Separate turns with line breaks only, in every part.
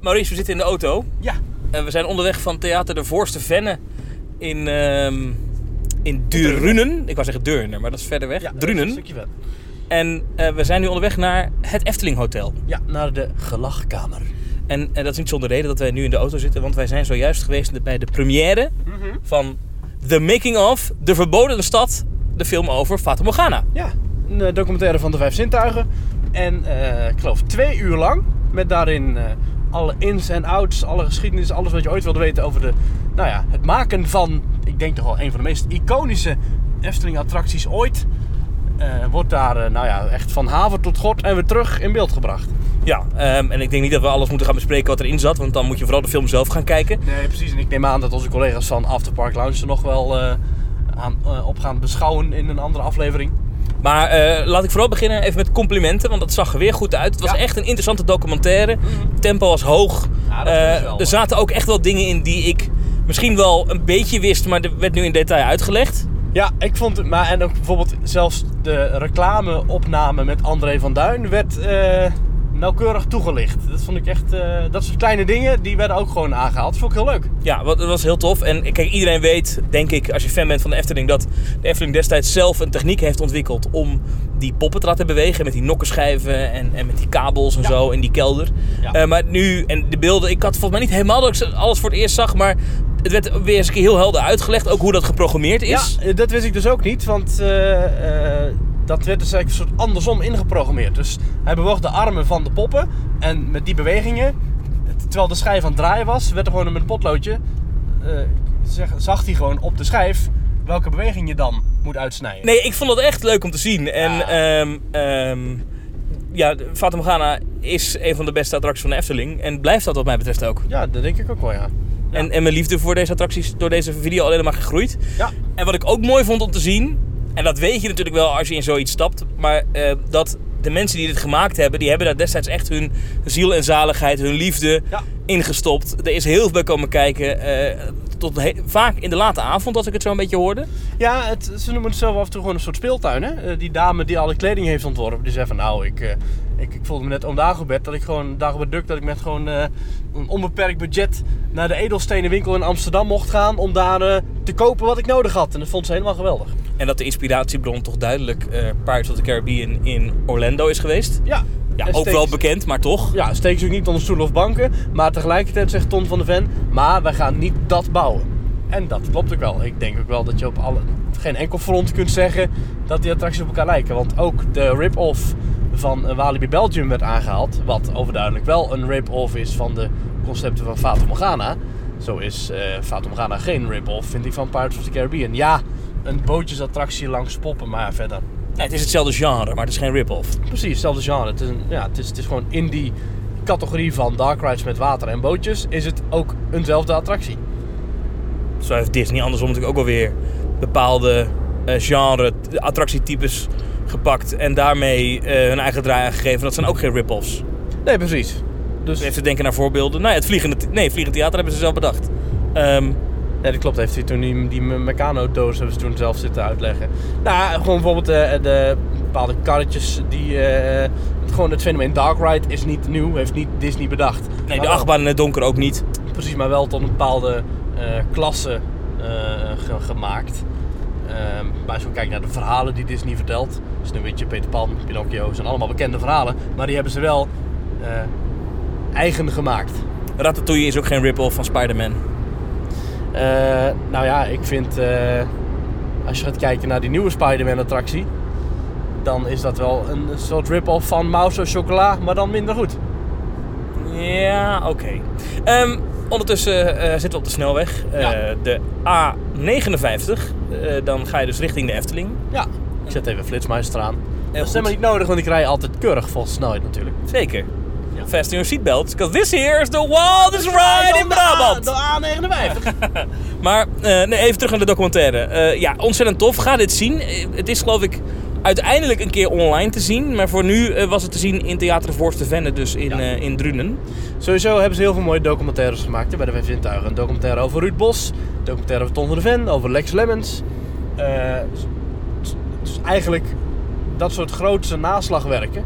Maurice, we zitten in de auto.
Ja.
En we zijn onderweg van Theater de Voorste Venne in, ehm, in Durunen. Ik wou zeggen Deurne, maar dat is verder weg.
ja dat is Een
Drunen.
stukje verder.
En eh, we zijn nu onderweg naar het Efteling Hotel.
Ja, naar de gelachkamer.
En, eh, dat is niet zonder reden dat wij nu in de auto zitten, want wij zijn zojuist geweest bij de première
Mhm.
van The Making of De Verboden Stad, de film over Fata Morgana.
Ja, een eh, documentaire van de vijf zintuigen. En eh, ik geloof twee uur lang. Met daarin eh, alle ins en outs, alle geschiedenis, alles wat je ooit wilde weten over de, nou ja, het maken van, ik denk toch wel een van de meest iconische Efteling attracties ooit. Eh, wordt daar, eh, nou ja, echt van haven tot god en weer terug in beeld gebracht.
Ja, ehm, en ik denk niet dat we alles moeten gaan bespreken wat erin zat, want dan moet je vooral de film zelf gaan kijken.
Nee, precies. En ik neem aan dat onze collega's van After Park Lounge er nog wel eh, aan, eh, op gaan beschouwen in een andere aflevering.
Maar eh, laat ik vooral beginnen even met complimenten, want dat zag er weer goed uit. Het was
Ja. Mhm.
echt een interessante documentaire. Tempo was hoog.
Ja, dat
Eh,
is wel,
er
eh.
zaten ook echt wel dingen in die ik misschien wel een beetje wist, maar er werd nu in detail uitgelegd.
Ja, ik vond het. Maar en ook bijvoorbeeld zelfs de reclameopname met André van Duin werd eh, nauwkeurig toegelicht. Dat vond ik echt. eh, dat soort kleine dingen die werden ook gewoon aangehaald. Dat vond ik heel leuk.
Ja, wat- dat was heel tof. En kijk, iedereen weet, denk ik, als je fan bent van de Efteling, dat de Efteling destijds zelf een techniek heeft ontwikkeld om die poppen te laten bewegen. Met die nokkenschijven en, en met die kabels en
Ja.
zo in die kelder.
Ja.
Eh, maar nu, en de beelden, ik had volgens mij niet helemaal dat ik ze alles voor het eerst zag, maar het werd weer eens een keer heel helder uitgelegd, ook hoe dat geprogrammeerd is.
Ja, eh, dat wist ik dus ook niet, want eh, eh, dat werd dus eigenlijk een soort andersom ingeprogrammeerd. Dus hij bewoog de armen van de poppen en met die bewegingen, t- terwijl de schijf aan het draaien was, werd er gewoon met een potloodje, eh, zeg, zag hij gewoon op de schijf welke beweging je dan moet uitsnijden.
Nee, ik vond dat echt leuk om te zien. En
Ja.
ehm ehm ja, Fata Morgana is een van de beste attracties van de Efteling. En blijft dat wat mij betreft ook.
Ja, dat denk ik ook wel, ja.
En, en mijn liefde voor deze attracties is door deze video alleen maar gegroeid.
Ja.
En wat ik ook mooi vond om te zien, en dat weet je natuurlijk wel als je in zoiets stapt, maar eh, dat de mensen die dit gemaakt hebben, die hebben daar destijds echt hun ziel en zaligheid, hun liefde
Ja.
ingestopt. Er is heel veel bij komen kijken, eh, tot he- vaak in de late avond als ik het zo een beetje hoorde.
Ja, het, ze noemen het zelf af en toe gewoon een soort speeltuin. Hè? Eh, die dame die alle kleding heeft ontworpen, die zei van nou, ik, eh, ik, ik voelde me net om Dagobert. Dat ik gewoon Dagobert Duck, dat ik met gewoon eh, een onbeperkt budget naar de edelstenenwinkel in Amsterdam mocht gaan. Om daar eh, te kopen wat ik nodig had. En dat vond ze helemaal geweldig.
En dat de inspiratiebron toch duidelijk eh Pirates of the Caribbean in Orlando is geweest.
Ja,
Ja,
En
ook
steeds-
wel bekend, maar toch.
Ja, steek ze ook niet onder stoelen of banken. Maar tegelijkertijd zegt Ton van de Ven, maar wij gaan niet dat bouwen. En dat klopt ook wel. Ik denk ook wel dat je op alle, geen enkel front kunt zeggen dat die attracties op elkaar lijken. Want ook de rip-off van eh, Walibi Belgium werd aangehaald. Wat overduidelijk wel een rip-off is van de concepten van Fata Morgana. Zo is eh Fata Morgana geen rip-off, vind ik, van Pirates of the Caribbean. Ja, een bootjesattractie langs poppen, maar verder.
Ja, het is hetzelfde genre, maar het is geen rip-off.
Precies, hetzelfde genre. Het is, een, ja, het, is, het is gewoon in die categorie van dark rides met water en bootjes is het ook eenzelfde attractie.
Zo heeft Disney andersom natuurlijk ook alweer bepaalde eh, genre, t- attractietypes gepakt en daarmee eh, hun eigen draai aangegeven. Dat zijn ook geen rip-offs.
Nee, precies. Dus
Even te denken naar voorbeelden. Nou ja, het vliegende, th- nee, het vliegende theater hebben ze zelf bedacht. Ehm,
nee, dat klopt. Heeft hij toen die, die Meccano-doos hebben ze toen zelf zitten uitleggen. Nou, gewoon bijvoorbeeld eh, de bepaalde karretjes die eh, het, gewoon het fenomeen dark ride is niet nieuw, heeft niet Disney bedacht.
nee,
Maar
de
wel-
achtbaan in het donker ook niet.
Precies, maar wel tot een bepaalde eh, klasse eh, ge- gemaakt. Ehm, maar als je kijkt naar de verhalen die Disney vertelt, Sneeuwwitje, Peter Pan, Pinocchio, zijn allemaal bekende verhalen, maar die hebben ze wel eh, eigen gemaakt.
Ratatouille is ook geen rip-off van Spider-Man.
Eh, nou ja, ik vind eh, als je gaat kijken naar die nieuwe Spider-Man-attractie, dan is dat wel een soort rip-off van Mouse of Chocola, maar dan minder goed.
Ja, oké. Ehm, ondertussen eh, zitten we op de snelweg. Eh,
Ja.
De A59. Eh, dan ga je dus richting de Efteling.
Ja, ik zet even flitsmeister aan. Dat
goed.
is helemaal niet nodig, want ik rij altijd keurig vol snelheid natuurlijk.
Zeker.
Ja.
Fasten your seatbelts, because this here is the wildest ride in Brabant.
De A59.
Maar eh, nee, even terug naar de documentaire. Eh, ja, ontzettend tof. Ga dit zien. Eh, Het is geloof ik uiteindelijk een keer online te zien. Maar voor nu eh, was het te zien in Theater de Voorste Venne, dus in,
Ja.
eh, in Drunen.
Sowieso hebben ze heel veel mooie documentaires gemaakt hè, bij de Vijf Zintuigen. Een documentaire over Ruud Bos, een documentaire over Ton van de Ven, over Lex Lemmens. Eh, dus- dus eigenlijk dat soort grootse naslagwerken.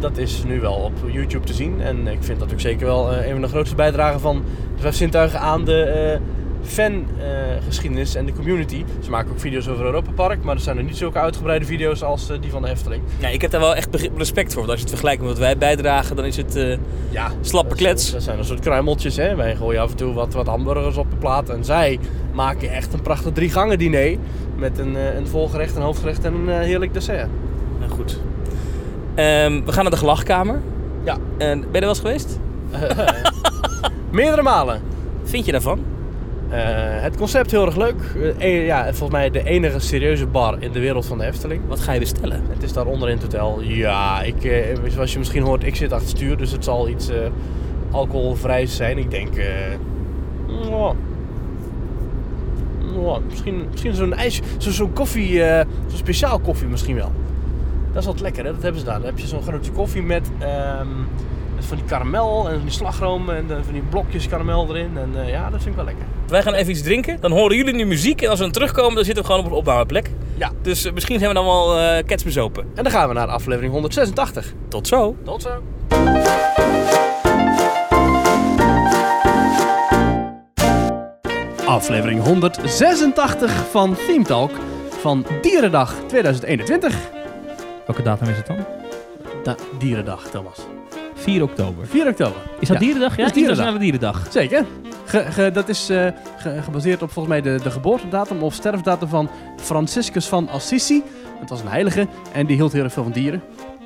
dat is nu wel op YouTube te zien. En ik vind dat ook zeker wel eh, een van de grootste bijdragen van de Vijf Zintuigen aan de eh, fangeschiedenis eh, en de community. Ze maken ook video's over Europa Park, maar er zijn er niet zulke uitgebreide video's als eh, die van de Hefteling.
Nou, ik heb daar wel echt begrip- respect voor. Want als je het vergelijkt met wat wij bijdragen, dan is het... eh,
Ja,
Slappe
dat-
klets.
Dat zijn een soort kruimeltjes. Hè? Wij gooien af en toe wat, wat hamburgers op de plaat. En zij maken echt een prachtig drie gangen diner. Met een, eh, een volgerecht, een hoofdgerecht en een eh, heerlijk dessert.
nou goed. Ehm, we gaan naar de gelachkamer.
Ja.
Eh,
En ben je er wel eens geweest?
Meerdere malen.
Vind je daarvan?
Eh, het concept heel erg leuk. Eh, eh, ja, volgens mij de enige serieuze bar in de wereld van de Efteling.
Wat ga je bestellen?
Het is daaronder in het hotel. Ja, ik, eh, zoals je misschien hoort, ik zit achter het stuur. Dus het zal iets eh alcoholvrijs zijn. Ik denk... eh, mwah. Mwah, misschien misschien zo'n ijs... zo- Zo'n koffie... eh, zo'n speciaal koffie misschien wel. Dat is altijd lekker, hè? Dat hebben ze daar. Dan heb je zo'n grote koffie met... ehm, met van die karamel en van die slagroom en eh, van die blokjes karamel erin. En eh, ja, dat vind ik wel lekker.
Wij gaan even iets drinken. Dan horen jullie nu muziek. En als we dan terugkomen, dan zitten we gewoon op een opnameplek.
Ja.
Dus eh, misschien zijn we dan wel eh ketsbezopen.
En dan gaan we naar aflevering 186.
Tot zo.
Tot zo. Aflevering 186 van Theme Talk van Dierendag 2021.
Welke datum is het dan?
Da- Dierendag, Thomas.
4 oktober.
4 oktober.
Is dat
Ja,
dierendag? Ja,
dat is dierendag.
internationale dierendag.
Zeker. Ge- ge- dat is eh, ge- gebaseerd op volgens mij de, de geboortedatum of sterfdatum van Franciscus van Assisi. Het was een heilige en die hield heel erg veel van dieren.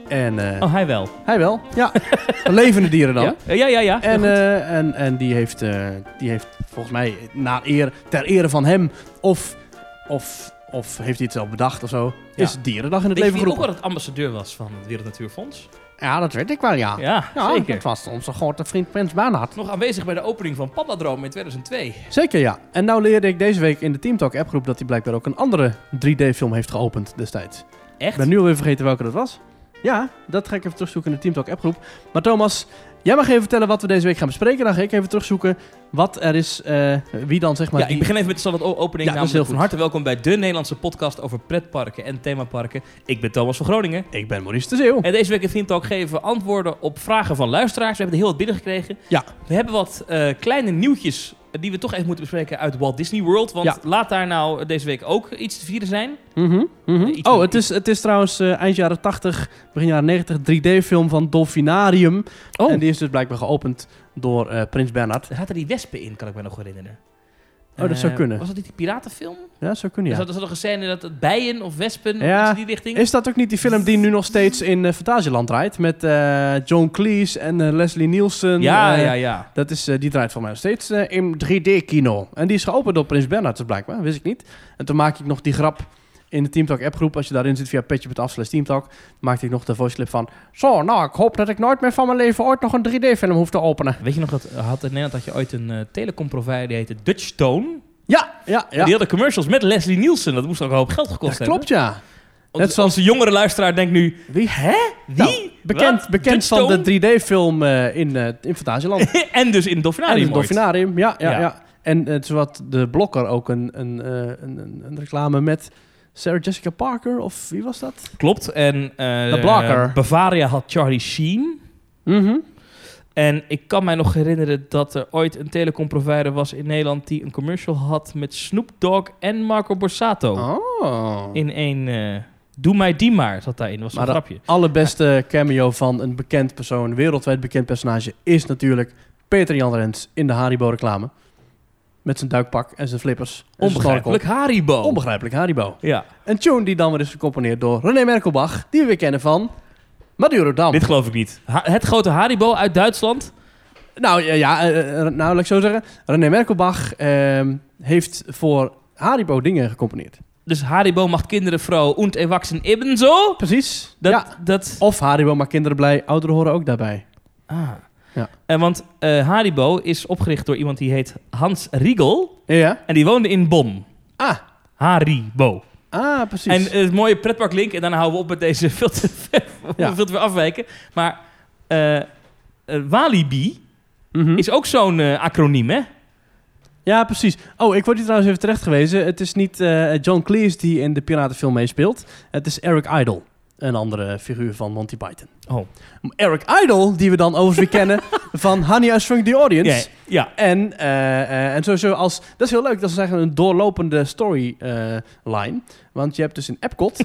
En eh,
Oh, hij wel.
hij wel. Ja, levende dieren dan.
Ja, Eh, ja, ja. ja.
En,
Ja, goed.
eh, en, en die, heeft, eh, die heeft volgens mij naar eer, ter ere van hem of, of, of heeft hij het zelf bedacht of zo,
Ja.
is Dierendag in het
Weet je
leven
wie ook
geroepen.
wel het ambassadeur was van het Wereld Natuurfonds?
Ja, dat weet ik wel, ja.
Ja,
Ah. Ja,
zeker.
dat was onze grote vriend Prins Bernhard.
Nog aanwezig bij de opening van Pandadroom in 2002.
Zeker ja. En nou leerde ik deze week in de Teamtalk appgroep dat hij blijkbaar ook een andere 3D-film heeft geopend destijds.
Echt?
Ik ben nu alweer vergeten welke dat was. Ja, dat ga ik even terugzoeken in de Teamtalk appgroep. Maar Thomas, jij mag even vertellen wat we deze week gaan bespreken. Dan ga ik even terugzoeken wat er is, eh, wie dan zeg maar...
ja,
die-
ik begin even met de standaard o- opening.
Ja, dat
namelijk
is heel
van
goed.
harte welkom bij de Nederlandse podcast over pretparken en themaparken. Ik ben Thomas van Groningen.
ik ben Maurice de Zeeuw.
En deze week in Theme Talk geven we antwoorden op vragen van luisteraars. We hebben er heel wat binnengekregen.
Ja.
We hebben wat eh, kleine nieuwtjes eh, die we toch even moeten bespreken uit Walt Disney World. Want
Ja.
laat daar nou deze week ook iets te vieren zijn.
Mhm, mhm.
Iets
Oh,
met-
het is, het is trouwens eh, eind jaren 80, begin jaren 90 3D-film van Dolfinarium.
Oh,
En die is dus blijkbaar geopend door eh, Prins Bernhard.
daar zaten die wespen in, kan ik me nog herinneren.
Oh, dat zou
Eh,
kunnen.
Was dat niet die piratenfilm?
Ja, zo kunnen
Er
ja.
zat, er zat nog een scène dat het bijen of wespen,
Ja.
iets in die richting.
Is dat ook niet die film die nu nog steeds in eh, Fantasieland draait? Met eh, John Cleese en eh, Leslie Nielsen.
ja,
Eh,
ja, ja.
Dat is, eh, die draait voor mij nog steeds eh, in 3D-kino. En die is geopend door Prins Bernhard, dus blijkbaar. Wist ik niet. En toen maak ik nog die grap in de Teamtalk appgroep. Als je daarin zit via petje.af slash Teamtalk, maakte ik nog de voice clip van... Zo, nou, ik hoop dat ik nooit meer van mijn leven ooit nog een 3D-film hoef te openen.
Weet je nog, dat, had in Nederland had je ooit een eh, telecomprovider, die heette Dutchstone.
Ja, ja,
Die
ja.
hadden commercials met Leslie Nielsen. Dat moest ook een hoop geld
Dat
gekost hebben.
klopt, ja.
Net zoals de jongere luisteraar denkt nu,
Wie? Hè?
wie?
Nou, bekend
Wat?
bekend van de 3D-film eh, in, eh in Fantasieland.
Dutchstone? en dus in het
en
Dolfinarium
het
ooit.
Dolfinarium, ja, ja, ja.
Ja.
En eh, het is wat de Blokker ook een, een, eh, een, een, een reclame met Sarah Jessica Parker, of wie was dat?
Klopt. En eh,
De Blaker.
Bavaria had Charlie Sheen.
Mhm.
En ik kan mij nog herinneren dat er ooit een telecomprovider was in Nederland die een commercial had met Snoop Dogg en Marco Borsato.
Oh.
In één eh, Doe mij die maar zat daarin. Dat was
Maar
een
dat-
grapje.
Allerbeste cameo van een bekend persoon, wereldwijd bekend personage, is natuurlijk Peter Jan Rens in de Haribo-reclame. Met zijn duikpak en zijn flippers. en zijn
Onbegrijpelijk Haribo.
snorkel. Onbegrijpelijk Haribo.
ja.
Een tune die dan weer is gecomponeerd door René Merkelbach, die we weer kennen van Maduro Dam.
Dit geloof ik niet. Ha- het grote Haribo uit Duitsland.
Nou ja, ja eh, eh, nou laat ik zo zeggen. René Merkelbach ehm, heeft voor Haribo dingen gecomponeerd.
Dus Haribo macht kinderen vrouw und erwachsen ebenso.
Precies.
Dat,
Ja.
dat
Of Haribo maakt kinderen blij, ouderen horen ook daarbij.
Ah.
Ja.
En want eh, Haribo is opgericht door iemand die heet Hans Riegel.
Ja.
En die woonde in Bonn.
Ah,
Haribo.
ah precies.
En eh, het mooie pretparklink. En daarna houden we op met deze veel te ver,
Ja.
veel te ver afwijken. Maar eh, eh, Walibi
Mhm.
is ook zo'n eh, acroniem, hè?
Ja, precies. Oh, ik word hier trouwens even terecht gewezen. Het is niet eh, John Cleese die in de piratenfilm meespeelt. Het is Eric Idle. Een andere figuur van Monty Python.
Oh.
Eric Idle, die we dan overigens weer kennen van Honey, I Shrunk the Audience.
Ja, ja.
En, eh, eh, en sowieso als... Dat is heel leuk, dat is eigenlijk een doorlopende storyline. want je hebt dus in Epcot...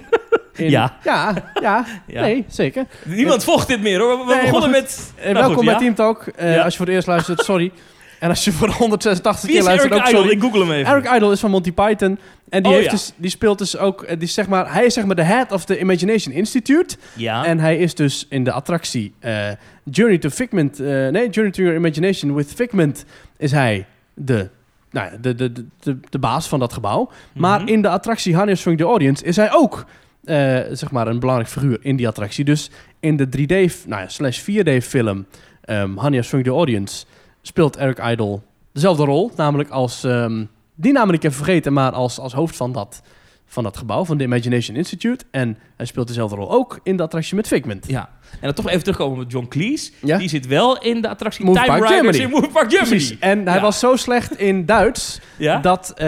in-
Ja.
ja. Ja,
Ja.
nee, zeker.
Niemand volgt dit meer hoor. We, we
Nee,
begonnen
maar
met...
Eh,
Nou
welkom
goed,
bij
ja.
Team Talk. Eh,
Ja.
Als je voor het eerst luistert, sorry. En als je voor de 186
Wie
keer
is
luistert,
Eric
ook
Idle?
sorry.
Ik google hem even.
Eric Idle is van Monty Python. En die,
Oh,
heeft
ja.
dus, die speelt dus ook... eh, Die is zeg maar, hij is zeg maar de head of the Imagination Institute.
Ja.
En hij is dus in de attractie eh, Journey to Figment... eh, nee, Journey to Your Imagination with Figment is hij de, nou, ja, de, de, de, de, de baas van dat gebouw. Maar
Mhm.
in de attractie Honey I Shrunk the Audience is hij ook eh, zeg maar een belangrijk figuur in die attractie. Dus in de 3D, f- nou ja, slash 4D film ehm Honey I Shrunk the Audience speelt Eric Idle dezelfde rol. Namelijk als, ehm, die naam ben ik even vergeten, maar als, als hoofd van dat, van dat gebouw, van de Imagination Institute. En hij speelt dezelfde rol ook in de attractie met Figment.
Ja. En dan toch even terugkomen met John Cleese.
Ja.
Die zit wel in de attractie
Movie
Time
Park
Riders
Germany.
in Movie Park Germany.
Precies. En hij
Ja.
was zo slecht in Duits
Ja?
dat eh,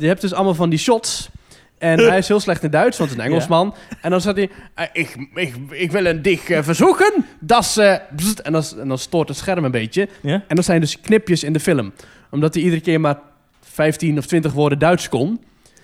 je hebt dus allemaal van die shots. En hij is heel slecht in Duits, want het is een Engelsman. En dan zat hij, eh, ik, ik, ik wil een dich eh, verzoeken. Dat is, eh, bzzt. en, dan, en dan stoort het scherm een beetje.
Ja.
En dat zijn dus knipjes in de film. Omdat hij iedere keer maar 15 of 20 woorden Duits kon.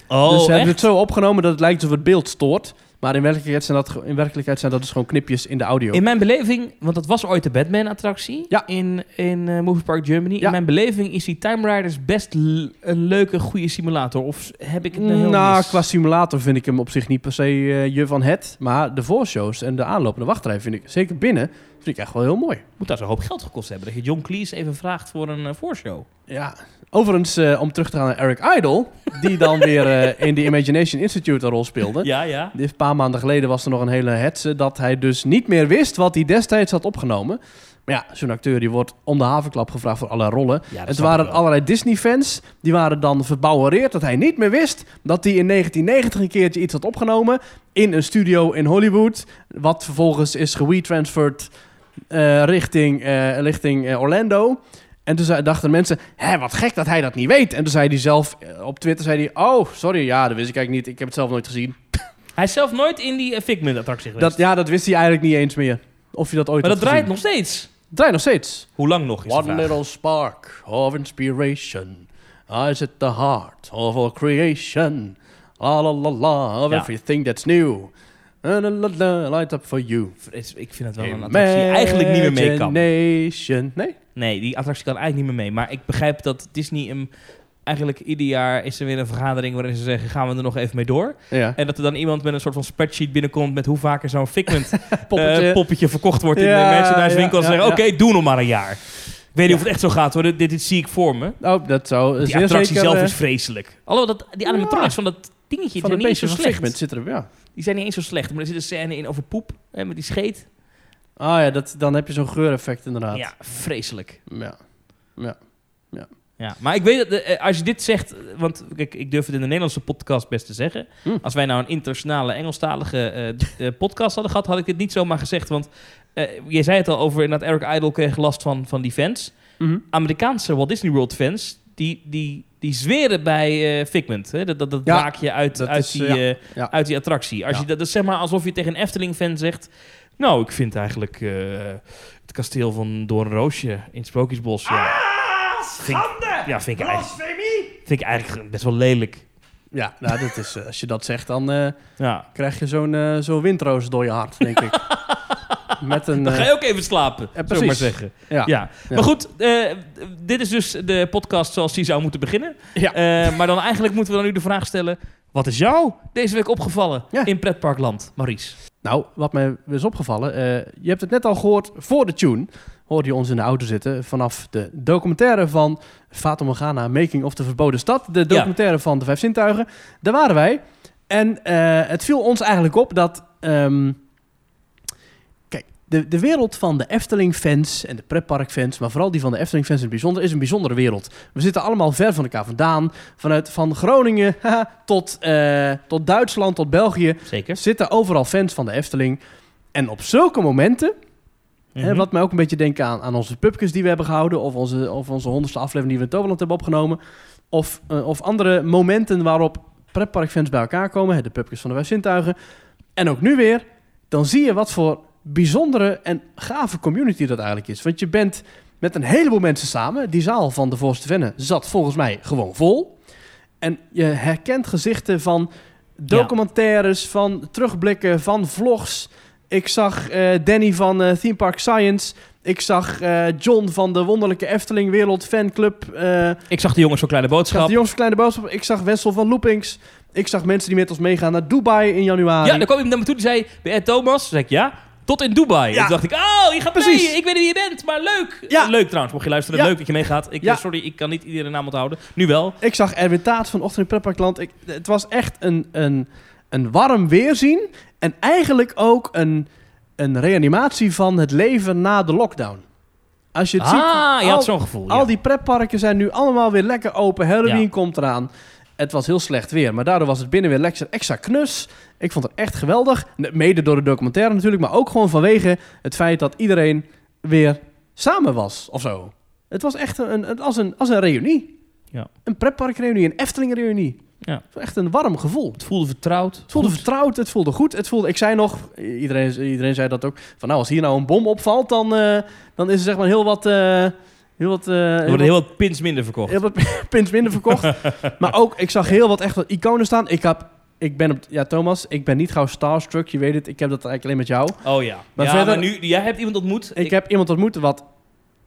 Oh,
dus ze
echt?
hebben het zo opgenomen dat het lijkt alsof het beeld stoort. Maar in werkelijkheid zijn dat, ge- in werkelijkheid zijn dat dus gewoon knipjes in de audio.
In mijn beleving, want dat was ooit de Batman-attractie
Ja.
in, in eh, Movie Park Germany.
Ja.
In mijn beleving is die Time Riders best l- een leuke, goede simulator. Of heb ik het nou heel
Nou,
mis?
qua simulator vind ik hem op zich niet per se eh, je van het. Maar de voorshows en de aanloop en de wachtrij vind ik, zeker binnen, vind ik echt wel heel mooi.
Moet daar zo'n hoop geld gekost hebben. Dat je John Cleese even vraagt voor een eh, voorshow.
Ja. Overigens, eh, om terug te gaan naar Eric Idle, die dan weer eh, in de Imagination Institute een rol speelde.
Ja, ja.
Dit Een paar maanden geleden was er nog een hele hetze dat hij dus niet meer wist wat hij destijds had opgenomen. Maar ja, zo'n acteur die wordt om de havenklap gevraagd voor alle rollen.
Ja, dat
Het
snap
waren
ik wel.
allerlei Disney-fans. Die waren dan verbouwereerd dat hij niet meer wist dat hij in 1990 een keertje iets had opgenomen in een studio in Hollywood. Wat vervolgens is gewetransferd eh, richting, eh, richting eh, Orlando. En toen zei- dachten mensen, hè, wat gek dat hij dat niet weet. En toen zei hij zelf eh, op Twitter, zei hij, oh, sorry, ja, dat wist ik eigenlijk niet. Ik heb het zelf nooit gezien.
Hij is zelf nooit in die eh, Figment-attractie geweest.
Dat, ja, dat wist hij eigenlijk niet eens meer. Of je dat ooit
maar dat
had
draait
gezien.
nog steeds.
draait nog steeds.
Hoe lang nog is de
One
vraag.
little spark of inspiration is at the heart of all creation. La la la la of
Ja.
everything that's new. La, la, la, la, light up for you.
Vres- Ik vind het wel een attractie die eigenlijk niet meer mee kan.
Imagination. Nee?
Nee, die attractie kan eigenlijk niet meer mee. Maar ik begrijp dat Disney hem... Eigenlijk ieder jaar is er weer een vergadering waarin ze zeggen... gaan we er nog even mee door?
Ja.
En dat er dan iemand met een soort van spreadsheet binnenkomt... met hoe vaak er zo'n Figment
Poppetje.
eh, poppetje verkocht wordt in
Ja,
de merchandisewinkel... en
ja,
zeggen,
ja,
oké, doe nog maar een jaar. Ik weet niet of het echt zo gaat hoor. Dit, dit zie ik voor me.
oh, dat zou
Die
zeer
attractie
zeker,
zelf
eh,
is vreselijk. Alhoewel, dat, die animatronics van dat dingetje
van
zijn
een
niet eens zo
beetje
slecht.
segment zit er ja.
Die zijn niet eens zo slecht. Maar er zit een scène in over poep, hè, met die scheet.
Ah ja, dat, dan heb je zo'n geureffect inderdaad.
Ja, vreselijk.
ja.
Ja, maar ik weet dat eh, als je dit zegt, eh, want kijk, ik durf het in de Nederlandse podcast best te zeggen.
Hm.
Als wij nou een internationale Engelstalige eh, d- eh, podcast hadden gehad, had ik dit niet zomaar gezegd. Want eh, je zei het al over dat Eric Idle kreeg last van, van die fans.
Mhm.
Amerikaanse Walt Disney World fans, die, die, die zweren bij eh Figment. Hè? Dat, dat, dat
Ja,
draakje uit,
dat
uit,
is,
die,
eh, ja,
eh,
ja.
uit die attractie. Als
Ja.
je dat, dat is zeg maar alsof je tegen een Efteling-fan zegt... Nou, ik vind eigenlijk eh, het kasteel van Doornroosje in het Sprookjesbos... Ja, vind, ik- ja, vind ik, eigenlijk, vind ik eigenlijk best wel lelijk.
Ja, nou, dat is, eh, als je dat zegt, dan eh,
Ja.
krijg je zo'n eh, zo'n windroos door je hart, denk ik. Met een...
Dan ga
eh,
je ook even slapen, zullen we maar
precies.
zeggen.
ja.
Ja. Maar goed, eh, dit is dus de podcast zoals die zou moeten beginnen.
Ja.
Eh, maar dan eigenlijk moeten we dan nu de vraag stellen... Wat is jou deze week opgevallen
Ja.
in pretparkland, Maurice?
Nou, wat mij is opgevallen, eh, je hebt het net al gehoord voor de tune, hoorde je ons in de auto zitten vanaf de documentaire van Fata Morgana, Making of de Verboden Stad, de documentaire van de Vijf Zintuigen. Daar waren wij en eh, het viel ons eigenlijk op dat, ehm, kijk, de, de wereld van de Efteling-fans en de pretpark-fans, maar vooral die van de Efteling-fans in het bijzonder, is een bijzondere wereld. We zitten allemaal ver van elkaar vandaan, vanuit van Groningen haha, tot, eh, tot Duitsland, tot België.
Zeker.
Zitten overal fans van de Efteling. En op zulke momenten,
Mhm.
hè, wat mij ook een beetje denken aan, aan onze pubkes die we hebben gehouden, of onze, of onze honderdste aflevering die we in Toverland hebben opgenomen, of, eh, of andere momenten waarop pretparkfans bij elkaar komen, hè, de pubkes van de Vijf Zintuigen. En ook nu weer, dan zie je wat voor bijzondere en gave community dat eigenlijk is. Want je bent met een heleboel mensen samen. Die zaal van de Voorste Venne zat volgens mij gewoon vol. En je herkent gezichten van documentaires, van terugblikken, van vlogs. Ik zag eh, Danny van eh, Theme Park Science. Ik zag eh, John van de Wonderlijke Efteling Wereld Fanclub. eh,
Ik zag de jongens van Kleine
ik zag
Boodschap.
de jongens van Kleine Boodschap. Ik zag Wessel van Loopings. Ik zag mensen die met ons meegaan naar Dubai in januari.
Ja, dan kwam iemand naar me toe die zei, ben jij Thomas? Toen zei ik, ja. Tot in Dubai.
Ja.
En toen dacht ik, oh, je gaat
Precies.
mee. Ik weet niet wie je bent, maar leuk.
Ja.
Leuk trouwens, mocht je luisteren.
Ja.
Leuk dat je meegaat. Ik, eh,
Ja.
Sorry, ik kan niet iedere naam onthouden. Nu wel.
Ik zag Erwin Taat van Ochtend in Pretparkland. Ik, het was echt een, een, een warm weerzien. En eigenlijk ook een, een reanimatie van het leven na de lockdown. Als je het
ah,
ziet...
je
al-
had zo'n gevoel. ja.
Al die pretparken zijn nu allemaal weer lekker open. Halloween
Ja.
komt eraan. Het was heel slecht weer, maar daardoor was het binnen weer lekker extra knus. Ik vond het echt geweldig. Ne- Mede door de documentaire natuurlijk, maar ook gewoon vanwege het feit dat iedereen weer samen was of zo. Het was echt een, een, als, een, als een reunie.
Ja.
Een pretparkreunie, een Eftelingreunie.
Ja.
Het was Echt een warm gevoel.
Het voelde vertrouwd.
Het voelde vertrouwd, het voelde goed. Het voelde, ik zei nog, iedereen, iedereen zei dat ook, van nou als hier nou een bom opvalt, dan, eh, dan is er zeg maar heel wat... eh, heel wat, eh,
Er
heel wat
worden heel wat pins minder verkocht.
heel wat pins minder verkocht. maar ook, ik zag heel wat echt wat iconen staan. Ik heb, ik ben op, ja Thomas, ik ben niet gauw starstruck, je weet het. Ik heb dat eigenlijk alleen met jou.
Oh ja.
Maar
ja,
verder-
maar nu, jij hebt iemand ontmoet.
Ik, heb iemand ontmoet wat,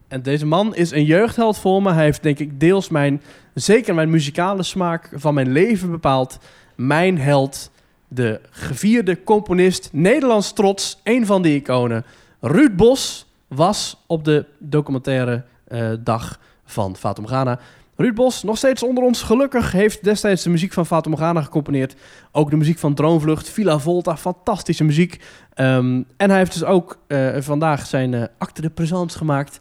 en deze man is een jeugdheld voor me. Hij heeft denk ik deels mijn, zeker mijn muzikale smaak van mijn leven bepaald. Mijn held, de gevierde componist, Nederlands trots, een van die iconen. Ruud Bos was op de documentaire eh, dag van Fatum Ghana. Ruud Bos, nog steeds onder ons, gelukkig, heeft destijds de muziek van Fatum Ghana gecomponeerd. Ook de muziek van Droomvlucht, Villa Volta, fantastische muziek. Ehm, en hij heeft dus ook eh, vandaag zijn eh, acte de présence gemaakt.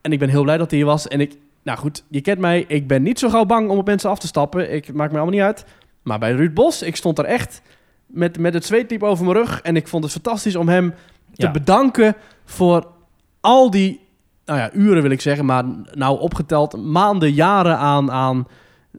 En ik ben heel blij dat hij hier was. En ik, nou goed, je kent mij, ik ben niet zo gauw bang om op mensen af te stappen. Ik het maakt me allemaal niet uit. Maar bij Ruud Bos, ik stond er echt met, met het zweetliep over mijn rug. En ik vond het fantastisch om hem te
Ja.
bedanken voor al die, nou ja, uren wil ik zeggen, maar nou opgeteld maanden, jaren aan, aan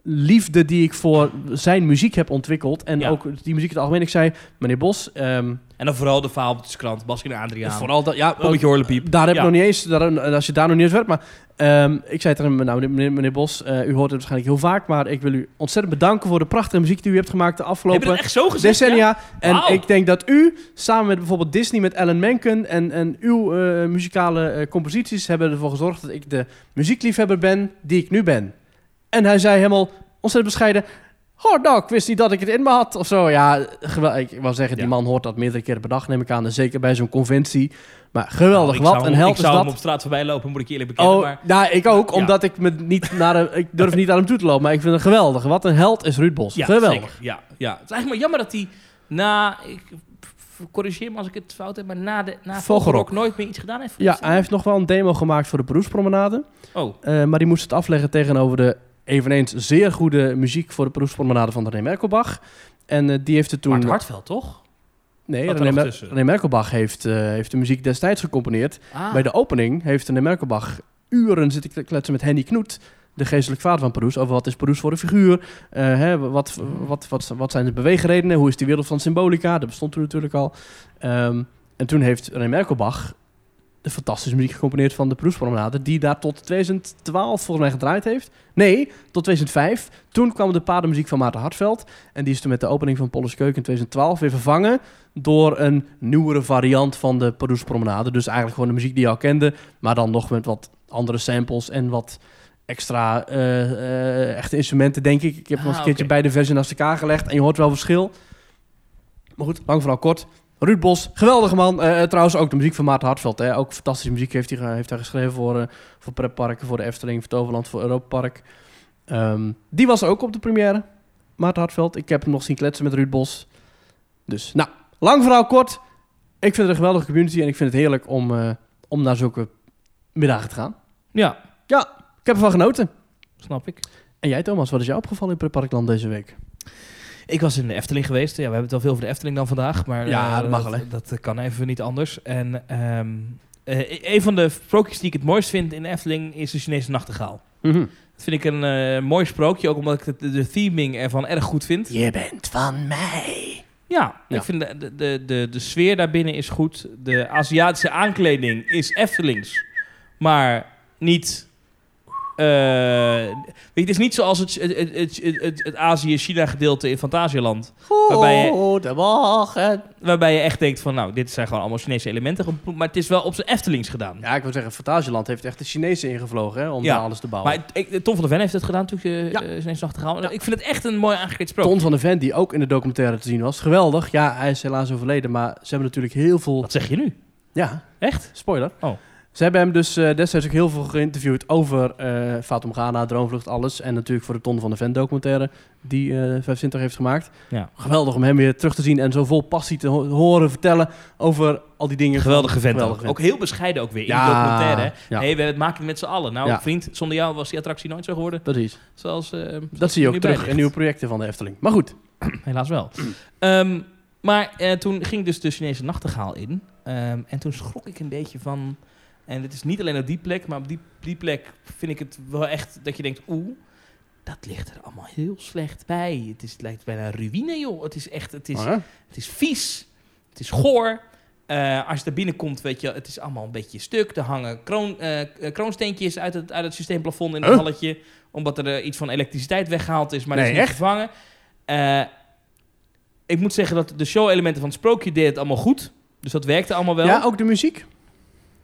liefde die ik voor zijn muziek heb ontwikkeld. En
Ja.
ook die muziek in het algemeen. Ik zei, meneer Bos, ehm,
En dan vooral de faalbeltjeskrant, Baskin en Adriaan.
Dus vooral dat, ja,
Een beetje horlepiep.
daar heb ik
Ja.
nog niet eens, daar, als je daar nog niet eens werkt. Maar ehm, ik zei tegen hem, nou, meneer, meneer Bos, eh, u hoort het waarschijnlijk heel vaak. Maar ik wil u ontzettend bedanken voor de prachtige muziek die u hebt gemaakt de
Heb je dat
afgelopen
echt zo gezegd?
decennia. En
Wauw.
ik denk dat u, samen met bijvoorbeeld Disney, met Alan Menken en, en uw eh, muzikale eh, composities, hebben ervoor gezorgd dat ik de muziekliefhebber ben die ik nu ben. En hij zei helemaal ontzettend bescheiden. Oh, nou, ik wist niet dat ik het in me had of zo. Ja, gewel- ik wil zeggen, die
Ja.
man hoort dat meerdere keren per dag, neem ik aan. En zeker bij zo'n conventie. Maar
Nou,
geweldig,
ik zou
wat
hem-
een held
Ik
is
zou hem
dat.
op straat voorbij lopen, moet ik je eerlijk bekennen.
Oh,
maar
nou, ik ook,
Ja.
omdat ik me niet naar hem, ik durf niet naar hem toe te lopen. Maar ik vind het geweldig. Wat een held is Ruud Bos.
ja,
geweldig.
zeker. Ja, ja. Het is eigenlijk maar jammer dat hij na... Ik, f- corrigeer me als ik het fout heb, maar na, de, na
Vogelrok.
Vogelrok nooit meer iets gedaan heeft. voor
Ja,
ons.
hij heeft nog wel een demo gemaakt voor de Beroepspromenade.
Oh,
Eh, maar die moest het afleggen tegenover de eveneens zeer goede muziek voor de beroepspromenade van René Merkelbach. En eh, die heeft er toen...
maar het Hartveld, toch?
Nee,
Wat er
René,
nog
Mer-
tussen?
René Merkelbach heeft, eh, heeft de muziek destijds gecomponeerd.
Ah,
Bij de opening heeft René Merkelbach uren zitten kle- kletsen met Henny Knoet, de geestelijk vader van Peroes, over wat is Peroes voor een figuur, eh, hè, wat, wat, wat, wat zijn de beweegredenen, hoe is die wereld van symbolica, dat bestond toen natuurlijk al. Ehm, en toen heeft René Merkelbach de fantastische muziek gecomponeerd van de Peroespromenade, die daar tot 2012 volgens mij gedraaid heeft. Nee, tot 2005. Toen kwam de paardenmuziek van Maarten Hartveld en die is toen met de opening van Polles Keuken in 2012 weer vervangen door een nieuwere variant van de Peroespromenade. Dus eigenlijk gewoon de muziek die je al kende, maar dan nog met wat andere samples en wat extra eh, eh, echte instrumenten, denk ik. Ik heb nog eens
Ah,
een keertje
oké.
beide versies naast elkaar gelegd en je hoort wel verschil. Maar goed, lang vooral kort. Ruud Bos, geweldige man. Eh, trouwens ook de muziek van Maarten Hartveld. Hè. Ook fantastische muziek heeft hij, ge- heeft hij geschreven voor, eh voor pretparken, voor de Efteling, voor Toverland, voor Europa Park. Ehm, die was ook op de première, Maarten Hartveld. Ik heb hem nog zien kletsen met Ruud Bos. Dus, nou, lang verhaal kort. Ik vind het een geweldige community en ik vind het heerlijk om, eh, om naar zulke middagen te gaan.
Ja,
Ik heb ervan genoten.
snap ik.
En jij, Thomas, wat is jou opgevallen in Pretparkland deze week?
Ik was in de Efteling geweest. Ja, we hebben het wel veel over de Efteling dan vandaag. Maar
Ja,
eh,
dat mag wel, hè?
dat, dat kan even niet anders. En ehm, eh, een van de sprookjes die ik het mooist vind in de Efteling is de Chinese nachtegaal.
Mhm.
Dat vind ik een eh, mooi sprookje, ook omdat ik de, de theming ervan erg goed vind.
Je bent van mij.
Ja,
Ja.
ik vind de, de, de, de, de sfeer daarbinnen is goed. De Aziatische aankleding is Eftelings. Maar niet... eh, weet je, het is niet zoals het, het, het, het, het, het Azië-China gedeelte in Fantasieland. Waarbij je-
Goedemorgen.
Waarbij je echt denkt van, nou, dit zijn gewoon allemaal Chinese elementen. geplo- Maar het is wel op zijn Eftelings gedaan.
Ja, ik wil zeggen, Fantasieland heeft echt de Chinezen ingevlogen hè, om
Ja,
daar alles te bouwen.
Maar het- ik, Tom van der Ven heeft het gedaan toen je
Ja.
ja. zijn achterhaal. Ik vind het echt een mooi aangekleed sprookje.
Ton van de Ven, die ook in de documentaire te zien was. Geweldig. Ja, hij is helaas overleden, maar ze hebben natuurlijk heel veel...
Wat zeg je nu?
Ja,
Echt?
spoiler.
Oh.
Ze hebben hem dus eh, destijds ook heel veel geïnterviewd over eh Fatum Ghana, Droomvlucht, alles. En natuurlijk voor de Ton van de Ven documentaire die eh 25 heeft gemaakt.
Ja.
Geweldig om hem weer terug te zien en zo vol passie te ho- horen vertellen over al die dingen.
Geweldige vent
Geweldige
ook.
vent.
Ook heel bescheiden ook weer
Ja,
in de documentaire. hè.
ja.
Hey, we maken het met z'n allen. Nou,
Ja.
vriend, zonder jou was die attractie nooit zo geworden.
Precies.
Zoals, eh, zoals
Dat zie je
nu
ook terug
bij
in
ligt.
nieuwe projecten van de Efteling. Maar goed,
Helaas wel. Ehm, maar eh, toen ging dus de Chinese nachtegaal in. Ehm, en toen schrok ik een beetje van... En het is niet alleen op die plek, maar op die, die plek vind ik het wel echt dat je denkt... Oeh, dat ligt er allemaal heel slecht bij. Het, is, het lijkt bijna een ruïne, joh. Het is echt... Het is,
Maar, hè?
Het is vies. Het is goor. Eh, als je daar binnenkomt, weet je, het is allemaal een beetje stuk. Er hangen kroon, eh, eh, kroonsteentjes uit het, uit het systeemplafond in het
Huh?
halletje. Omdat er eh, iets van elektriciteit weggehaald is, maar dat
Nee,
is niet
echt?
vervangen. Eh, ik moet zeggen dat de show-elementen van het sprookje deden het allemaal goed. Dus dat werkte allemaal wel.
ja, ook de muziek.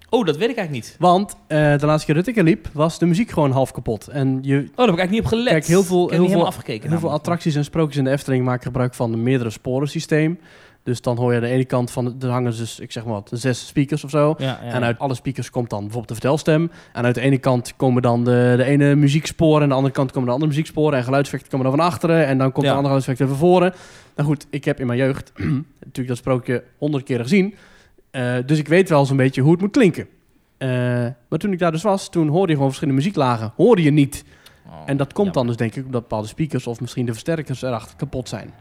Oh, dat weet ik eigenlijk niet.
Want eh, de laatste keer dat ik er liep, was de muziek gewoon half kapot. En je,
Oh, daar heb ik eigenlijk niet op gelet.
Kijk, heel veel-
ik heb
heel
niet helemaal
veel-
afgekeken.
heel veel
namelijk.
attracties en sprookjes in de Efteling maken gebruik van een meerdere sporensysteem. Dus dan hoor je aan de ene kant van, de- er hangen dus, ik zeg maar wat, zes speakers of zo.
Ja, ja, ja.
En uit alle speakers komt dan bijvoorbeeld de vertelstem. En uit de ene kant komen dan de, de ene muzieksporen. En de andere kant komen de andere muzieksporen. En geluidseffecten komen dan van achteren. En dan komt
Ja.
de andere geluidseffecten van voren. Nou goed, ik heb in mijn jeugd natuurlijk dat sprookje honderd keer gezien. Eh, dus ik weet wel zo'n beetje hoe het moet klinken. Eh, maar toen ik daar dus was, toen hoorde je gewoon verschillende muzieklagen. Hoorde je niet.
Oh,
En dat komt
jammer.
dan dus denk ik omdat bepaalde speakers of misschien de versterkers erachter kapot zijn.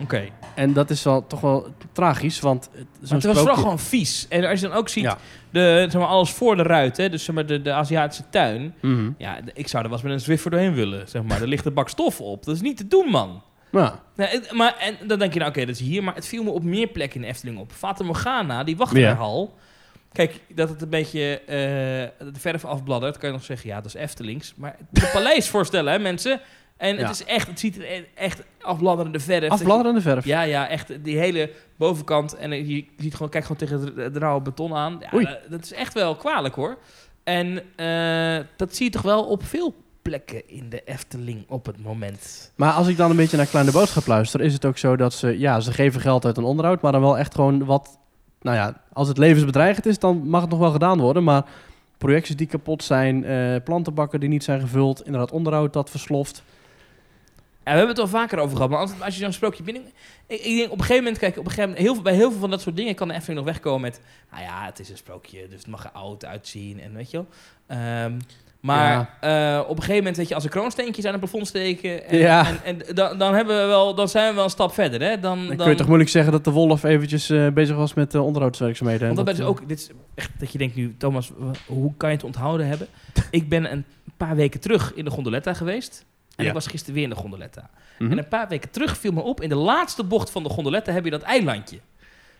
Oké.
En dat is wel toch wel tragisch, want het- zo'n
Maar het was
sprookje...
vooral gewoon vies. En als je dan ook ziet,
Ja.
de, zeg maar, alles voor de ruit, hè, dus zeg maar, de, de Aziatische tuin.
Mhm.
Ja, d- ik zou er wel eens met een Zwiffer doorheen willen, zeg maar. Er ligt een bak stof op. Dat is niet te doen, man.
Ja.
Nou, het- maar en dan denk je, nou oké, dat is hier. Maar het viel me op meer plekken in de Efteling op. Fata Morgana, die wacht
Ja.
er al. Kijk, dat het een beetje eh, dat de verf afbladdert, kan je nog zeggen, ja, dat is Eftelings. Maar het moet een paleis voorstellen, hè, mensen. En
Ja.
het is echt, het ziet er e- echt afbladderende verf.
Afbladderende verf.
Ja, ja, echt die hele bovenkant. En eh, je ziet gewoon, kijk gewoon tegen het r- het rauwe beton aan. Ja,
Oei.
dat, dat is echt wel kwalijk hoor. En eh, dat zie je toch wel op veel plekken in de Efteling op het moment.
Maar als ik dan een beetje naar Kleine Boodschap luister, is het ook zo dat ze, ja, ze geven geld uit een onderhoud, maar dan wel echt gewoon wat, nou ja, als het levensbedreigend is, dan mag het nog wel gedaan worden, maar projecties die kapot zijn, eh, plantenbakken die niet zijn gevuld, inderdaad onderhoud dat versloft.
En we hebben het al vaker over gehad, maar als, als je zo'n sprookje binnen... Ik, ik denk op een gegeven moment, kijk, op een gegeven moment, heel veel, bij heel veel van dat soort dingen kan de Efteling nog wegkomen met... Nou ja, het is een sprookje, dus het mag er oud uitzien en weet je wel. Ehm, maar eh, op een gegeven moment, weet je, als er kroonsteentjes aan het plafond steken... En,
Ja.
en, en dan, dan, hebben we wel, dan zijn we wel een stap verder, hè. Dan,
Dan, kun je toch moeilijk zeggen dat de wolf eventjes eh, bezig was met eh, onderhoudswerkzaamheden. en
Want dat ben dus
eh,
ook, dit is echt dat je denkt nu, Thomas, w- hoe kan je het onthouden hebben? ik ben een paar weken terug in de gondoletta geweest. En
Ja.
ik was gisteren weer in de gondoletta.
Mhm.
En een paar weken terug viel me op, in de laatste bocht van de gondoletta heb je dat eilandje.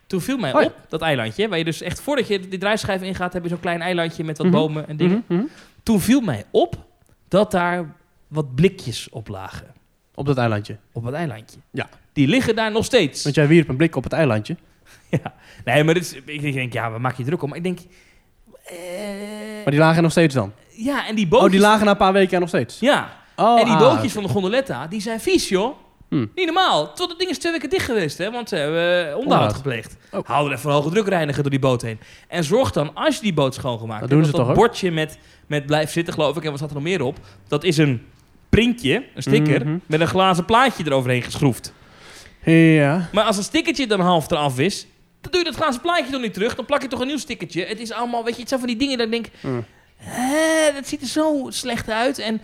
Toen viel mij
Oh ja.
op, dat eilandje, waar je dus echt voordat je die draaischijf ingaat, heb je zo'n klein eilandje met wat
Mhm.
bomen en dingen.
Mhm, mhm.
Toen viel mij op dat daar wat blikjes op lagen.
Op dat eilandje.
Op dat eilandje.
Ja.
Die liggen daar nog steeds.
Want jij wierp een blik op het eilandje.
Ja. Nee, maar dit is, ik denk, ja, we maken je druk om. Maar ik denk... eh,
Maar die lagen er nog steeds dan.
Ja, en die bootjes...
Oh, die lagen na een paar weken er nog steeds.
Ja,
Oh,
en die
ah,
bootjes van de gondoletta, die zijn vies, joh.
Hmm.
Niet normaal. Tot het ding is twee weken dicht geweest, hè. Want ze hebben eh, onderhoud
Onderhoud.
gepleegd.
Oh.
Hou er even een hoge drukreiniger door die boot heen. En zorg dan, als je die boot schoongemaakt
Dat
hebt...
doen ze
dat
toch ook?
bordje met, met blijf zitten, geloof ik. En wat staat er nog meer op? Dat is een printje, een sticker...
Mhm.
met een glazen plaatje eroverheen geschroefd.
Ja.
Maar als een stickertje dan half eraf is... dan doe je dat glazen plaatje toch niet terug. Dan plak je toch een nieuw stickertje. Het is allemaal, weet je, het zijn van die dingen dat ik denk...
Mm.
Hè, dat ziet er zo slecht uit. En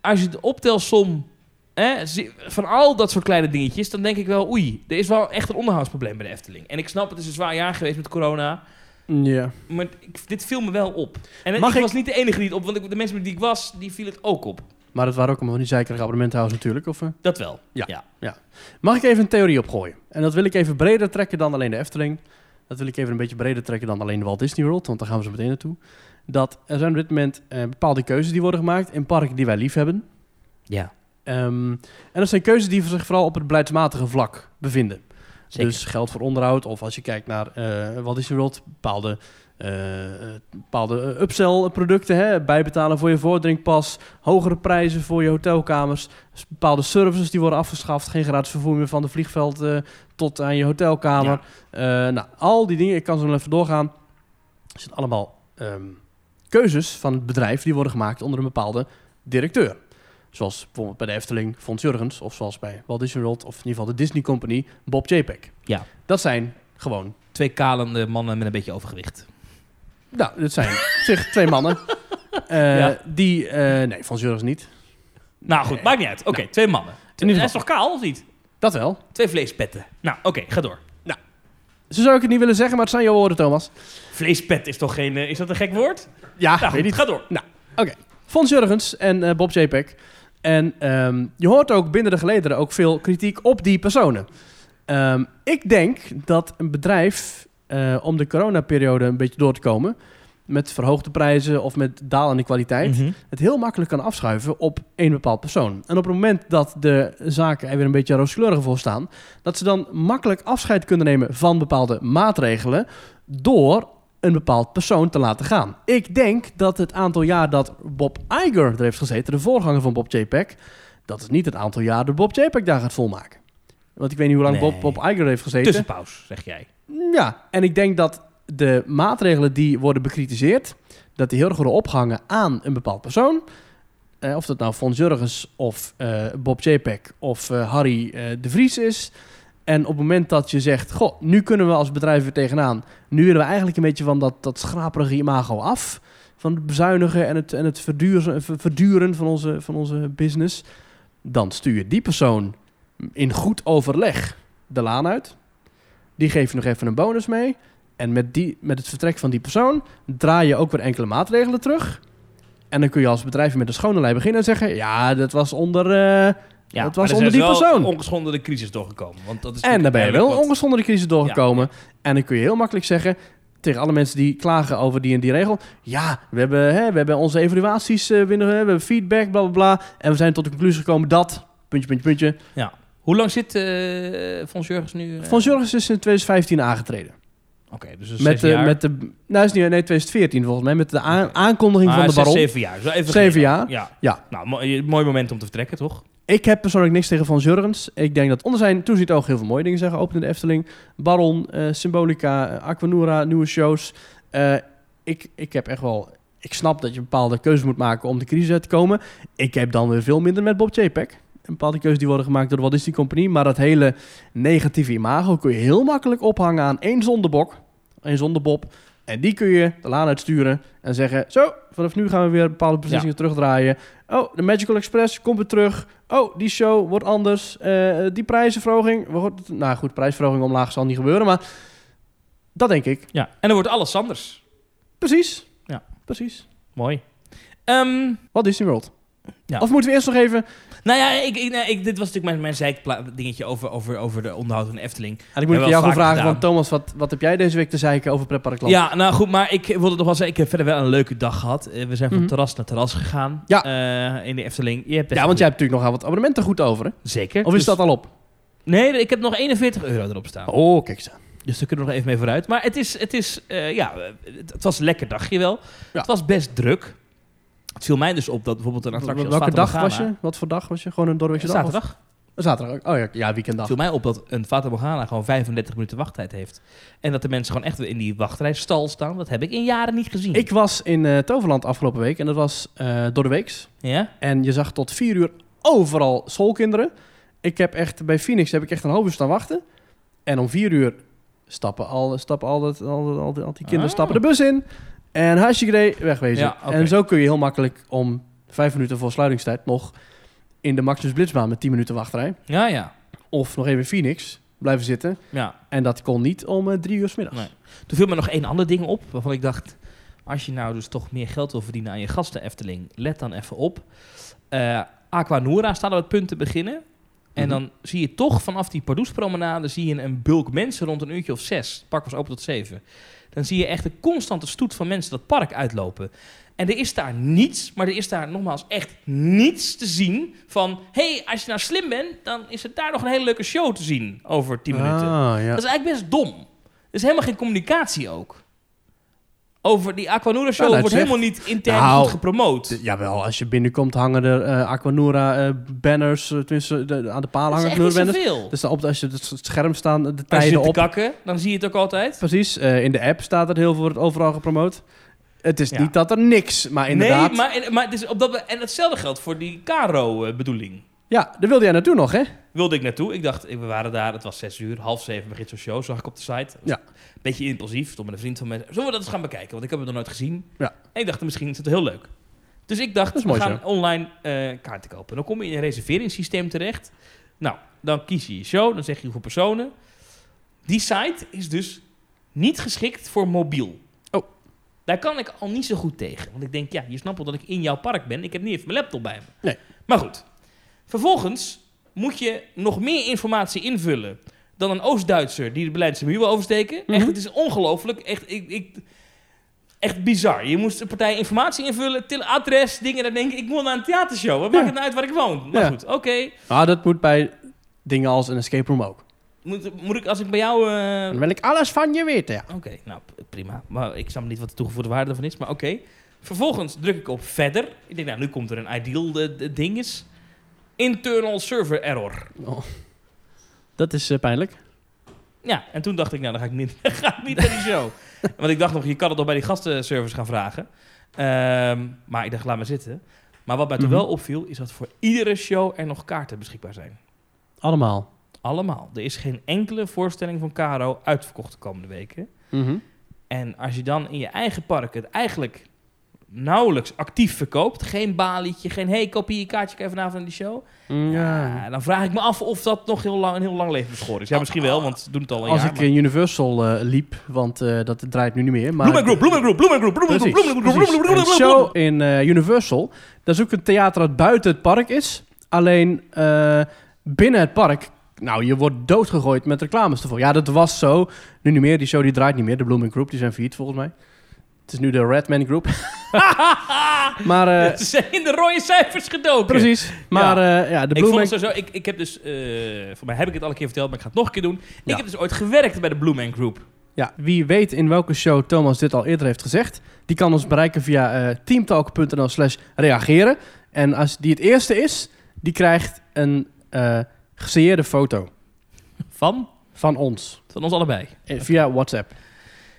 als je de optelsom hè, zie- van al dat soort kleine dingetjes, dan denk ik wel, oei, er is wel echt een onderhoudsprobleem bij de Efteling. En ik snap, het is een zwaar jaar geweest met corona,
Ja.
maar ik, dit viel me wel op. En
Mag
ik,
ik-
was niet de enige die het op, want ik- de mensen met die ik was, die viel het ook op.
Maar dat waren ook allemaal van die zeikerige abonnementhouders natuurlijk. Of, eh?
Dat wel.
Ja. Mag ik even een theorie opgooien? En dat wil ik even breder trekken dan alleen de Efteling. Dat wil ik even een beetje breder trekken dan alleen de Walt Disney World, want daar gaan we zo meteen naartoe. Dat er zijn op dit moment eh, bepaalde keuzes die worden gemaakt in parken die wij lief hebben.
Ja,
Ehm, en dat zijn keuzes die zich vooral op het beleidsmatige vlak bevinden.
zeker.
Dus geld voor onderhoud, of als je kijkt naar eh Walt Disney World, bepaalde, eh, eh, bepaalde eh, upsell producten, hè? bijbetalen voor je voordrinkpas, hogere prijzen voor je hotelkamers, s- bepaalde services die worden afgeschaft, geen gratis vervoer meer van de vliegveld eh, tot aan je hotelkamer.
Ja.
Eh, nou, al die dingen, ik kan zo nog even doorgaan. Het zijn allemaal ehm, keuzes van het bedrijf die worden gemaakt onder een bepaalde directeur. Zoals bijvoorbeeld bij de Efteling Fons Jurgens, of zoals bij Walt Disney World, of in ieder geval de Disney Company, Bob Chapek.
Ja.
Dat zijn gewoon,
Twee kalende mannen met een beetje overgewicht.
nou, dat zijn op zich twee mannen. Eh,
Ja.
Die, eh, nee, Fons Jurgens niet.
Nou goed, maakt niet uit. Oké, twee mannen.
ieder
Hij is toch kaal of niet?
Dat wel.
Twee vleespetten. Nou, oké, ga door.
Zo zou ik het niet willen zeggen, maar het zijn jouw woorden, Thomas.
Vleespet is toch geen... eh, is dat een gek woord?
Ja,
nou,
weet
goed,
niet.
ga door.
Fons Jurgens en eh, Bob Chapek. En ehm, je hoort ook binnen de gelederen ook veel kritiek op die personen. Ehm, ik denk dat een bedrijf, eh, om de coronaperiode een beetje door te komen... met verhoogde prijzen of met dalende kwaliteit...
Mhm.
het heel makkelijk kan afschuiven op één bepaald persoon. En op het moment dat de zaken er weer een beetje rooskleurig voor staan, dat ze dan makkelijk afscheid kunnen nemen van bepaalde maatregelen door een bepaald persoon te laten gaan. Ik denk dat het aantal jaar dat Bob Iger er heeft gezeten, de voorganger van Bob J-Pack, dat is niet het aantal jaar dat Bob J-Pack daar gaat volmaken. Want ik weet niet hoe lang
Nee. Dus
Bob, Bob Iger heeft gezeten.
Tussenpaus, zeg jij.
Ja, en ik denk dat de maatregelen die worden bekritiseerd, dat die heel erg worden opgehangen aan een bepaald persoon. Eh, of dat nou Fons Jurgens of eh, Bob J-Pack of eh, Harry eh, de Vries is. En op het moment dat je zegt, goh, nu kunnen we als bedrijf weer tegenaan. Nu willen we eigenlijk een beetje van dat, dat schraperige imago af. Van het bezuinigen en het, en het verduurzen- ver- verduren van onze, van onze business. Dan stuur je die persoon in goed overleg de laan uit. Die geef je nog even een bonus mee. En met, die, met het vertrek van die persoon draai je ook weer enkele maatregelen terug. En dan kun je als bedrijf met een schone lei beginnen en zeggen... ja, dat was onder... eh,
Ja,
Dat was
maar er
onder
zijn
die
ze
persoon.
Wel ongeschonden de crisis doorgekomen. Want dat is
en daar ben je wel
natuurlijk eigenlijk
ongeschonden de crisis doorgekomen. En dan kun je heel makkelijk zeggen tegen alle mensen die klagen over die en die regel... ja, we hebben, hè, we hebben onze evaluaties eh, binnen, we hebben feedback, bla bla bla... en we zijn tot de conclusie gekomen dat... puntje, puntje, puntje...
wat- Hoe lang zit eh Fons Jurgens nu? eh?
Van Jorgens is in 2015 aangetreden.
Oké, dus een zes
Met, de,
jaar.
met de... Nou, is niet, nee, 2014 volgens mij, met de aan-
Oké.
aankondiging
Ah,
van de
zes,
baron.
Zeven jaar. Zo even geleden.
Zeven jaar?
Ja.
Ja.
Nou, mooi, mooi moment om te vertrekken, toch?
Ik heb persoonlijk niks tegen Van Jurgens. Ik denk dat onder zijn toezicht ook heel veel mooie dingen zeggen. Opende de Efteling, Baron, eh, Symbolica, eh, Aquanura, nieuwe shows. Eh, ik, ik heb echt wel... Ik snap dat je bepaalde keuzes moet maken om de crisis uit te komen. Ik heb dan weer veel minder met Bob Chapek. Een bepaalde keuzes die worden gemaakt door de Walt Disney Company. Maar dat hele negatieve imago kun je heel makkelijk ophangen aan één zondebok. Één zondebob. En die kun je de laan uitsturen en zeggen... Zo, vanaf nu gaan we weer bepaalde beslissingen terugdraaien. Oh, de Magical Express komt weer terug. Oh, die show wordt anders. Eh, die prijzenverhoging. we hoort- Nou goed, prijsverhoging omlaag zal niet gebeuren, maar dat denk ik.
Ja. En dan wordt alles anders.
Precies.
Ja.
Precies.
Mooi. Ehm,
Wat Disney World?
Ja.
Of moeten we eerst nog even...
nou ja, ik, ik, nou, ik- dit was natuurlijk mijn, mijn zeikpla- dingetje over, over, over de onderhoud van de Efteling.
En ik moet
Hebben
ik
we
jou
vaak
gaan vragen,
gedaan.
van Thomas, wat, wat heb jij deze week te zeiken over pretparkland?
Ja, nou goed, maar ik wilde nog wel zeggen, ik heb verder wel een leuke dag gehad. Eh, we zijn van
Mhm.
terras naar terras gegaan
Ja.
eh, in de Efteling. Je hebt best
ja,
wel-
want jij hebt natuurlijk nogal wat abonnementen goed over, hè?
Zeker.
Of is
Dus-
dat al op?
Nee, ik heb nog 41 euro erop staan.
Oh, kijk eens aan.
Dus daar kunnen we nog even mee vooruit. Maar het is, het is eh, ja, eh, het, het was een lekker dagje wel.
Ja.
Het was best druk. Het viel mij dus op dat bijvoorbeeld een attractie als
Welke
Fata
dag was
Morgana-
je? Wat voor dag was je? Gewoon een doorweekse dag?
Zaterdag.
Of- Zaterdag ook. Oh ja, ja weekenddag.
Het viel mij op dat een Fata Morgana gewoon 35 minuten wachttijd heeft. En dat de mensen gewoon echt in die wachtrijstal staan. Dat heb ik in jaren niet gezien.
Ik was in eh, Toverland afgelopen week en dat was eh, door de weeks.
Ja?
En je zag tot vier uur overal schoolkinderen. Ik heb echt, bij Phoenix heb ik echt een half uur staan wachten. En om vier uur stappen al, stappen al, dat, al, dat- al, die- al die kinderen
Ah.
stappen de bus in. En hasjegedee, wegwezen.
Ja, oké.
En zo kun je heel makkelijk om vijf minuten voor sluitingstijd nog in de Maximus Blitzbaan met 10 minuten wachtrij.
Ja, ja.
Of nog even in Phoenix blijven zitten.
ja.
En dat kon niet om eh, drie uur 's middags.
Nee. Toen viel me nog één ander ding op waarvan ik dacht... Als je nou dus toch meer geld wil verdienen aan je gasten Efteling, let dan even op. Eh Aquanura staat op het punt te beginnen. En
Mhm.
dan zie je toch vanaf die Pardoespromenade zie je een bulk mensen rond een uurtje of zes. Het park was open tot zeven. Dan zie je echt een constante stoet van mensen dat park uitlopen. En er is daar niets, maar er is daar nogmaals echt niets
Mhm.
te zien van... hey, als je nou slim bent, dan is er daar nog een hele leuke show te zien over tien minuten.
Ah, ja.
Dat is eigenlijk best dom. Er is helemaal geen communicatie ook. Over die Aquanura show
Nou, dat
wordt
zegt-
helemaal niet intern
Nou,
goed gepromoot.
D- Jawel, als je binnenkomt hangen er eh, Aquanura eh, banners, eh, tenminste de- de- aan de paal
Dat is echt
hangen
niet
Aquanura banners.
zoveel.
Dus dan op, als je het s- scherm staan de
Als je
tijden
zit te
op.
kakken, dan zie je het ook altijd.
Precies, eh, in de app staat er heel veel, wordt overal gepromoot. Het is
Ja.
niet dat er niks, maar inderdaad.
Nee, maar, en- maar het is op dat, en hetzelfde geldt voor die eh, Caro-bedoeling.
Ja, daar wilde jij naartoe nog, hè?
Wilde ik naartoe. Ik dacht, eh, we waren daar, het was zes uur, half zeven begint zo'n show, zag ik op de site.
Ja.
Beetje impulsief, stond met een vriend van mij. Zullen we dat eens gaan bekijken? Want ik heb het nog nooit gezien.
Ja.
En ik dacht, misschien is het heel leuk. Dus ik dacht,
Dat is
we
mooi
gaan online eh, kaarten kopen. Dan kom je in een reserveringssysteem terecht. Nou, dan kies je je show, dan zeg je hoeveel personen. Die site is dus niet geschikt voor mobiel.
Oh.
Daar kan ik al niet zo goed tegen. Want ik denk, ja, je snapt wel dat ik in jouw park ben. Ik heb niet even mijn laptop bij me.
Nee.
Maar goed. Vervolgens moet je nog meer informatie invullen dan een Oost-Duitser die de Berlijnse muur wil oversteken.
Mhm.
Echt, het is ongelooflijk. Echt, ik, ik, echt bizar. Je moest een partij informatie invullen, tele- adres, dingen. Dan denk ik, ik wil naar een theatershow. Wat
Ja.
maakt het nou uit waar ik woon? Maar
Ja.
goed, oké.
Maar dat moet bij dingen als een escape room ook.
Moet, moet ik als ik bij jou... eh,
Dan wil ik alles van je weten, ja.
Oké, nou p- prima. Maar ik snap niet wat de toegevoegde waarde daarvan is, maar oké. Vervolgens druk ik op verder. Ik denk, nou, nu komt er een ideal eh, d- ding is. Internal server error.
Oh. Dat is eh, pijnlijk.
Ja, en toen dacht ik, nou, dan ga ik niet, dan ga ik niet naar die show. Want ik dacht nog, je kan het nog bij die gastenservice gaan vragen. Ehm, maar ik dacht, laat maar zitten. Maar wat mij toen
Mhm.
wel opviel, is dat voor iedere show er nog kaarten beschikbaar zijn.
Allemaal.
Allemaal. Er is geen enkele voorstelling van Caro uitverkocht de komende weken.
Mhm.
En als je dan in je eigen park het eigenlijk nauwelijks actief verkoopt, geen balietje, geen hey, kopie je kaartje kijk vanavond naar die show. Ah,
ja.
dan vraag ik me af of dat nog heel lang, een heel lang leven beschoren is. Ja, misschien wel, want ze doen het al een
Als
jaar.
ik
maar-
in Universal eh, liep, want eh, dat draait nu niet meer. Maar
Bloemen Group, Bloemen Group, Bloemen Group, Bloemen Group,
Precies,
Bloemen Group, Bloemen
precies.
Group, Bloemen Group,
Een show in eh, Universal. Dat is ook een theater dat buiten het park is. Alleen eh, binnen het park, nou, je wordt doodgegooid met reclames ervoor. Ja, dat was zo. Nu niet meer. Die show die draait niet meer. De Blooming Group, die zijn failliet volgens mij. Het is nu de Redman Group. maar eh,
Ze zijn in de rode cijfers gedoken.
precies. Maar eh, ja, de
ik, vond
Blooming
het sowieso, ik, ik heb dus, eh voor mij heb ik het al een keer verteld, maar ik ga het nog een keer doen. Ik
Ja.
heb dus ooit gewerkt bij de Blue Man Group.
Ja, wie weet in welke show Thomas dit al eerder heeft gezegd, die kan ons bereiken via eh teamtalk.nl slash reageren. En als die het eerste is, die krijgt een eh gesigneerde foto
Van?
van ons
Van ons allebei.
eh, via WhatsApp.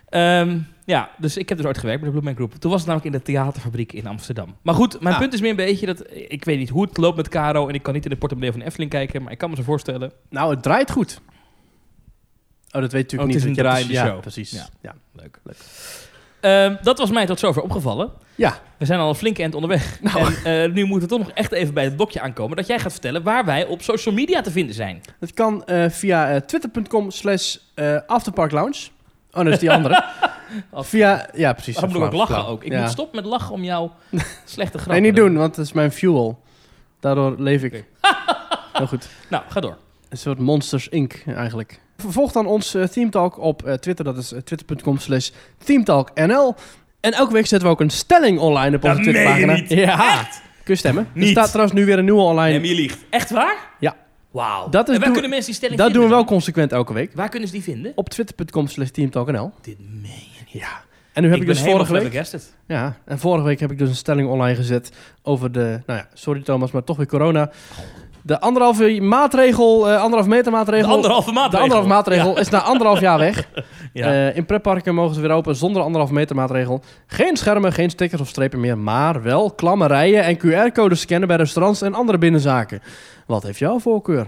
Ehm, ja, dus ik heb dus ooit gewerkt bij de Blue Man Group. Toen was het namelijk in de theaterfabriek in Amsterdam. Maar goed, mijn
Ah.
punt is meer een beetje dat... Ik weet niet hoe het loopt met Caro en ik kan niet in de portemonnee van Efteling kijken. Maar ik kan me zo voorstellen.
Nou, het draait goed. Oh, dat weet natuurlijk
Oh, het
niet.
is een
want je hebt
draaiende
dus- ja,
show.
precies.
Ja.
Ja.
Leuk. Ehm, dat was mij tot zover opgevallen.
Ja. Nou.
We zijn al een flinke end onderweg. En eh, nu moeten we toch nog echt even bij het blokje aankomen... dat jij gaat vertellen waar wij op social media te vinden zijn.
dat kan eh, via eh, twitter.com slash eh, afterparklounge. Oh, dat is die andere.
Als-
via, ja, precies.
Waarom moet ik ook
flauw,
lachen
flauw.
ook? Ik
Ja.
moet stoppen met lachen om jouw slechte grap.
Nee, niet doen, want dat is mijn fuel. Daardoor leef ik. Heel goed.
Nou, ga door.
Een soort Monsters Inc. eigenlijk. Volg dan ons eh, Team Talk op eh, Twitter. Dat is eh, twitter.com slash teamtalknl. En elke week zetten we ook een stelling online op
Dat
onze
meen je
Twitterpagina.
niet.
Ja. Kun je stemmen.
Niet.
Er staat trouwens nu weer een nieuwe online.
En je liegt. Echt waar?
Ja.
Wauw.
Dat is
en waar
doen-
kunnen mensen die stelling
dat doen we
vinden
wel
dan?
consequent elke week.
Waar kunnen ze die vinden?
Op twitter.com slash teamtalknl.
Dit meen je niet.
Ja. En nu heb ik, dus vorige week...
Flabbergasted.
Ja, en vorige week heb ik dus een stelling online gezet over de... Nou ja, sorry Thomas, maar toch weer corona. De anderhalve maatregel, eh anderhalf meter
De
maatregel...
anderhalve maatregel.
De anderhalf maatregel is na anderhalf jaar weg.
Ja.
Eh, in pretparken mogen ze weer open zonder anderhalf meter maatregel. Geen schermen, geen stickers of strepen meer, maar wel klamme rijen en QR-codes scannen bij restaurants en andere binnenzaken. Wat heeft jouw voorkeur?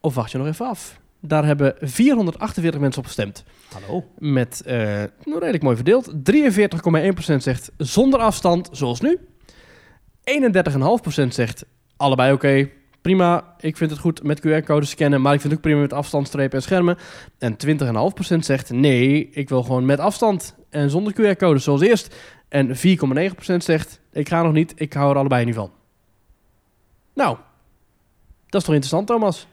Of wacht je nog even af? Daar hebben 448 mensen op gestemd.
Hallo.
Met, eh, nou, redelijk mooi verdeeld. 43,1% zegt zonder afstand, zoals nu. 31,5% zegt allebei oké. Prima, ik vind het goed met QR-codes scannen, maar ik vind het ook prima met afstandstrepen en schermen. En 20,5% zegt nee, ik wil gewoon met afstand en zonder QR-codes zoals eerst. En 4,9% zegt, ik ga nog niet, ik hou er allebei niet van. Nou, dat is toch interessant, Thomas?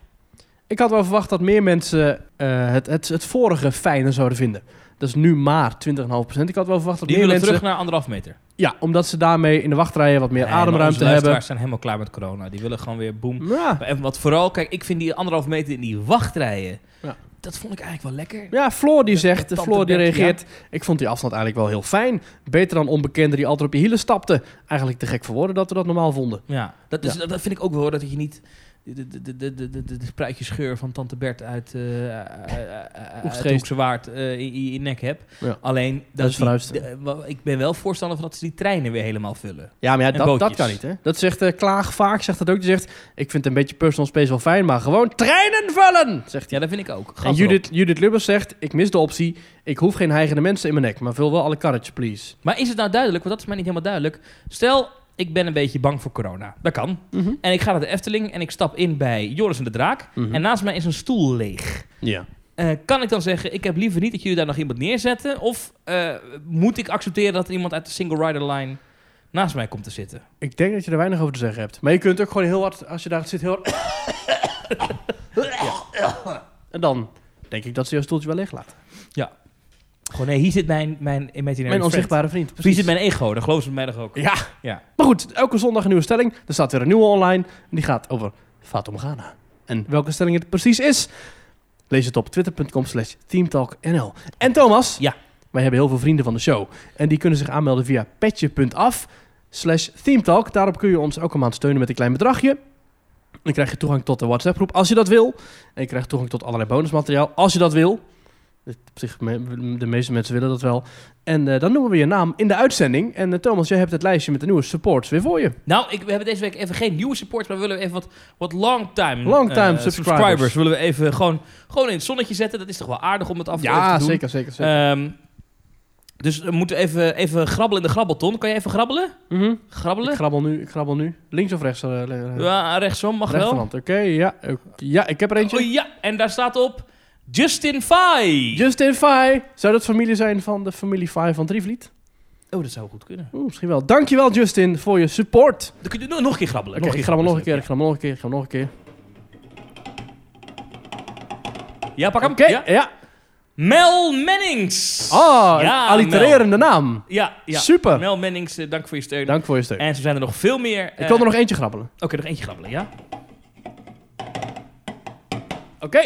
Ik had wel verwacht dat meer mensen eh, het, het, het vorige fijner zouden vinden. Dat is nu maar 20,5%. Ik had wel verwacht dat
Die willen
meer mensen...
terug naar anderhalf meter.
Ja, omdat ze daarmee in de wachtrijen wat meer
Nee, maar
ademruimte
onze
hebben.
luisteraars zijn helemaal klaar met corona. Die willen gewoon weer boem.
Ja,
En wat vooral, kijk, ik vind die anderhalf meter in die wachtrijen.
Ja.
Dat vond ik eigenlijk wel lekker.
Ja, Floor die zegt,
tante
Floor die
Bert,
reageert. Ik vond die afstand eigenlijk wel heel fijn. Beter dan onbekenden die altijd op je hielen stapten. Eigenlijk te gek voor woorden dat we dat normaal vonden.
Ja, dat, is, dat- dat vind ik ook wel hoor, dat je niet de, de, de, de, de, de, de spruitjesgeur van tante Bert uit, eh uit de
Oegstgeest.
Hoekse Waard eh, in- in je nek hebt.
Ja.
Alleen, dat,
is
die-
vooruitste.
de- wa- ik ben wel voorstander van dat ze die treinen weer helemaal vullen.
Ja, maar ja,
En
dat, dat
bootjes.
kan niet. Hè? Dat zegt eh, Klaag vaak, zegt dat ook. Die zegt, ik vind een beetje personal space wel fijn, maar gewoon treinen vullen, zegt hij.
Ja, dat vind ik ook. Gas
en
erop.
Judith, Judith Lubbers zegt, ik mis de optie. Ik hoef geen heigende mensen in mijn nek, maar vul wel alle karretjes, please.
Maar is het nou duidelijk, want dat is mij niet helemaal duidelijk. Stel, ik ben een beetje bang voor corona. Dat kan. En ik ga naar de Efteling en ik stap in bij Joris en de Draak.
Mhm.
En naast mij is een stoel leeg.
Ja.
Eh, kan ik dan zeggen, ik heb liever niet dat jullie daar nog iemand neerzetten? Of eh, moet ik accepteren dat er iemand uit de single rider line naast mij komt te zitten?
Ik denk dat je er weinig over te zeggen hebt. Maar je kunt ook gewoon heel hard, als je daar zit, heel hard... Ja. En dan denk ik dat ze jouw stoeltje wel leeg laat.
Gewoon, nee, hier zit mijn, mijn imaginary
Mijn
friend.
onzichtbare vriend.
Hier zit mijn ego, dat geloven ze mij nog ook.
Ja.
Ja.
Maar goed, elke zondag een nieuwe stelling. Er staat weer een nieuwe online. En die gaat over Fatum Ghana. En welke stelling het precies is, lees het op twitter.com slash teamtalknl. En Thomas,
Ja.
wij hebben heel veel vrienden van de show. En die kunnen zich aanmelden via petje.af slash teamtalk. Daarop kun je ons elke maand steunen met een klein bedragje. Dan krijg je toegang tot de WhatsApp groep als je dat wil. En je krijgt toegang tot allerlei bonusmateriaal als je dat wil. Op zich, me- de meeste mensen willen dat wel. En eh, dan noemen we je naam in de uitzending. En eh, Thomas, jij hebt het lijstje met de nieuwe supports weer voor je.
Nou, ik, we hebben deze week even geen nieuwe support, maar we willen even wat, wat long-time
Long-time
eh,
subscribers.
Willen we even gewoon, gewoon in het zonnetje zetten. Dat is toch wel aardig om het af en toe even te doen.
zeker.
Ehm, dus we moeten even, even grabbelen in de grabbelton. Kan je even grabbelen?
Mhm.
Grabbelen?
Ik grabbel nu, ik grabbel nu. Links of rechts? eh, le-
Eh, ja, rechtsom, mag wel.
rechterhand. Oké, ja. oké. Ja, ik heb er eentje.
Oh ja, en daar staat op Justin Fai.
Justin Fai. Zou dat familie zijn van de familie Fai van Drievliet?
oh, dat zou goed kunnen.
Oeh, misschien wel. Dankjewel Justin voor je support.
Dan kun je nog, nog een keer grabbelen.
Oké, ik grabbel nog een keer, ik grabbel nog een keer, ik grabbel nog een keer.
Ja, Ja, pak hem.
Oké,
Ja.
ja.
Mel Mennings.
Ah, een
Ja,
allitererende naam.
Mel. Ja, ja.
Super.
Mel Eh, Mennings, eh, dank voor je steun.
Dank voor je steun.
En zo zijn er nog veel meer.
ik
eh,
wil er nog eentje grabbelen.
Oké, nog eentje grabbelen, ja?
Oké.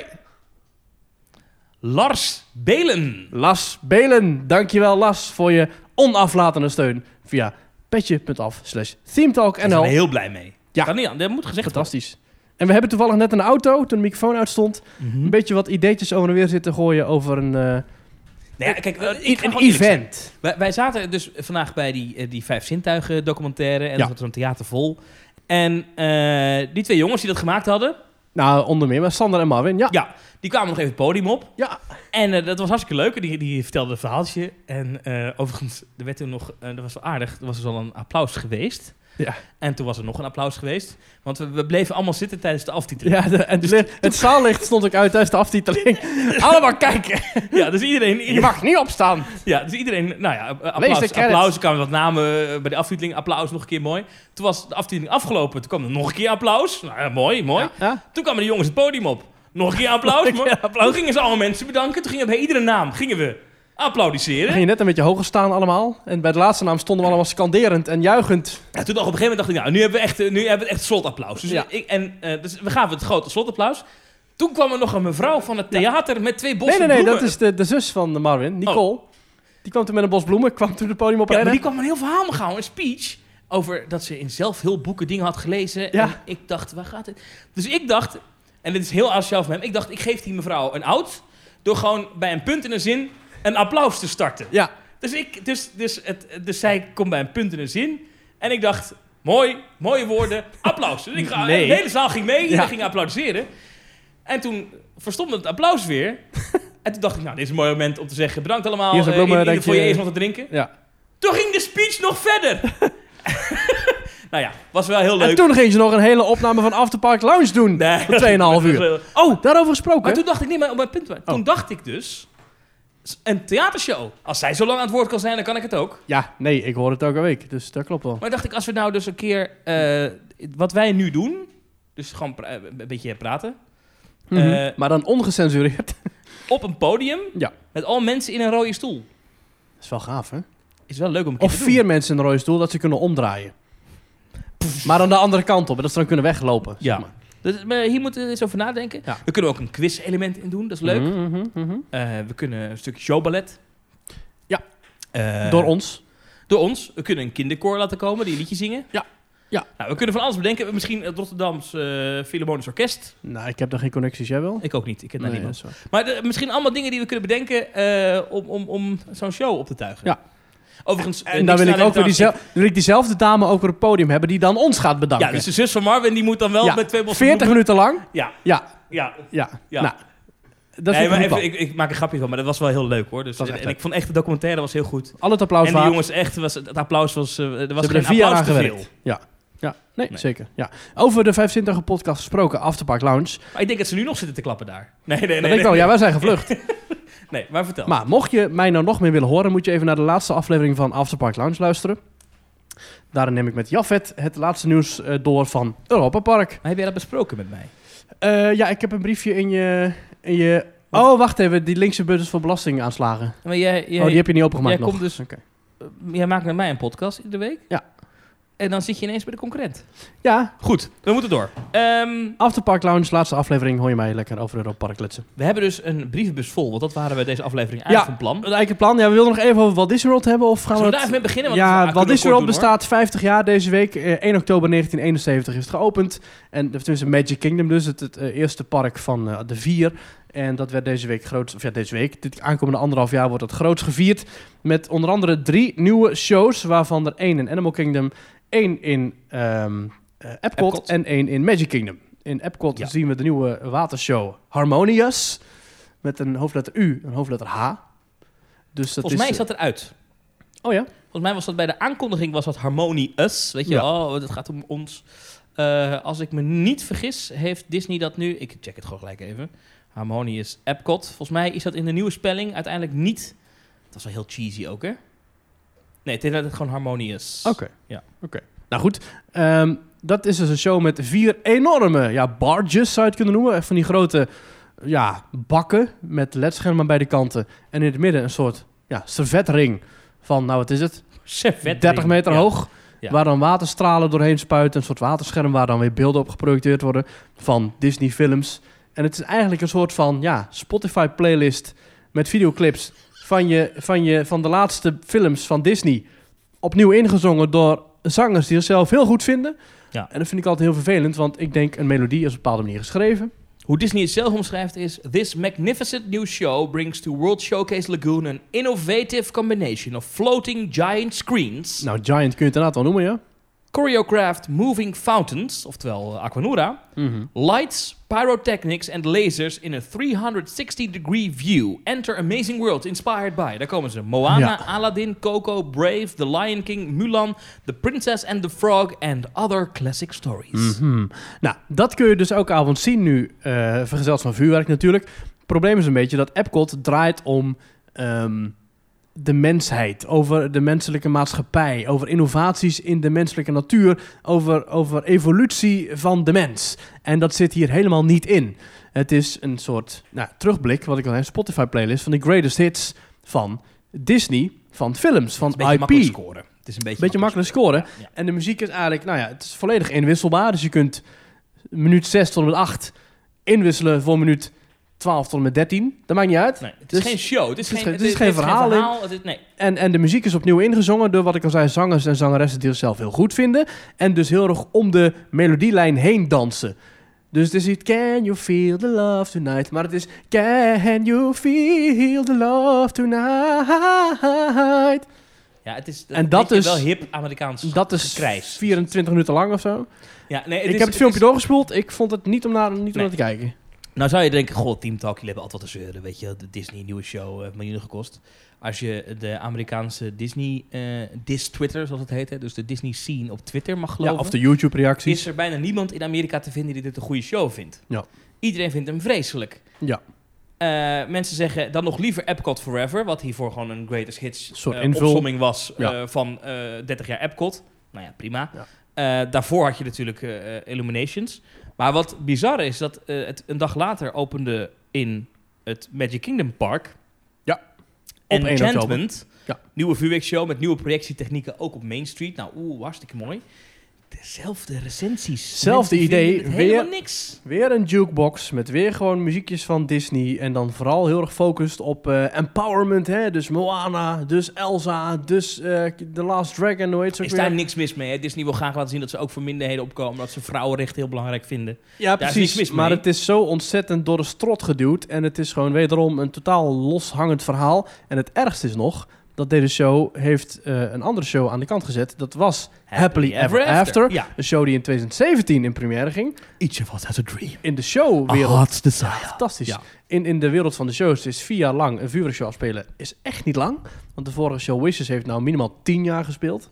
Lars Belen.
Las Belen, dankjewel Las voor je onaflatende steun via petje.af slash
Daar zijn we
themetalk.nl.
heel blij mee.
Ja.
Kan niet, aan- dat moet gezegd worden.
Fantastisch. En we hebben toevallig net in de auto, toen de microfoon uitstond,
Mhm.
een beetje wat ideetjes over en weer zitten gooien over een, eh,
Nou ja, kijk, eh, ik ga gewoon
een
eerlijk zijn.
event.
Wij, wij zaten dus vandaag bij die, eh, die Vijf Zintuigen documentaire. En
Ja.
dat was een theater vol. En eh, die twee jongens die dat gemaakt hadden,
Nou, onder meer, maar Sander en Marvin, ja.
ja, die kwamen nog even het podium op.
Ja.
En eh, dat was hartstikke leuk. En Die, die vertelde een verhaaltje. En eh, overigens, er werd toen nog, eh, dat was wel aardig, er was dus al een applaus geweest.
Ja.
En toen was er nog een applaus geweest. Want we, we bleven allemaal zitten tijdens de aftiteling.
Ja, de- en het li- het zaallicht stond ook uit tijdens de aftiteling. Allemaal kijken.
Ja, dus iedereen...
Je mag niet opstaan.
Ja, dus iedereen... Nou ja, eh,
Lees de
applaus.
credits.
Applaus, er kwamen wat namen eh, bij de aftiteling. Applaus, nog een keer mooi. Toen was de aftiteling afgelopen. Toen kwam er nog een keer applaus. Nou ja, mooi, mooi.
Ja?
Toen kwamen de jongens het podium op. Nog een keer applaus. maar- Toen gingen ze allemaal mensen bedanken. Toen gingen we bij iedere naam gingen we applaudisseren.
Ging je net een beetje hoger staan allemaal. En bij de laatste naam stonden we allemaal scanderend en juichend.
Ja, toen nog op een gegeven moment dacht ik, nou, nu hebben we echt, eh, nu hebben we het echt slotapplaus. Dus,
Ja.
ik, en, eh, dus we gaven het grote slotapplaus. Toen kwam er nog een mevrouw van het theater met twee
Nee,
bossen
nee, nee, dat
bloemen.
is de, de zus van Marvin, Nicole. Die kwam toen met een bos bloemen, kwam toen het podium op
Oh. Ja, maar
rennen.
die kwam een heel verhaal me gauw, een speech... over dat ze in zelfhulpboeken dingen had gelezen.
Ja.
En ik dacht, waar gaat dit? Dus ik dacht, en dit is heel asociaal van hem... ik dacht, ik geef die mevrouw een out... door gewoon bij een punt in een zin een applaus te starten.
Ja,
Dus, ik, dus, dus, het, dus zij komt bij een punt in een zin. En ik dacht, mooi, mooie woorden, applaus. Dus ik ga,
Nee.
De hele zaal ging mee, iedereen
Ja.
ging applaudisseren. En toen verstomde het applaus weer. en toen dacht ik, nou, dit is een mooi moment om te zeggen... bedankt allemaal,
Hier is een
eh,
bloemen,
ieder-
dank
ieder voor je
je.
eerst nog te drinken.
ja.
Toen ging de speech nog verder. nou ja, was wel heel leuk.
En toen ging ze nog een hele opname van Afterpark Lounge doen.
Nee.
Voor 2,5 uur. Oh.
Oh,
Daarover gesproken.
maar toen dacht ik niet, maar op mijn punt. Toen
Oh.
dacht ik dus een theatershow. Als zij zo lang aan het woord kan zijn, dan kan ik het ook.
Ja, nee, ik hoor het elke week, dus dat klopt wel.
Maar dacht ik, als we nou dus een keer eh, wat wij nu doen, dus gewoon pra- een beetje praten,
Mhm.
eh,
maar dan ongecensureerd.
op een podium
Ja.
met al mensen in een rode stoel.
Dat is wel gaaf, hè?
Is wel leuk om een keer
Of
te
vier mensen in een rode stoel dat ze kunnen omdraaien. Maar dan de andere kant op, en dat ze dan kunnen weglopen.
Ja. doen. Dus, maar hier moeten we eens over nadenken.
Ja.
We kunnen ook een quiz-element in doen, dat is leuk.
Mhm, mhm, mhm.
Eh, we kunnen een stukje showballet.
Ja.
Eh,
Door ons.
Door ons. We kunnen een kinderkoor laten komen die een liedje zingen.
Ja. Ja.
Nou, we kunnen van alles bedenken. Misschien het Rotterdams eh Philharmonisch Orkest.
Nou, ik heb daar geen connecties, jij wel?
Ik ook niet. Ik ken daar
Nee,
niemand.
dat is waar.
Maar de- misschien allemaal dingen die we kunnen bedenken eh, om, om, om zo'n show op te tuigen.
Ja.
Overigens. eh,
en dan
niks
wil ik
nadenken
ook weer
trouwens.
diezelfde, wil ik diezelfde dame ook weer op het podium hebben die dan ons gaat bedanken.
Ja, dus de zus van Marvin die moet dan wel
Ja,
met twee bossen
40 minuten lang?
Ja.
Ja,
Ja.
ja.
Ja.
Nou, dat
Nee,
vind
maar
ik
even,
goed.
ik, ik maak een grapje van, maar dat was wel heel leuk hoor. Dus,
Dat
en
was echt
en
leuk.
ik vond echt de documentaire was heel goed.
Al het
en
applaus
die
waard.
jongens echt, was, het applaus was, eh, er was
Ze hebben
geen
er vier jaar
applaus
aan
te veel.
gewerkt. Ja. Ja, nee,
Nee.
zeker. Ja. Over de 25 podcast gesproken, Afterpark Lounge.
Maar ik denk dat ze nu nog zitten te klappen daar. Nee, nee, nee.
dat denk ik
nee.
wel, ja, wij zijn gevlucht.
Nee, maar vertel.
Maar mocht je mij nou nog meer willen horen, moet je even naar de laatste aflevering van Afterpark Lounge luisteren. Daarin neem ik met Jafet het laatste nieuws eh, door van Europa Park.
Maar heb jij dat besproken met mij?
Eh, ja, ik heb een briefje in je, in je... Oh, wacht even. Die linkse buttons voor belastingaanslagen.
Maar jij, jij,
oh, die heb je niet opengemaakt
jij,
nog.
komt dus,
Oké.
jij maakt met mij een podcast iedere week.
Ja.
En dan zit je ineens bij de concurrent.
Ja,
Goed, we moeten door. Ehm,
Afterpark Lounge, laatste aflevering. Hoor je mij lekker over Europa Park kletsen.
we hebben dus een brievenbus vol, want dat waren we deze aflevering eigenlijk van plan.
Het eigen plan. Ja, we wilden nog even over Walt Disney World hebben. Of gaan
Zullen
we
we
het-
daar even mee beginnen? Want
Ja,
ah,
Walt
kunnen we
Disney
kort
World
doen, hoor.
bestaat 50 jaar deze week. Eh, 1 oktober 1971 is het geopend. En dat is een Magic Kingdom dus, het, het, eh, eerste park van eh, de vier. En dat werd deze week groot, of ja, deze week, dit aankomende anderhalf jaar wordt dat groots gevierd. Met onder andere drie nieuwe shows, waarvan er één in Animal Kingdom, één in ehm, eh, Epcot,
Epcot.
en één in Magic Kingdom. In Epcot
Ja.
zien we de nieuwe watershow Harmonious, met een hoofdletter U, een hoofdletter H. Dus dat
Volgens mij is
is
dat eruit.
Oh ja?
Volgens mij was dat bij de aankondiging was dat Harmonious. Weet je, oh, het gaat om ons. Eh, als ik me niet vergis, heeft Disney dat nu... Ik check het gewoon gelijk even. Harmonious Epcot. Volgens mij is dat in de nieuwe spelling uiteindelijk niet... Dat is wel heel cheesy ook, hè? Nee, het is inderdaad gewoon Harmonious.
Oké.
Ja.
Oké. Nou goed, ehm, dat is dus een show met vier enorme ja, barges, zou je het kunnen noemen. Echt van die grote ja, bakken met ledschermen bij de kanten. En in het midden een soort ja, servetring van, nou wat is het,
Servet
30 meter
Ja.
hoog.
Ja.
Waar dan waterstralen doorheen spuiten. Een soort waterscherm waar dan weer beelden op geprojecteerd worden van Disney films. En het is eigenlijk een soort van ja, Spotify playlist met videoclips van, je, van, je, van de laatste films van Disney. Opnieuw ingezongen door zangers die zichzelf heel goed vinden.
Ja.
En dat vind ik altijd heel vervelend, want ik denk een melodie is op een bepaalde manier geschreven.
Hoe Disney het zelf omschrijft is: This magnificent new show brings to World Showcase Lagoon an innovative combination of floating giant screens,
Nou, Giant kun je het inderdaad wel noemen, ja.
choreographed moving fountains, oftewel eh, Aquanura, lights, pyrotechnics and lasers in a 360 degree view. Enter Amazing World inspired by. Daar komen ze: Moana,
Ja.
Aladdin, Coco, Brave, The Lion King, Mulan, The Princess and the Frog and other classic stories.
Mhm. Nou, dat kun je dus elke avond zien nu, eh, vergezeld van vuurwerk natuurlijk. Het probleem is een beetje dat Epcot draait om ehm, de mensheid, over de menselijke maatschappij, over innovaties in de menselijke natuur, over, over evolutie van de mens. En dat zit hier helemaal niet in. Het is een soort nou, terugblik, wat ik al zei, Spotify-playlist van de greatest hits van Disney, van films, van
Het is een beetje
IP.
makkelijk scoren. Het is een beetje,
Beetje makkelijk scoren.
ja.
En de muziek is eigenlijk, nou ja, het is volledig inwisselbaar. Dus je kunt minuut 6 tot en met 8 inwisselen voor minuut 12 tot en met 13. Dat maakt niet uit.
Nee, het is
Dus-
geen show. Het is, geen,
het is geen verhaal in.
het is- nee.
En, en de muziek is opnieuw ingezongen door, wat ik al zei, zangers en zangeressen die zichzelf heel goed vinden. En dus heel erg om de melodielijn heen dansen. Dus het is niet Can you feel the love tonight? Maar het is Can you feel the love tonight?
Ja, het is
En dat
beetje
is-
wel hip Amerikaans.
Dat is
Gekrijs.
24 minuten lang of zo.
ja, nee,
ik
is-
heb het filmpje
is-
doorgespoeld. Ik vond het niet om naar, niet om
Nee.
naar te kijken.
Nou zou je denken, goh, Team Talk, jullie hebben altijd wat te zeuren. Weet je, de Disney nieuwe show heeft miljoenen gekost. Als je de Amerikaanse Disney, eh Dis-Twitter, zoals het heet, hè, dus de Disney scene op Twitter mag
Ja,
geloven,
of de YouTube-reacties.
is er bijna niemand in Amerika te vinden die dit een goede show vindt.
Ja.
Iedereen vindt hem vreselijk.
Ja.
Eh, mensen zeggen dan nog liever Epcot Forever, wat hiervoor gewoon een greatest hits
Een soort
eh,
invul.
opsomming was eh,
Ja.
van eh, 30 jaar Epcot. Nou ja, prima.
Ja.
Eh, daarvoor had je natuurlijk eh, eh, Illuminations. Maar wat bizar is, dat eh, het een dag later opende in het Magic Kingdom Park.
Ja.
En
1 oktober.
Enchantment,
Ja.
nieuwe vuurwerkshow met nieuwe projectietechnieken, ook op Main Street. Nou, oeh, hartstikke mooi. Dezelfde recensies.
Hetzelfde
Mensen
idee,
vinden het helemaal
weer-
niks.
Weer een jukebox met weer gewoon muziekjes van Disney. En dan vooral heel erg gefocust op eh, empowerment. Hè? Dus Moana, dus Elsa, dus eh, The Last Dragon, hoe heet ze ook
Is
weer?
daar niks mis mee. Hè? Disney wil graag laten zien dat ze ook voor minderheden opkomen. Dat ze vrouwenrechten heel belangrijk vinden.
Ja,
Daar is
precies.
niks mis
Maar
mee.
het is zo ontzettend door de strot geduwd. En het is gewoon wederom een totaal loshangend verhaal. En het ergste is nog dat deze show heeft eh, een andere show aan de kant gezet. Dat was Happily Ever After.
Ja.
een show die in 2017 in première ging.
Each of us has a dream.
In de showwereld.
heart's desire.
Fantastisch.
Ja.
In, in de wereld van de shows is vier jaar lang een vuurwerkshow afspelen is echt niet lang. Want de vorige show Wishes heeft nou minimaal tien jaar gespeeld.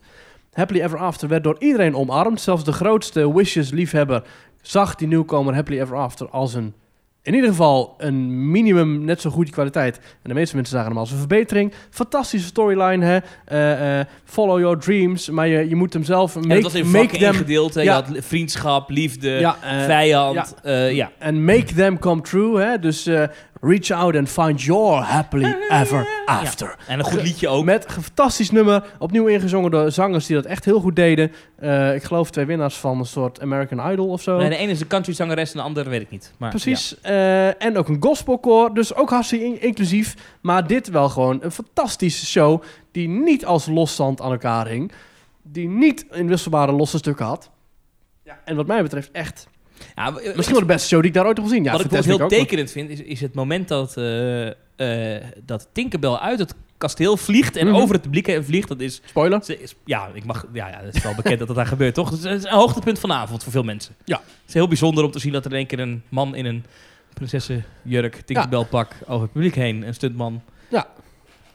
Happily Ever After werd door iedereen omarmd. Zelfs de grootste Wishes-liefhebber zag die nieuwkomer Happily Ever After als een... In ieder geval een minimum net zo goede kwaliteit. En de meeste mensen zagen hem als een verbetering. Fantastische storyline, hè. Eh, eh, follow your dreams. Maar je, je moet hem zelf... Make,
En dat was in
make
vakken
them...
ingedeeld. hè. Je
Ja.
had li- vriendschap, liefde,
Ja, eh,
vijand. eh, Ja.
En make them come true, hè? Dus eh, reach out and find your happily ever after.
En een goed liedje ook.
Met een fantastisch nummer, opnieuw ingezongen door zangers die dat echt heel goed deden. Eh, ik geloof twee winnaars van een soort American Idol of zo.
Nee, de ene is een countryzangeres en de andere weet ik niet. Maar,
Precies. Eh, en ook een gospelkoor, dus ook hartstikke in- inclusief. Maar dit wel gewoon een fantastische show die niet als losstand aan elkaar hing. Die niet inwisselbare losse stukken had. En wat mij betreft echt,
Ja. Ja, w- eh,
misschien wel de beste show die ik daar ooit heb gezien. Ja,
wat ik
Fantastic
wat heel
ook, maar-
tekenend vind, is, is het moment dat, eh, eh, dat Tinkerbell uit het kasteel vliegt en
Mhm.
over het publiek heen vliegt. Dat is
Spoiler.
Ze is- ja, ik mag, ja, ja, het is wel bekend dat dat daar gebeurt, toch? Het is- het is een hoogtepunt van de avond voor veel mensen.
Ja.
Het is heel bijzonder om te zien dat er in één keer een man in een prinsessenjurk, Tinkerbell-pak, over het publiek heen, een stuntman.
Ja.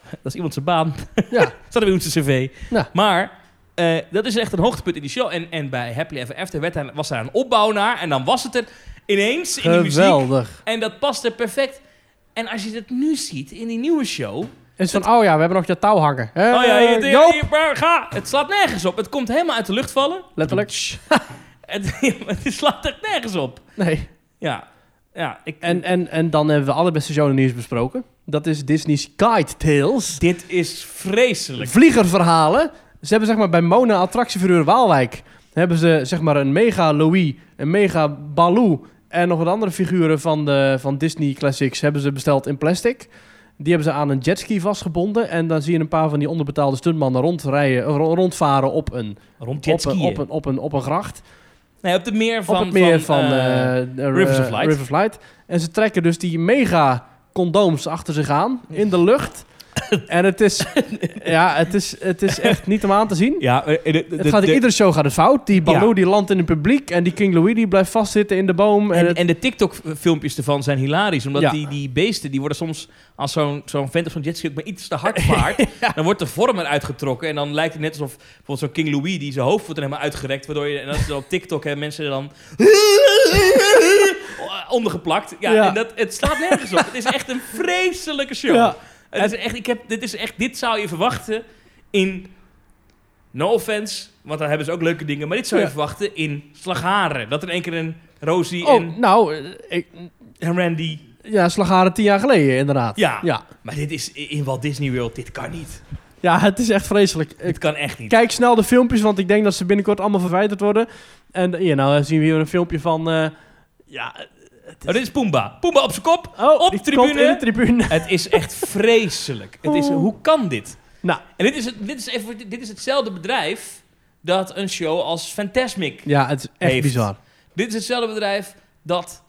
Dat is iemand zijn baan.
Ja.
Staat bij ons cv.
Ja.
Maar eh, dat is echt een hoogtepunt in die show. En, en bij Happily Ever After werd daar, was daar een opbouw naar. En dan was het er ineens in die muziek.
Geweldig.
En dat paste perfect. En als je dat nu ziet in die nieuwe show...
Is van, oh ja, we hebben nog dat touw hangen. Eh,
Oh ja, je, je-
Joop.
je- maar ga. Het slaat nergens op. Het komt helemaal uit de lucht vallen.
Letterlijk.
Het, het slaat echt nergens op.
Nee.
Ja. Ja, ik,
En, en, en dan hebben we allerbeste shownieuws besproken. Dat is Disney's Guide Tales.
dit is vreselijk.
Vliegerverhalen. Ze hebben zeg maar bij Mona attractieverhuur Waalwijk... hebben ze zeg maar een mega Louis, een mega Baloo... en nog wat andere figuren van, de, van Disney Classics... hebben ze besteld in plastic. Die hebben ze aan een jetski vastgebonden... en dan zie je een paar van die onderbetaalde stuntmannen rondrijden, eh, ro- rondvaren op een,
Rond
op, een,
jetskiën.
op, een, op, een, op een gracht.
nee, op de meer van...
op het meer van,
eh,
eh, de-
Rivers of
eh,
Light.
River of Light. En ze trekken dus die mega condooms achter zich aan in de lucht. en het is, ja, het, is, het is echt niet om aan te zien.
ja, eh, de, de-
Het gaat, in
de-
iedere show gaat het fout. Die Baloo
Ja.
die landt in het publiek en die King Louis die blijft vastzitten in de boom. En,
en,
het-
en de TikTok-filmpjes ervan zijn hilarisch. Omdat
Ja.
die, die beesten, die worden soms... Als zo'n zo'n vent of zo'n jetski ook maar iets te hard vaart... dan wordt de vorm eruit getrokken. En dan lijkt het net alsof bijvoorbeeld zo'n King Louis... die zijn hoofd wordt er helemaal uitgerekt. Waardoor je... En dat is dan op TikTok, hè, mensen er dan... ondergeplakt. Ja,
Ja.
En dat, het slaat nergens op. het is echt een vreselijke show.
ja,
Het is echt, ik heb, dit is echt, dit zou je verwachten in. No offense, want daar hebben ze ook leuke dingen. Maar dit zou je
Ja.
verwachten in Slagharen. Dat in één keer een Rosie
oh,
en,
nou, eh, ik,
en Randy.
ja, slagaren tien jaar geleden inderdaad.
Ja.
Ja,
Maar dit is i- in Walt Disney World. Dit kan niet.
ja het is echt vreselijk. Ik-
Dit kan echt niet.
Kijk snel de filmpjes, want ik denk dat ze binnenkort allemaal verwijderd worden. En hier, nou eh, zien we hier een filmpje van... eh, ja,
Oh, dit is Pumba. Pumba op zijn kop.
oh,
Op
die
tribune.
komt in de tribune.
Het is echt vreselijk. Het is,
Oh.
hoe kan dit?
Nou.
En dit is, het, dit, is even, dit is hetzelfde bedrijf dat een show als Fantasmic
Ja, het is echt
heeft.
bizar.
Dit is hetzelfde bedrijf dat...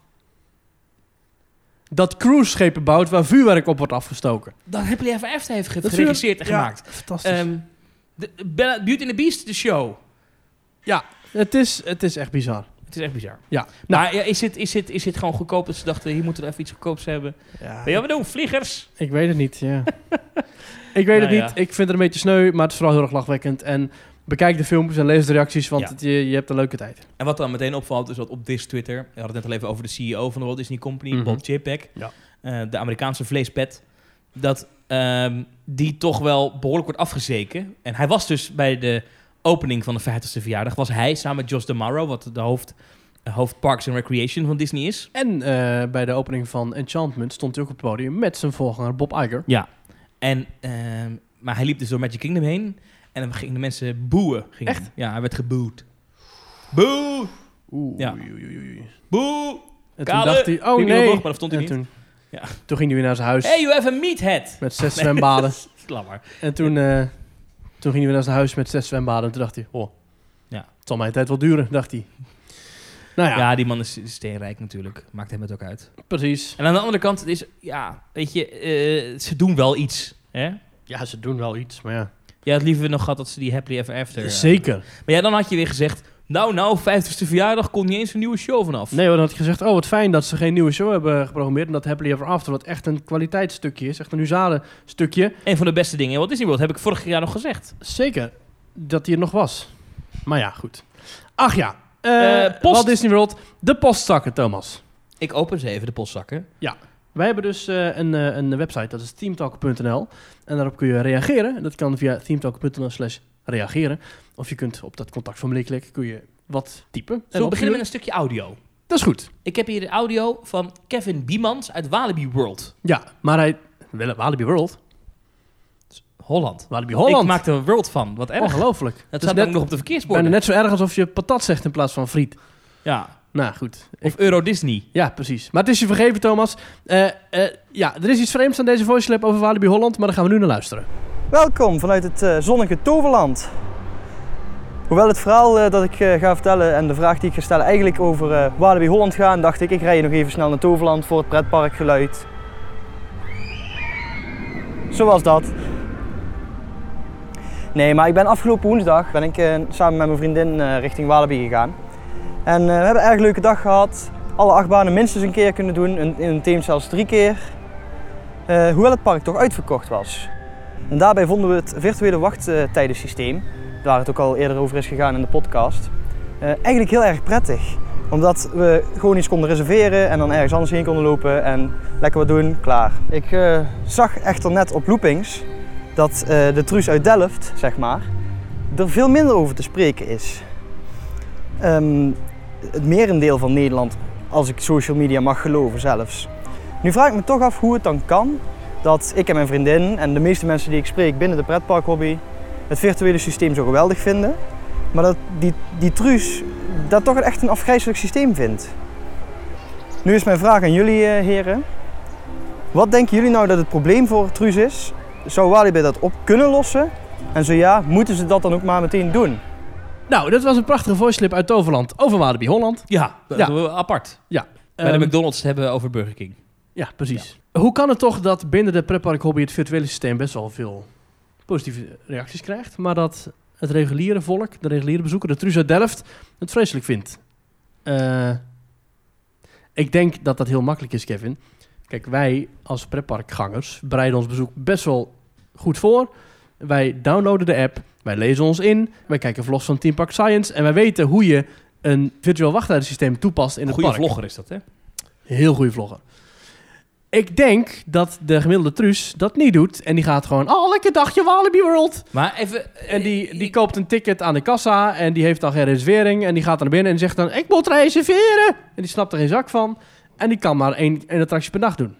Dat cruiseschepen bouwt waar vuurwerk op wordt afgestoken.
dat Happily Ever After heeft ge-
Dat is
geregisseerd en
Ja,
gemaakt.
Fantastisch.
Ehm, de, de Bella- Beauty and the Beast, de show.
het, is, het is echt bizar.
Het is echt bizar.
Ja. Nou,
Maar ja, is, dit, is, dit, is dit gewoon goedkoop dat ze dachten, hier moeten we even iets goedkoops hebben?
Nou, ja,
Weet je wat we doen? Vliegers.
ik weet het niet. Ja. ik weet het
Nou ja.
niet. Ik vind het een beetje sneu, maar het is vooral heel erg lachwekkend. En bekijk de filmpjes en lees de reacties, want
Ja.
het- je, je hebt een leuke tijd.
En E wat dan meteen opvalt is dat op Dis Twitter, we hadden het net al even over de CEO van de Walt Disney Company,
Mhm.
Bob Chapek.
Ja.
eh, de Amerikaanse vleespet, dat ehm, die toch wel behoorlijk wordt afgezeken. En hij was dus bij de opening van de 50ste verjaardag, was hij samen met Josh DeMauro, wat de hoofd, eh, hoofd Parks and Recreation van Disney is.
En eh, bij de opening van Enchantment stond hij ook op het podium met zijn voorganger Bob Iger.
Ja. En, ehm, maar hij liep dus door Magic Kingdom heen. En dan gingen de mensen boeien. Gingen. Echt? Ja, hij werd geboet. Boe!
Oeh,
Ja.
oei, oei, oei, oei.
Boe!
En toen
Kale,
dacht hij, oh
Ging hij
nee.
omhoog, maar dat stond hij
en
niet.
toen,
Ja.
toen ging hij weer naar zijn huis
Hey, you have a meathead!
met zes zwembaden.
Laat maar.
En toen, eh, toen ging hij weer naar zijn huis met zes zwembaden. En toen dacht hij, oh,
Ja.
het zal mijn tijd wel duren, dacht hij. Nou ja,
Ja. die man is is steenrijk natuurlijk. Maakt hem het ook uit.
precies.
En aan de andere kant, het is, ja, weet je, eh, ze doen wel iets. Hè?
Ja, ze doen wel iets, maar ja.
Jij had liever nog gehad dat ze die Happily Ever After... eh,
Zeker.
Maar ja, dan had je weer gezegd, nou, nou, 50ste verjaardag komt niet eens een nieuwe show vanaf.
Nee, hoor, dan had ik gezegd, oh wat fijn dat ze geen nieuwe show hebben geprogrammeerd. En dat Happily Ever After, wat echt een kwaliteitsstukje is. Echt een huzarenstukje.
Een van de beste dingen in Walt Disney World, heb ik vorig jaar nog gezegd.
Zeker dat hij er nog was. Maar ja, goed. Ach ja, eh,
Eh, post.
Walt Disney World, de postzakken, Thomas.
Ik open ze even, de postzakken.
Wij hebben dus eh, een, eh, een website, dat is teamtalk.nl. En daarop kun je reageren. En Dat kan via teamtalk.nl slash reageren. Of je kunt op dat contactformulier klikken, kun je wat typen. En
Zullen we beginnen
opsturen.
met een stukje audio?
Dat is goed.
Ik heb hier de audio van Kevin Biemans uit Walibi World,
Ja, maar hij... Wel- Walibi World.
Holland.
Walibi
Ik
Holland.
maak er World van, wat erg.
Ongelooflijk.
dat
is
staat
net-
ook nog op de
Bijna
verkeersborden.
net zo erg alsof je patat zegt in plaats van friet.
Ja.
Nou, goed.
Of Euro Disney.
Ja, precies. Maar het is je vergeven, Thomas. Eh, eh, ja, er is iets vreemds aan deze voice over Walibi Holland, maar daar gaan we nu naar luisteren.
Welkom vanuit het eh, zonnige Toverland. Hoewel het verhaal eh, dat ik eh, ga vertellen en de vraag die ik ga stellen eigenlijk over eh Walibi Holland gaan, dacht ik, ik rij nog even snel naar Toverland voor het pretparkgeluid. Zo was dat. Nee, maar ik ben afgelopen woensdag ben ik, eh, samen met mijn vriendin eh, richting Walibi gegaan. En eh, we hebben een erg leuke dag gehad. Alle acht banen minstens een keer kunnen doen, in, in een team zelfs drie keer. Eh, hoewel het park toch uitverkocht was. En daarbij vonden we het virtuele wachttijdensysteem, waar het ook al eerder over is gegaan in de podcast, eh, eigenlijk heel erg prettig. Omdat we gewoon iets konden reserveren en dan ergens anders heen konden lopen en lekker wat doen, klaar. Ik eh, zag echter net op loopings dat eh, de truus uit Delft, zeg maar, er veel minder over te spreken is. Ehm, het merendeel van Nederland, als ik social media mag geloven zelfs. Nu vraag ik me toch af hoe het dan kan dat ik en mijn vriendin en de meeste mensen die ik spreek binnen de pretparkhobby het virtuele systeem zo geweldig vinden. Maar dat die, die truus dat toch echt een afgrijzelijk systeem vindt. Nu is mijn vraag aan jullie eh, heren. Wat denken jullie nou dat het probleem voor truus is? Zou Walibi dat op kunnen lossen? En zo ja, moeten ze dat dan ook maar meteen doen?
Nou, dat was een prachtige voice uit Toverland over Walibi Holland.
Ja,
Ja.
dat doen we apart. Bij
Ehm,
de McDonald's hebben we over Burger King.
ja, precies. Hoe kan het toch dat binnen de pretpark hobby het virtuele systeem best wel veel positieve reacties krijgt, maar dat het reguliere volk, de reguliere bezoeker, de Truus uit Delft, het vreselijk vindt? Eh, ik denk dat dat heel makkelijk is, Kevin. Kijk, wij als pretparkgangers bereiden ons bezoek best wel goed voor. Wij downloaden de app, wij lezen ons in, wij kijken vlogs van Team Park Science en wij weten hoe je een virtueel wachttijdsysteem toepast in
Een
het
goede
park.
vlogger is dat, hè?
Heel goede vlogger. Ik denk dat de gemiddelde truus dat niet doet. En die gaat gewoon, oh, lekker dagje Walibi World.
Maar even... eh,
En die, die
ik-
koopt een ticket aan de kassa. En die heeft dan geen reservering. En die gaat dan naar binnen en zegt dan, ik moet reserveren. En die snapt er geen zak van. En die kan maar één, één attractie per dag doen.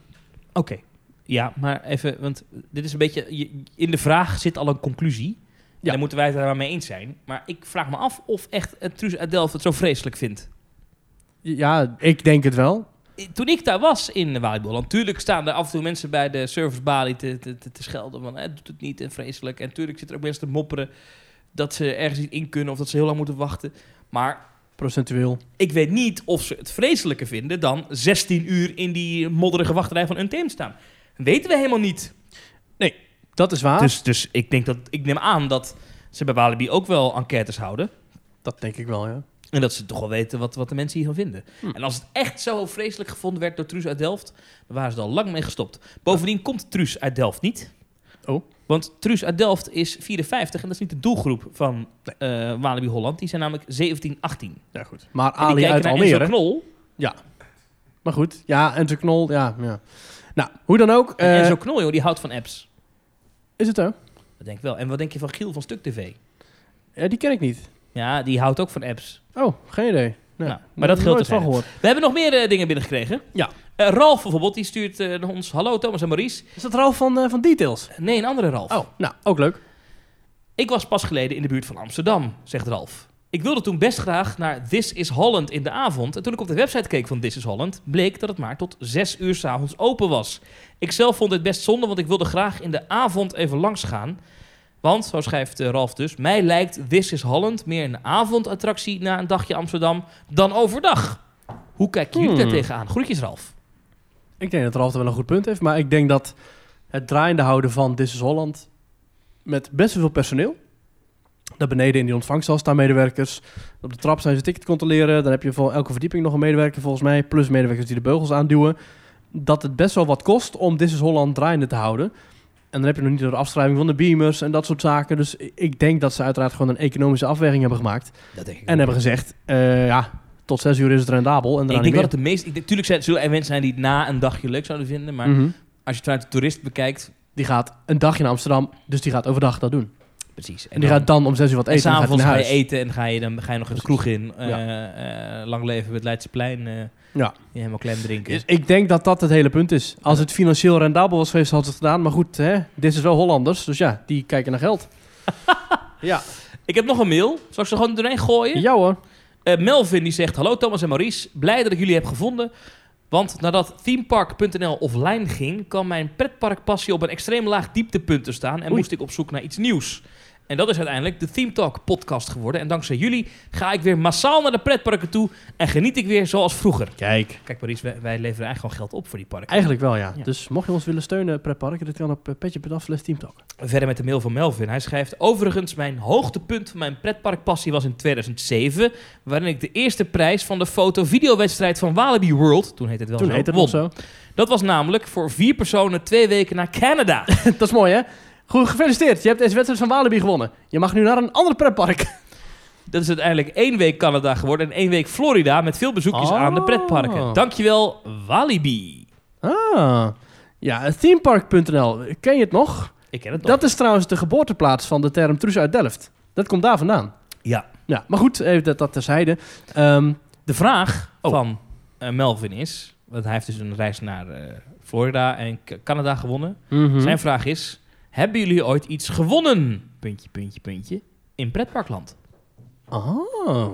Oké. Ja, maar even, want dit is een beetje... je- in de vraag zit al een conclusie. Ja.
Ja.
Dan moeten wij het daar maar mee eens zijn. Maar ik vraag me af of echt het Truus uit Delft het zo vreselijk vindt.
Ja, ik denk het wel.
I- Toen ik daar was in Walibi natuurlijk staan er af en toe mensen bij de servicebalie te, te, te, te schelden. Van, het doet het niet en vreselijk. En tuurlijk zitten er ook mensen te mopperen dat ze ergens niet in kunnen of dat ze heel lang moeten wachten. Maar
Procentueel.
ik weet niet of ze het vreselijker vinden dan 16 uur in die modderige wachtrij van Untamed staan. Weten we helemaal niet.
Dat is waar.
Dus, dus ik, denk dat, ik neem aan dat ze bij Walibi ook wel enquêtes houden.
dat denk ik wel, ja.
En dat ze toch wel weten wat, wat de mensen hiervan vinden. En als het echt zo vreselijk gevonden werd door Truus uit Delft, dan waren ze er al lang mee gestopt. Bovendien komt Truus uit Delft niet.
Oh.
Want Truus uit Delft is 54 en dat is niet de doelgroep van eh, Walibi Holland. Die zijn namelijk 17, 18.
Ja, goed. Maar
en die
Ali
kijken
uit
naar Enzo
Almere...
Knol.
Ja. Maar goed, ja, Enzo Knol, ja. ja. Nou, hoe dan ook.
En
eh,
Enzo Knol, joh, die houdt van apps.
Is het zo?
Dat denk ik wel. En wat denk je van Giel van Stuk TV?
Ja, die ken ik niet.
Ja, die houdt ook van apps.
Oh, geen idee. Nee.
Nou, maar dat geldt
nooit van
terzijde.
gehoord.
We hebben nog meer eh, dingen binnengekregen.
Ja.
Eh, Ralf bijvoorbeeld, die stuurt eh, naar ons... Hallo Thomas en Maurice.
Is dat Ralf van, eh, van Details?
Nee, een andere Ralf.
Oh, nou, ook leuk.
Ik was pas geleden in de buurt van Amsterdam, zegt Ralf. Ik wilde toen best graag naar This is Holland in de avond. En toen ik op de website keek van This is Holland, bleek dat het maar tot 6 uur s'avonds open was. Ik zelf vond dit best zonde, want ik wilde graag in de avond even langs gaan. Want, zo schrijft eh, Ralf dus, mij lijkt This is Holland meer een avondattractie na een dagje Amsterdam dan overdag. Hoe kijken jullie
Hmm.
daar tegenaan? Groetjes, Ralf.
Ik denk dat Ralf er wel een goed punt heeft. Maar ik denk dat het draaiende houden van This is Holland... met best wel veel personeel... Daar beneden in die ontvangsthal staan medewerkers. Op de trap zijn ze ticket controleren. Dan heb je voor elke verdieping nog een medewerker volgens mij. Plus medewerkers die de beugels aanduwen. Dat het best wel wat kost om This is Holland draaiende te houden. En dan heb je nog niet de afschrijving van de beamers en dat soort zaken. Dus i- ik denk dat ze uiteraard gewoon een economische afweging hebben gemaakt.
Dat denk ik
En hebben gezegd, eh, ja, tot zes uur is het rendabel. En daarna
Ik denk
niet
dat het de meest... ik denk- Tuurlijk zijn- zullen er mensen zijn die het na een dagje leuk zouden vinden, maar
meer. Mhm.
als je het vanuit de toerist bekijkt,
Die gaat een dagje naar Amsterdam, dus die gaat overdag dat doen.
Precies.
En die gaat dan om zes uur wat
en
eten en, dan gaat hij
s'avonds
naar
ga je
huis.
eten en ga je, dan ga je nog eens de kroeg in. eh
Ja.
eh, lang leven met het Leidseplein. eh
Ja.
Helemaal klem drinken.
Dus ik denk dat dat het hele punt is. Als het financieel rendabel was geweest, hadden ze het gedaan. Maar goed, hè, dit is wel Hollanders, dus ja, die kijken naar geld. ja.
Ik heb nog een mail. Zal ik ze gewoon doorheen gooien?
ja hoor.
Eh, Melvin die zegt: Hallo Thomas en Maurice, blij dat ik jullie heb gevonden. Want nadat themepark.nl offline ging, kwam mijn pretparkpassie op een extreem laag dieptepunt te staan en
Oei.
moest ik op zoek naar iets nieuws. En dat is uiteindelijk de Theme Talk podcast geworden. En dankzij jullie ga ik weer massaal naar de pretparken toe en geniet ik weer zoals vroeger.
Kijk.
Kijk Maurice, wij, wij leveren eigenlijk gewoon geld op voor die parken.
Eigenlijk wel, ja.
Ja.
Dus mocht je ons willen steunen, pretparken, dit kan op eh, petje.af slash teamtalk.
Verder met de mail van Melvin. Hij schrijft: Overigens, mijn hoogtepunt van mijn pretparkpassie was in 2007. Waarin ik de eerste prijs van de foto-videowedstrijd van Walibi World. Toen heette het wel
Toen
zo,
heette
won.
het nog zo.
Dat was namelijk voor vier personen twee weken naar Canada.
dat is mooi, hè? Goed, gefeliciteerd. Je hebt deze wedstrijd van Walibi gewonnen. Je mag nu naar een ander pretpark.
Dat is uiteindelijk één week Canada geworden en één week Florida. Met veel bezoekjes
Oh.
aan de pretparken. Dankjewel, Walibi.
Ah. Ja, themepark.nl. Ken je het nog?
Ik ken het nog.
Dat is trouwens de geboorteplaats van de term Truus uit Delft. Dat komt daar vandaan.
Ja.
Ja, maar goed, even dat, dat terzijde. Ehm,
De vraag
Oh.
van eh, Melvin is: Want hij heeft dus een reis naar eh, Florida en K- Canada gewonnen.
Hm?
Zijn vraag is: hebben jullie ooit iets gewonnen? Puntje, puntje, puntje. In pretparkland.
Oh.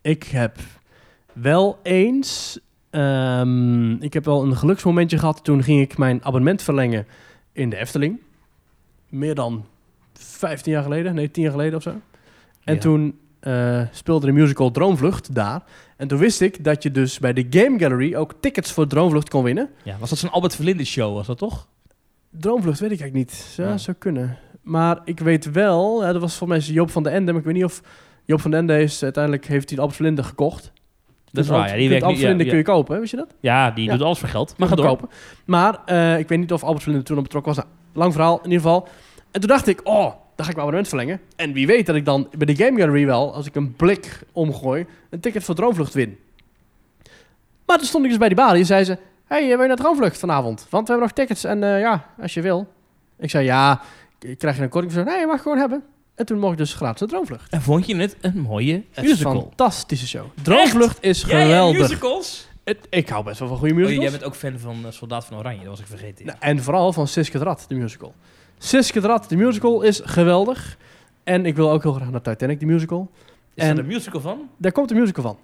Ik heb wel eens... ehm, ik heb wel een geluksmomentje gehad. Toen ging ik mijn abonnement verlengen in de Efteling. Meer dan 15 jaar geleden. Nee, 10 jaar geleden of zo. En
Ja.
toen eh, speelde de musical Droomvlucht daar. En toen wist ik dat je dus bij de Game Gallery ook tickets voor Droomvlucht kon winnen.
Ja, was dat zo'n Albert Verlinde show, was dat toch?
Droomvlucht weet ik eigenlijk niet. Ja,
Ja.
zou kunnen. Maar ik weet wel, ja, dat was volgens mij Joop van de Ende, maar ik weet niet of Joop van de Ende is, uiteindelijk heeft hij de Albert Verlinde gekocht.
Dat is waar, ja, die
Die
werkt
Albert
niet. Ja,
Verlinde kun
ja.
je kopen, hè, wist je dat?
Ja, die
Ja.
doet alles voor geld. Maar ga door.
kopen. Maar eh, ik weet niet of Albert Verlinde toen op betrokken was. Nou, lang verhaal, in ieder geval. En toen dacht ik, oh, dan ga ik mijn abonnement verlengen. En wie weet dat ik dan bij de Game Gallery wel, als ik een blik omgooi, een ticket voor Droomvlucht win. Maar toen stond ik dus bij die balie en zei ze... Hé, hey, eh, wil je naar Droomvlucht vanavond? Want we hebben nog tickets en eh, ja, als je wil. Ik zei, ja, ik krijg je een korting? Ze zei, nee, je mag gewoon hebben. En toen mocht ik dus gratis naar Droomvlucht.
En vond je het een mooie eh,
Het is een
musical?
fantastische show. Droomvlucht is geweldig.
musicals?
Het- ik hou best wel van goede
Oh,
musicals.
jij bent ook fan van eh, Soldaat van Oranje, dat was ik vergeten.
Nou, en vooral van Siske de Rat, de musical. Siske de Rat, de musical is geweldig. En ik wil ook heel graag naar Titanic, de musical.
is er
en-
een musical van?
Daar komt de musical van. Of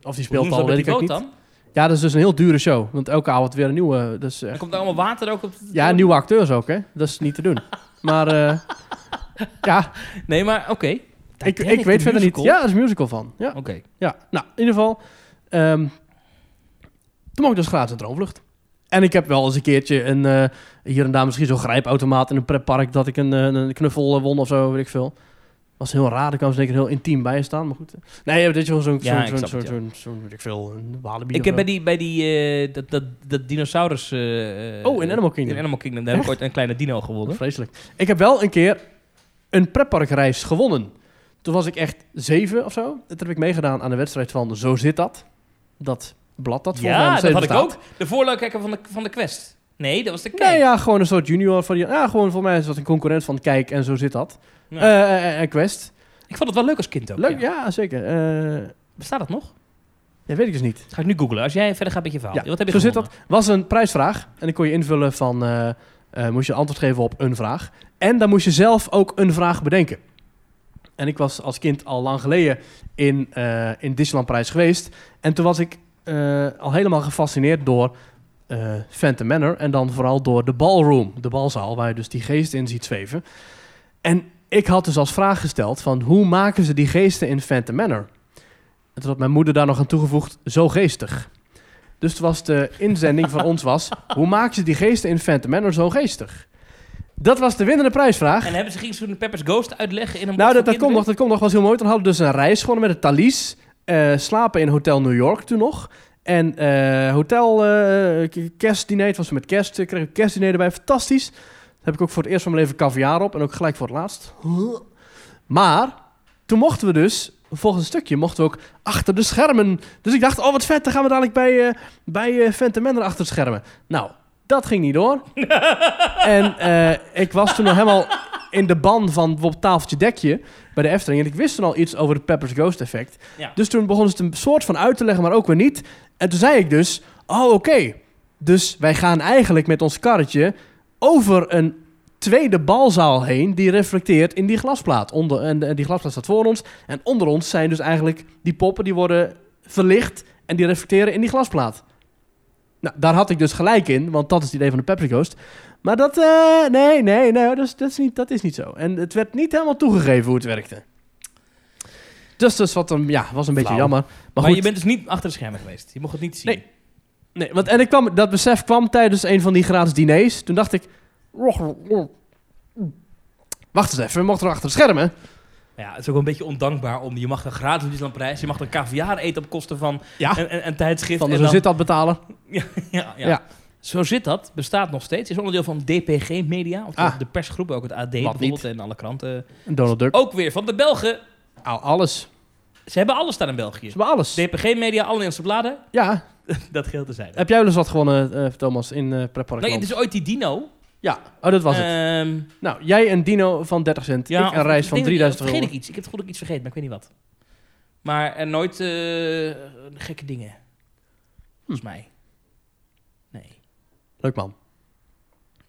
die
Hoe
speelt
doen ze
al,
dat
weet
met
ik
die boot
ook niet.
dan?
Ja, dat is dus een heel dure show. Want elke avond weer een nieuwe. Dus,
Er komt allemaal water ook op. de-
ja, nieuwe acteurs ook, hè. Dat is niet te doen. maar eh, ja,
Nee, maar oké.
ik,
Titanic,
ik weet
de
verder niet.
musical?
Ja, er is een musical van. Ja,
Oké.
ja. nou, in ieder geval. ehm, toen mocht ik dus gratis een droomvlucht. En ik heb wel eens een keertje een, eh, hier en daar misschien zo'n grijpautomaat in een pretpark dat ik een, eh, een knuffel eh, won of zo, weet ik veel. Was heel raar, daar kwam ze zeker heel intiem bij je staan, maar goed. eh. Nee, weet je wel, zo'n,
Ja, ik
zo'n,
snap
zo'n,
het,
zo'n,
ja.
zo'n, zo'n, weet ik veel, een walibi
Ik
of
heb bij
zo.
die, bij die eh, dat, dat, dat dinosaurus... eh,
Oh, in Animal Kingdom.
In Animal Kingdom. Daar heb ik ooit een kleine dino gewonnen.
Vreselijk. Ik heb wel een keer een pretparkreis gewonnen. Toen was ik echt zeven of zo. En Toen heb ik meegedaan aan de wedstrijd van Zo zit dat. Dat blad dat volgens mij
ja,
nog
dat
steeds
had ik
bestaat.
ook. De voorloopkijker van de, van de Quest. Nee, dat was de Kijk.
Nee, ja, gewoon een soort junior van die. Ja, gewoon voor mij is dat een concurrent van Kijk en zo zit dat.
Ja.
Eh, eh, eh, en Quest.
Ik vond het wel leuk als kind ook.
Leuk,
ja.
ja, zeker. Eh
Bestaat dat nog?
ja, weet ik dus niet.
Dat ga ik nu googlen. Als jij verder gaat met je verhaal.
Ja,
Wat heb je
Zo zit dat.
gevonden?
Was een prijsvraag. En dan kon je invullen van. eh, eh, moest je antwoord geven op een vraag. En dan moest je zelf ook een vraag bedenken. En ik was als kind al lang geleden in, eh in Disneyland Prijs geweest. En toen was ik eh, al helemaal gefascineerd door eh, Phantom Manor. En dan vooral door de ballroom, de balzaal, waar je dus die geesten in ziet zweven. En ik had dus als vraag gesteld van hoe maken ze die geesten in Phantom Manor? En toen had mijn moeder daar nog aan toegevoegd, zo geestig. Dus het was de inzending van ons was... hoe maken ze die geesten in Phantom Manor zo geestig? Dat was de winnende prijsvraag.
En hebben ze Gingsoen en Peppers Ghost uitleggen in een
Nou,
boek voor
dat, dat komt nog,
kinderen?
dat komt nog. was heel mooi. Dan hadden we dus een reis gewonnen met een Thalys. eh, slapen in Hotel New York toen nog. En eh, hotel eh, k- kerstdiner, het was met kerst. Ik kreeg ik een kerstdiner erbij, fantastisch. Daar heb ik ook voor het eerst van mijn leven caviar op. En ook gelijk voor het laatst. Maar toen mochten we dus, volgens het stukje, mochten we ook achter de schermen. Dus ik dacht, oh wat vet, dan gaan we dadelijk bij, eh bij eh Phantom Manor achter de schermen. Nou, dat ging niet door. en eh, ik was toen nog helemaal in de ban van bijvoorbeeld tafeltje dekje bij de Efteling. En ik wist toen al iets over het Pepper's Ghost effect.
Ja.
Dus toen begon ze het een soort van uit te leggen, maar ook weer niet. En toen zei ik dus, oh oké. Dus wij gaan eigenlijk met ons karretje over een tweede balzaal heen die reflecteert in die glasplaat. Onder, en, en die glasplaat staat voor ons. En onder ons zijn dus eigenlijk die poppen die worden verlicht en die reflecteren in die glasplaat. Nou, daar had ik dus gelijk in, want dat is het idee van de Pepsi Ghost. Maar dat, eh, nee, nee, nee, dat is, dat, is niet, dat is niet zo. En het werd niet helemaal toegegeven hoe het werkte. Dus dat is wat een, ja, was een beetje
Flauw.
jammer.
Maar,
Maar, goed,
je bent dus niet achter de schermen geweest. Je mocht het niet zien.
Nee. Nee, want en ik kwam, dat besef kwam tijdens een van die gratis diners. Toen dacht ik. Wacht eens even, we mochten er achter de schermen.
Ja, het is ook wel een beetje ondankbaar om... Je mag een gratis Disneyland prijs. Je mag een caviar eten op kosten van
Ja.
een, een, een tijdschrift.
Van dus
en
de zo
dan-
zit dat betalen.
Ja, ja.
Ja.
Zo zit dat, bestaat nog steeds. Is onderdeel van DPG Media, oftewel
Ah.
de persgroep, ook het AD bijvoorbeeld en alle kranten.
En Donald Duck.
Ook weer van de Belgen.
Au, alles. Ze
Ze hebben alles daar in België.
hebben alles.
DPG Media, alle Nederlandse bladen,
Ja.
dat geldt te zijn.
Heb jij wel eens wat gewonnen, eh, Thomas, in eh pretpark?
Nee, het is ooit die Dino.
Ja. Oh, dat was het.
Ehm,
Nou, jij een dino van 30 cent. ik
of-
een reis
ik
van
denk-
3000
Vergeet
euro.
ik iets. Ik heb het goed ook iets vergeten, maar ik weet niet wat. Maar en nooit eh, gekke
Hm.
dingen. Volgens mij. Nee.
Leuk man.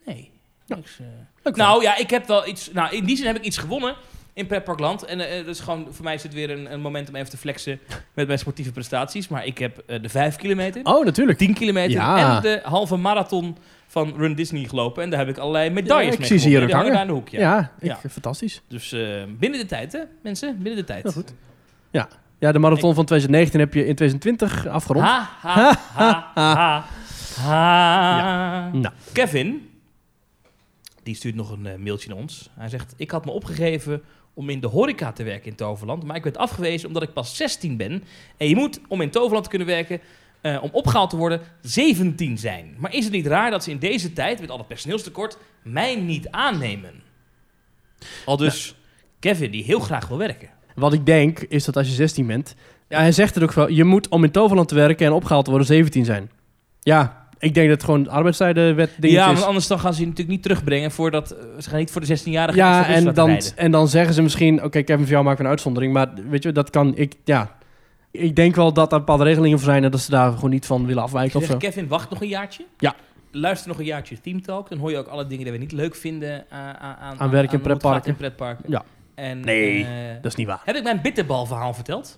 Nee.
Ja.
Niks, eh.
Leuk man.
Nou ja, ik heb wel iets. Nou, in die zin heb ik iets gewonnen in Pretparkland. En eh, eh, dat is gewoon voor mij is het weer een, een moment om even te flexen met mijn sportieve prestaties. Maar ik heb eh, de 5 kilometer,
Oh, natuurlijk.
10 kilometer
Ja.
en de halve marathon van Run Disney gelopen. En daar heb ik allerlei medailles
Ja, ik
mee
zie ze hier
gewonnen.
ook
Die hangen
hangen.
daar in de hoekje.
Ja, ik- fantastisch.
Dus eh, binnen de tijd, hè, mensen? Binnen de tijd.
Ja, goed. Ja, de marathon van 2019 heb je in 2020 afgerond.
Ha, ha, ha, ha, ha.
Nou.
Kevin, die stuurt nog een eh, mailtje naar ons. Hij zegt, ik had me opgegeven om in de horeca te werken in Toverland, maar ik werd afgewezen omdat ik pas 16 ben. En je moet, om in Toverland te kunnen werken, eh, om opgehaald te worden, 17 zijn. Maar is het niet raar dat ze in deze tijd, met al het personeelstekort, mij niet aannemen? Al dus Kevin, die heel graag wil werken.
Wat ik denk, is dat als je 16 bent... Ja, hij zegt het ook wel. Je moet om in Toverland te werken en opgehaald te worden 17 zijn. Ja, ik denk dat het gewoon arbeidstijdenwet dingetje
Ja,
is.
want anders dan gaan ze je natuurlijk niet terugbrengen voordat... eh, ze gaan niet voor de 16-jarigen op
Ja,
de bus
en
laten
dan,
rijden.
en dan zeggen ze misschien... Oké, Kevin, voor jou maken we een uitzondering. Maar weet je, dat kan ik... Ja, ik denk wel dat er bepaalde regelingen voor zijn... en dat ze daar gewoon niet van willen afwijken
Ik
of
zeg,
zo.
Kevin, wacht nog een jaartje.
Ja.
Luister nog een jaartje Team Talk. Dan hoor je ook alle dingen die we niet leuk vinden eh, aan, aan, aan,
Aan werk in
hoe het
pretparken.
gaat in pretparken.
Ja.
En,
Nee.
eh,
Dat is niet waar.
heb ik mijn bitterbalverhaal verteld?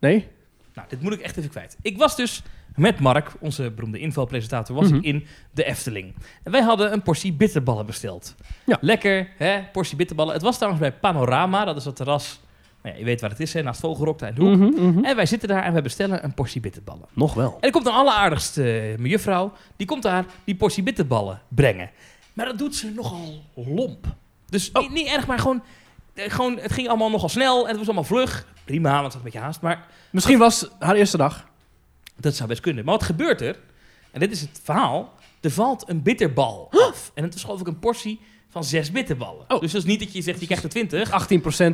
Nee?
Nou, dit moet ik echt even kwijt. Ik was dus met Mark, onze beroemde invalpresentator, was
Mhm.
ik in de Efteling. En wij hadden een portie bitterballen besteld.
Ja.
Lekker, hè? Portie bitterballen. Het was trouwens bij Panorama. Dat is dat terras. Nou ja, je weet waar het is, hè? Naast Vogelrok, daar in de hoek.
Mhm, mhm.
En wij zitten daar en wij bestellen een portie bitterballen.
Nog wel.
En er komt een alleraardigste eh, mejuffrouw. Die komt daar die portie bitterballen brengen. Maar dat doet ze nogal lomp. Dus
Oh.
niet, niet erg, maar gewoon, eh, gewoon... Het ging allemaal nogal snel en het was allemaal vlug. Prima, want ze had een beetje haast. Maar
Misschien was haar eerste dag.
dat zou best kunnen. Maar wat gebeurt er? En dit is het verhaal. Er valt een bitterbal af. En het was geloof ik een portie van zes bitterballen.
Oh.
Dus dat is niet dat je zegt, je krijgt er 20.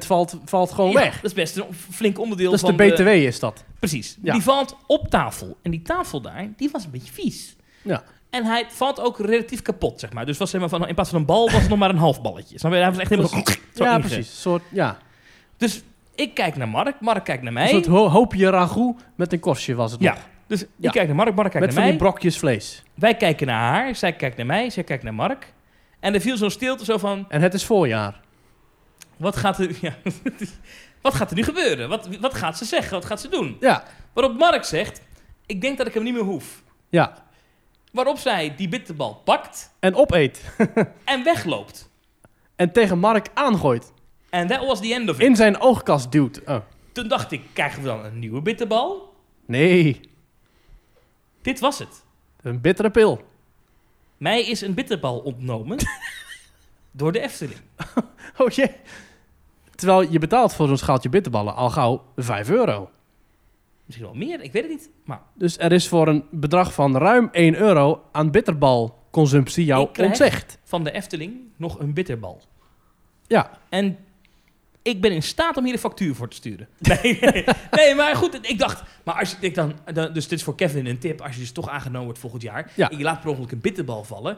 18% valt, valt gewoon
Ja,
weg.
Dat is best een o- flink onderdeel
Dat is de
van
BTW is dat.
Precies.
Ja.
Die valt op tafel. En die tafel daar, die was een beetje vies.
Ja.
En hij valt ook relatief kapot, zeg maar. Dus was zeg maar van, in plaats van een bal was het nog maar een half balletje. Snap je? Hij was echt helemaal zo, zo
ja,
inge-
precies. Een soort, ja.
Dus ik kijk naar Mark, Mark kijkt naar
een
mij.
soort ho- hoopje ragout met een korstje was het
ja.
nog.
Dus ik
Ja.
kijk naar Mark, Mark kijkt
Met van
naar
die
mij.
brokjes vlees.
Wij kijken naar haar, zij kijkt naar mij, zij kijkt naar Mark. En er viel zo'n stilte zo van,
En het is voorjaar.
wat gaat er, ja, wat gaat er nu gebeuren? Wat, wat gaat ze zeggen? Wat gaat ze doen?
Ja,
Waarop Mark zegt, ik denk dat ik hem niet meer hoef.
ja.
Waarop zij die bitterbal pakt
En opeet.
en wegloopt.
En tegen Mark aangooit.
En that was the end of it.
In zijn oogkast duwt. Oh.
Toen dacht ik, krijgen we dan een nieuwe bitterbal?
Nee,
Dit was het.
een bittere pil.
Mij is een bitterbal ontnomen door de Efteling.
Oh jee. Terwijl je betaalt voor zo'n schaaltje bitterballen al gauw 5 euro.
Misschien wel meer, ik weet het niet. Maar
Dus er is voor een bedrag van ruim 1 euro aan bitterbalconsumptie jou
Ik krijg-
ontzegd.
van de Efteling nog een bitterbal.
Ja,
En ik ben in staat om hier een factuur voor te sturen. Nee, nee, nee, maar goed, ik dacht. Maar als je, ik dan, dan- dus dit is voor Kevin een tip. Als je dus toch aangenomen wordt volgend jaar.
Ja.
En je laat per ongeluk een bitterbal vallen.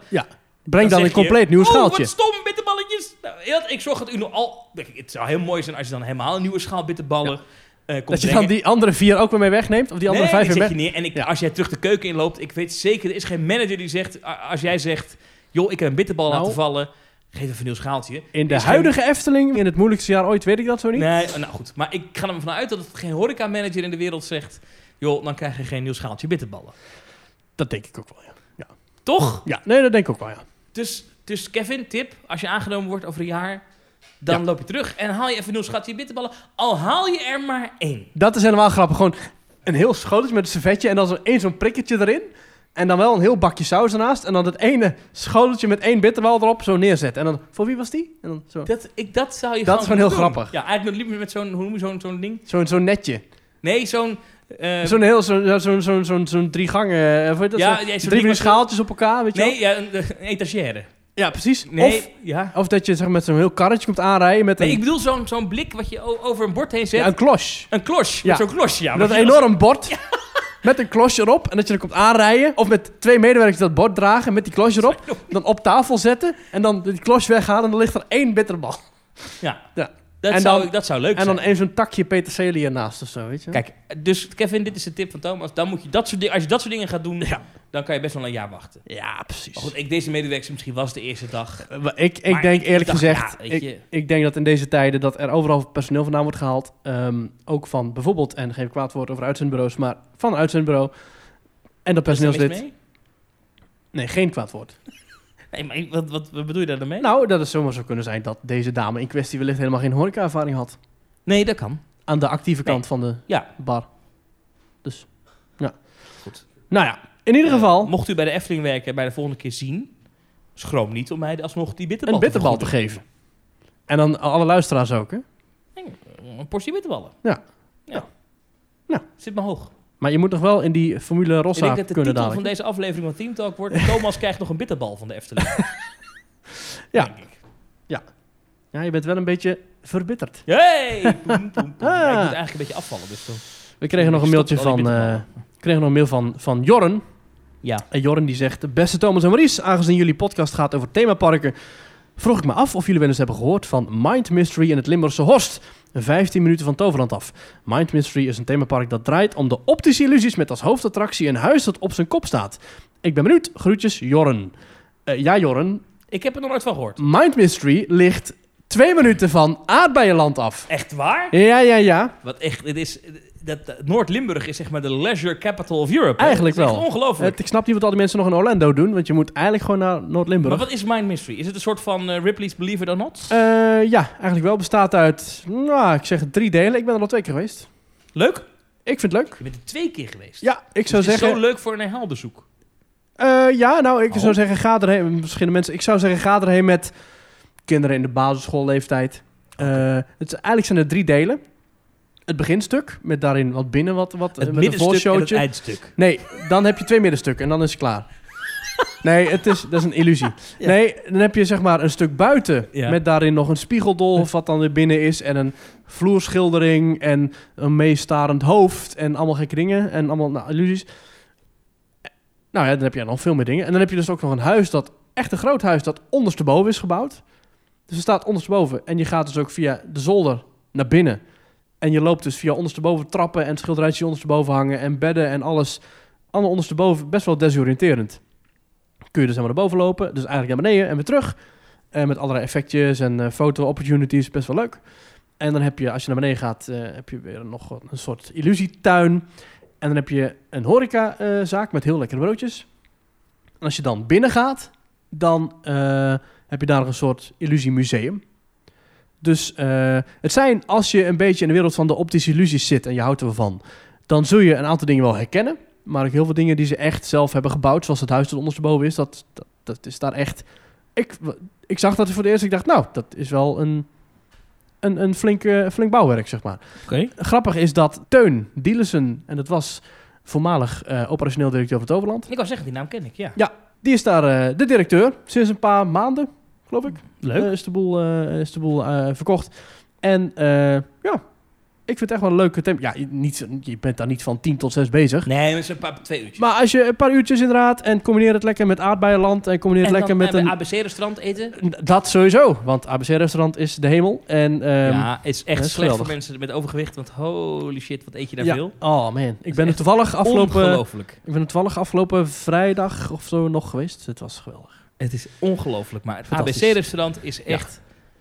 breng dan,
zeg
een
je,
compleet nieuw
Oh,
schaaltje.
wat stom, bitterballetjes. Nou, heel- ik zorg dat u nog al... Het zou heel mooi zijn als je dan helemaal een nieuwe schaal bitterballen eh komt
Dat je
brengen.
dan die andere vier ook weer mee wegneemt? Of die andere
nee,
vijf weer
die
weg?
zet je neer. En ik,
Ja.
als jij terug de keuken inloopt, ik weet zeker, er is geen manager die zegt... a- Als jij zegt, joh, ik heb een bitterbal
Nou.
laten vallen, geef even een nieuw schaaltje.
In de
Is geen-
huidige Efteling, in het moeilijkste jaar ooit, weet ik dat zo niet.
Nee, nou goed. Maar ik ga er maar vanuit dat het geen horecamanager in de wereld zegt... joh, dan krijg je geen nieuw schaaltje bitterballen.
Dat denk ik ook wel, ja.
Toch?
Ja, nee, dat denk ik ook wel, ja.
Dus, dus Kevin, tip. Als je aangenomen wordt over een jaar... dan
Ja.
loop je terug en haal je even een nieuw schaaltje bitterballen. Al haal je er maar één.
Dat is helemaal grappig. Gewoon een heel schoteltje met een servetje en dan zo één zo'n prikketje erin. En dan wel een heel bakje saus ernaast. En dan dat ene schoteltje met één bitterbal erop zo neerzetten. En dan, voor wie was die? En dan zo-
Dat, ik, dat zou je
Dat is gewoon heel
moeten doen.
grappig.
Ja, eigenlijk liever met zo'n... Hoe noem je zo'n zo'n ding?
Zo'n zo'n netje.
Nee, zo'n... eh,
Zo'n heel, zo'n zo'n zo'n zo'n zo'n drie gangen, eh, hoe heet dat?
Ja,
Zo'n
ja, zo'n
drie
ding
van die
met zo'n-
schaaltjes op elkaar, weet je
nee,
wel?
ja, een, een etagère.
Ja, precies.
Nee,
Of,
ja.
of dat je zeg, met zo'n heel karretje komt aanrijden met
Nee,
een,
ik bedoel zo'n zo'n blik wat je o- over een bord heen zet.
ja, een klos.
Een klosje.
Ja.
Met zo'n klosje, ja.
dat
Wat
een
je-
enorm bord met een klosje erop en dat je er komt aanrijden. Of met twee medewerkers dat bord dragen met die klosje erop. Dan op tafel zetten en dan die klos weghalen en dan ligt er één bitterbal.
Dat,
en
zou,
dan-
dat zou leuk
En
zijn.
dan even zo'n takje peterselie ernaast of zo, weet je.
Kijk, dus Kevin, dit is de tip van Thomas. Dan moet je dat soort dingen, als je dat soort dingen gaat doen, dan kan je best wel een jaar wachten.
Ja, precies.
Maar goed, ik, deze medewerker misschien was de eerste dag.
Eh, maar Ik, ik
Maar
denk
ik
eerlijk
dacht,
gezegd,
ja, weet je.
ik, ik denk dat in deze tijden dat er overal personeel vandaan wordt gehaald. Ehm, ook van bijvoorbeeld, en geen kwaad woord over uitzendbureaus, maar van een uitzendbureau. En dat
Was er mis
personeelslid.
mee?
Nee, geen kwaad woord.
Nee, maar ik- wat, wat, wat bedoel je daar dan mee?
Nou, dat het zomaar zou kunnen zijn dat deze dame in kwestie wellicht helemaal geen horecaervaring had.
nee, dat kan.
Aan de actieve
Nee.
kant van de
Ja.
bar. Dus, ja.
Goed.
Nou ja, in ieder geval
Eh, Mocht u bij de Efteling werken en bij de volgende keer zien, schroom niet om mij alsnog die bitterbal
een bitterbal te
vergoeden.
geven. En dan alle luisteraars ook, hè.
Een portie bitterballen.
Ja.
ja.
Nou.
Zit maar hoog.
Maar je moet nog wel in die Formule
Ik denk
Rossa
dat de titel
kunnen dadelijk.
van deze aflevering van Team Talk wordt... Thomas krijgt nog een bitterbal van de Efteling.
Ja.
Denk ik.
Ja, je bent wel een beetje verbitterd.
Hey! Poem, poem, poem.
Ah.
Ja, ik moet eigenlijk een beetje afvallen, dus dan...
We kregen nog een mailtje
Stopt al die
van, eh,
bitterballen.
we kregen nog een mail van, van Jorren.
Ja.
En Jorren die zegt... Beste Thomas en Maurice, aangezien jullie podcast gaat over themaparken... vroeg ik me af of jullie wel eens hebben gehoord van Mind Mystery in het Limburgse Horst. 15 minuten van Toverland af. Mind Mystery is een themapark dat draait om de optische illusies... met als hoofdattractie een huis dat op zijn kop staat. Ik ben benieuwd. Groetjes, Jorren. Eh, ja, Jorren.
Ik heb er nog nooit van gehoord.
Mind Mystery ligt twee minuten van Aardbeienland af.
Echt waar?
Ja, ja, ja.
Wat echt, het is, dat, dat- Noord-Limburg is zeg maar de leisure capital of Europe. hè?
Eigenlijk
Dat is echt
wel.
ongelooflijk.
Het- ik snap niet wat al die mensen nog in Orlando doen, want je moet eigenlijk gewoon naar
Maar
Noord-Limburg.
wat is Mind Mystery? Is het een soort van eh, Ripley's Believe It or Not?
Eh, ja, eigenlijk wel. Bestaat uit, nou, ik zeg het, drie delen. Ik ben er al twee keer geweest.
Leuk?
Ik vind het leuk.
Je bent er twee keer geweest.
Ja, ik
Dus
zou
het is
zeggen.
zo leuk voor een herhaalbezoek.
eh, ja, nou, ik
Oh.
zou zeggen, ga erheen. Misschien de mensen. Ik zou zeggen, ga erheen met kinderen in de basisschoolleeftijd. Eh, het is, eigenlijk zijn er drie delen. Het beginstuk, met daarin wat binnen, wat, wat eh,
Het
met een
middenstuk en het
voorshowtje.
eindstuk.
Nee, dan heb je twee middenstukken en dan is het klaar. Nee, het is, dat is een illusie.
Ja.
Nee, dan heb je zeg maar een stuk buiten
Ja.
met daarin nog een spiegeldol of wat dan er binnen is en een vloerschildering en een meestarend hoofd en allemaal gekke dingen en allemaal nou, illusies. Nou ja, dan heb je nog veel meer dingen. En dan heb je dus ook nog een huis dat, echt een groot huis dat ondersteboven is gebouwd. Dus het staat ondersteboven en je gaat dus ook via de zolder naar binnen. En je loopt dus via ondersteboven trappen en schilderijtjes die ondersteboven hangen en bedden en alles. Allemaal ondersteboven, best wel desoriënterend kun je dus helemaal naar boven lopen. Dus eigenlijk naar beneden en weer terug. En met allerlei effectjes en eh, foto-opportunities. Best wel leuk. En dan heb je, als je naar beneden gaat, eh, heb je weer nog wat- een soort illusietuin. En dan heb je een horecazaak met heel lekkere broodjes. En als je dan binnen gaat, dan eh, heb je daar nog een soort illusiemuseum. Dus eh, het zijn, als je een beetje in de wereld van de optische illusies zit en je houdt ervan, dan zul je een aantal dingen wel herkennen. Maar ook heel veel dingen die ze echt zelf hebben gebouwd, zoals het huis dat ondersteboven is, dat, dat, dat is daar echt... Ik, ik zag dat voor het eerst, ik dacht, nou, dat is wel een, een, een flink, eh, flink bouwwerk, zeg maar.
Oké.
Grappig is dat Teun Dielissen, en dat was voormalig eh, operationeel directeur van Toverland,
Ik wou zeggen, die naam ken ik, ja.
die is daar eh, de directeur sinds een paar maanden, geloof ik.
Leuk.
Eh, is de boel, eh, is de boel eh, verkocht. En eh, ja, ik vind het echt wel een leuke tempo. Ja, je- niet, je bent daar niet van 10 tot 6 bezig.
Nee, maar een paar, twee uurtjes.
Maar als je een paar uurtjes inderdaad en combineer het lekker met aardbeienland en combineer
En
het lekker
dan
met
bij
een...
ABC-restaurant eten.
Dat sowieso, want ABC-restaurant is de hemel. En, ehm,
ja, het is echt
dat is
slecht
geweldig.
voor mensen met overgewicht. Want holy shit, wat eet je daar
ja.
veel?
Oh man, ik ben
echt
er toevallig afgelopen...
Ongelooflijk.
Ik ben er toevallig afgelopen vrijdag of zo nog geweest. Het was geweldig.
Het is ongelooflijk. Maar het
Fantastisch.
ABC-restaurant is echt...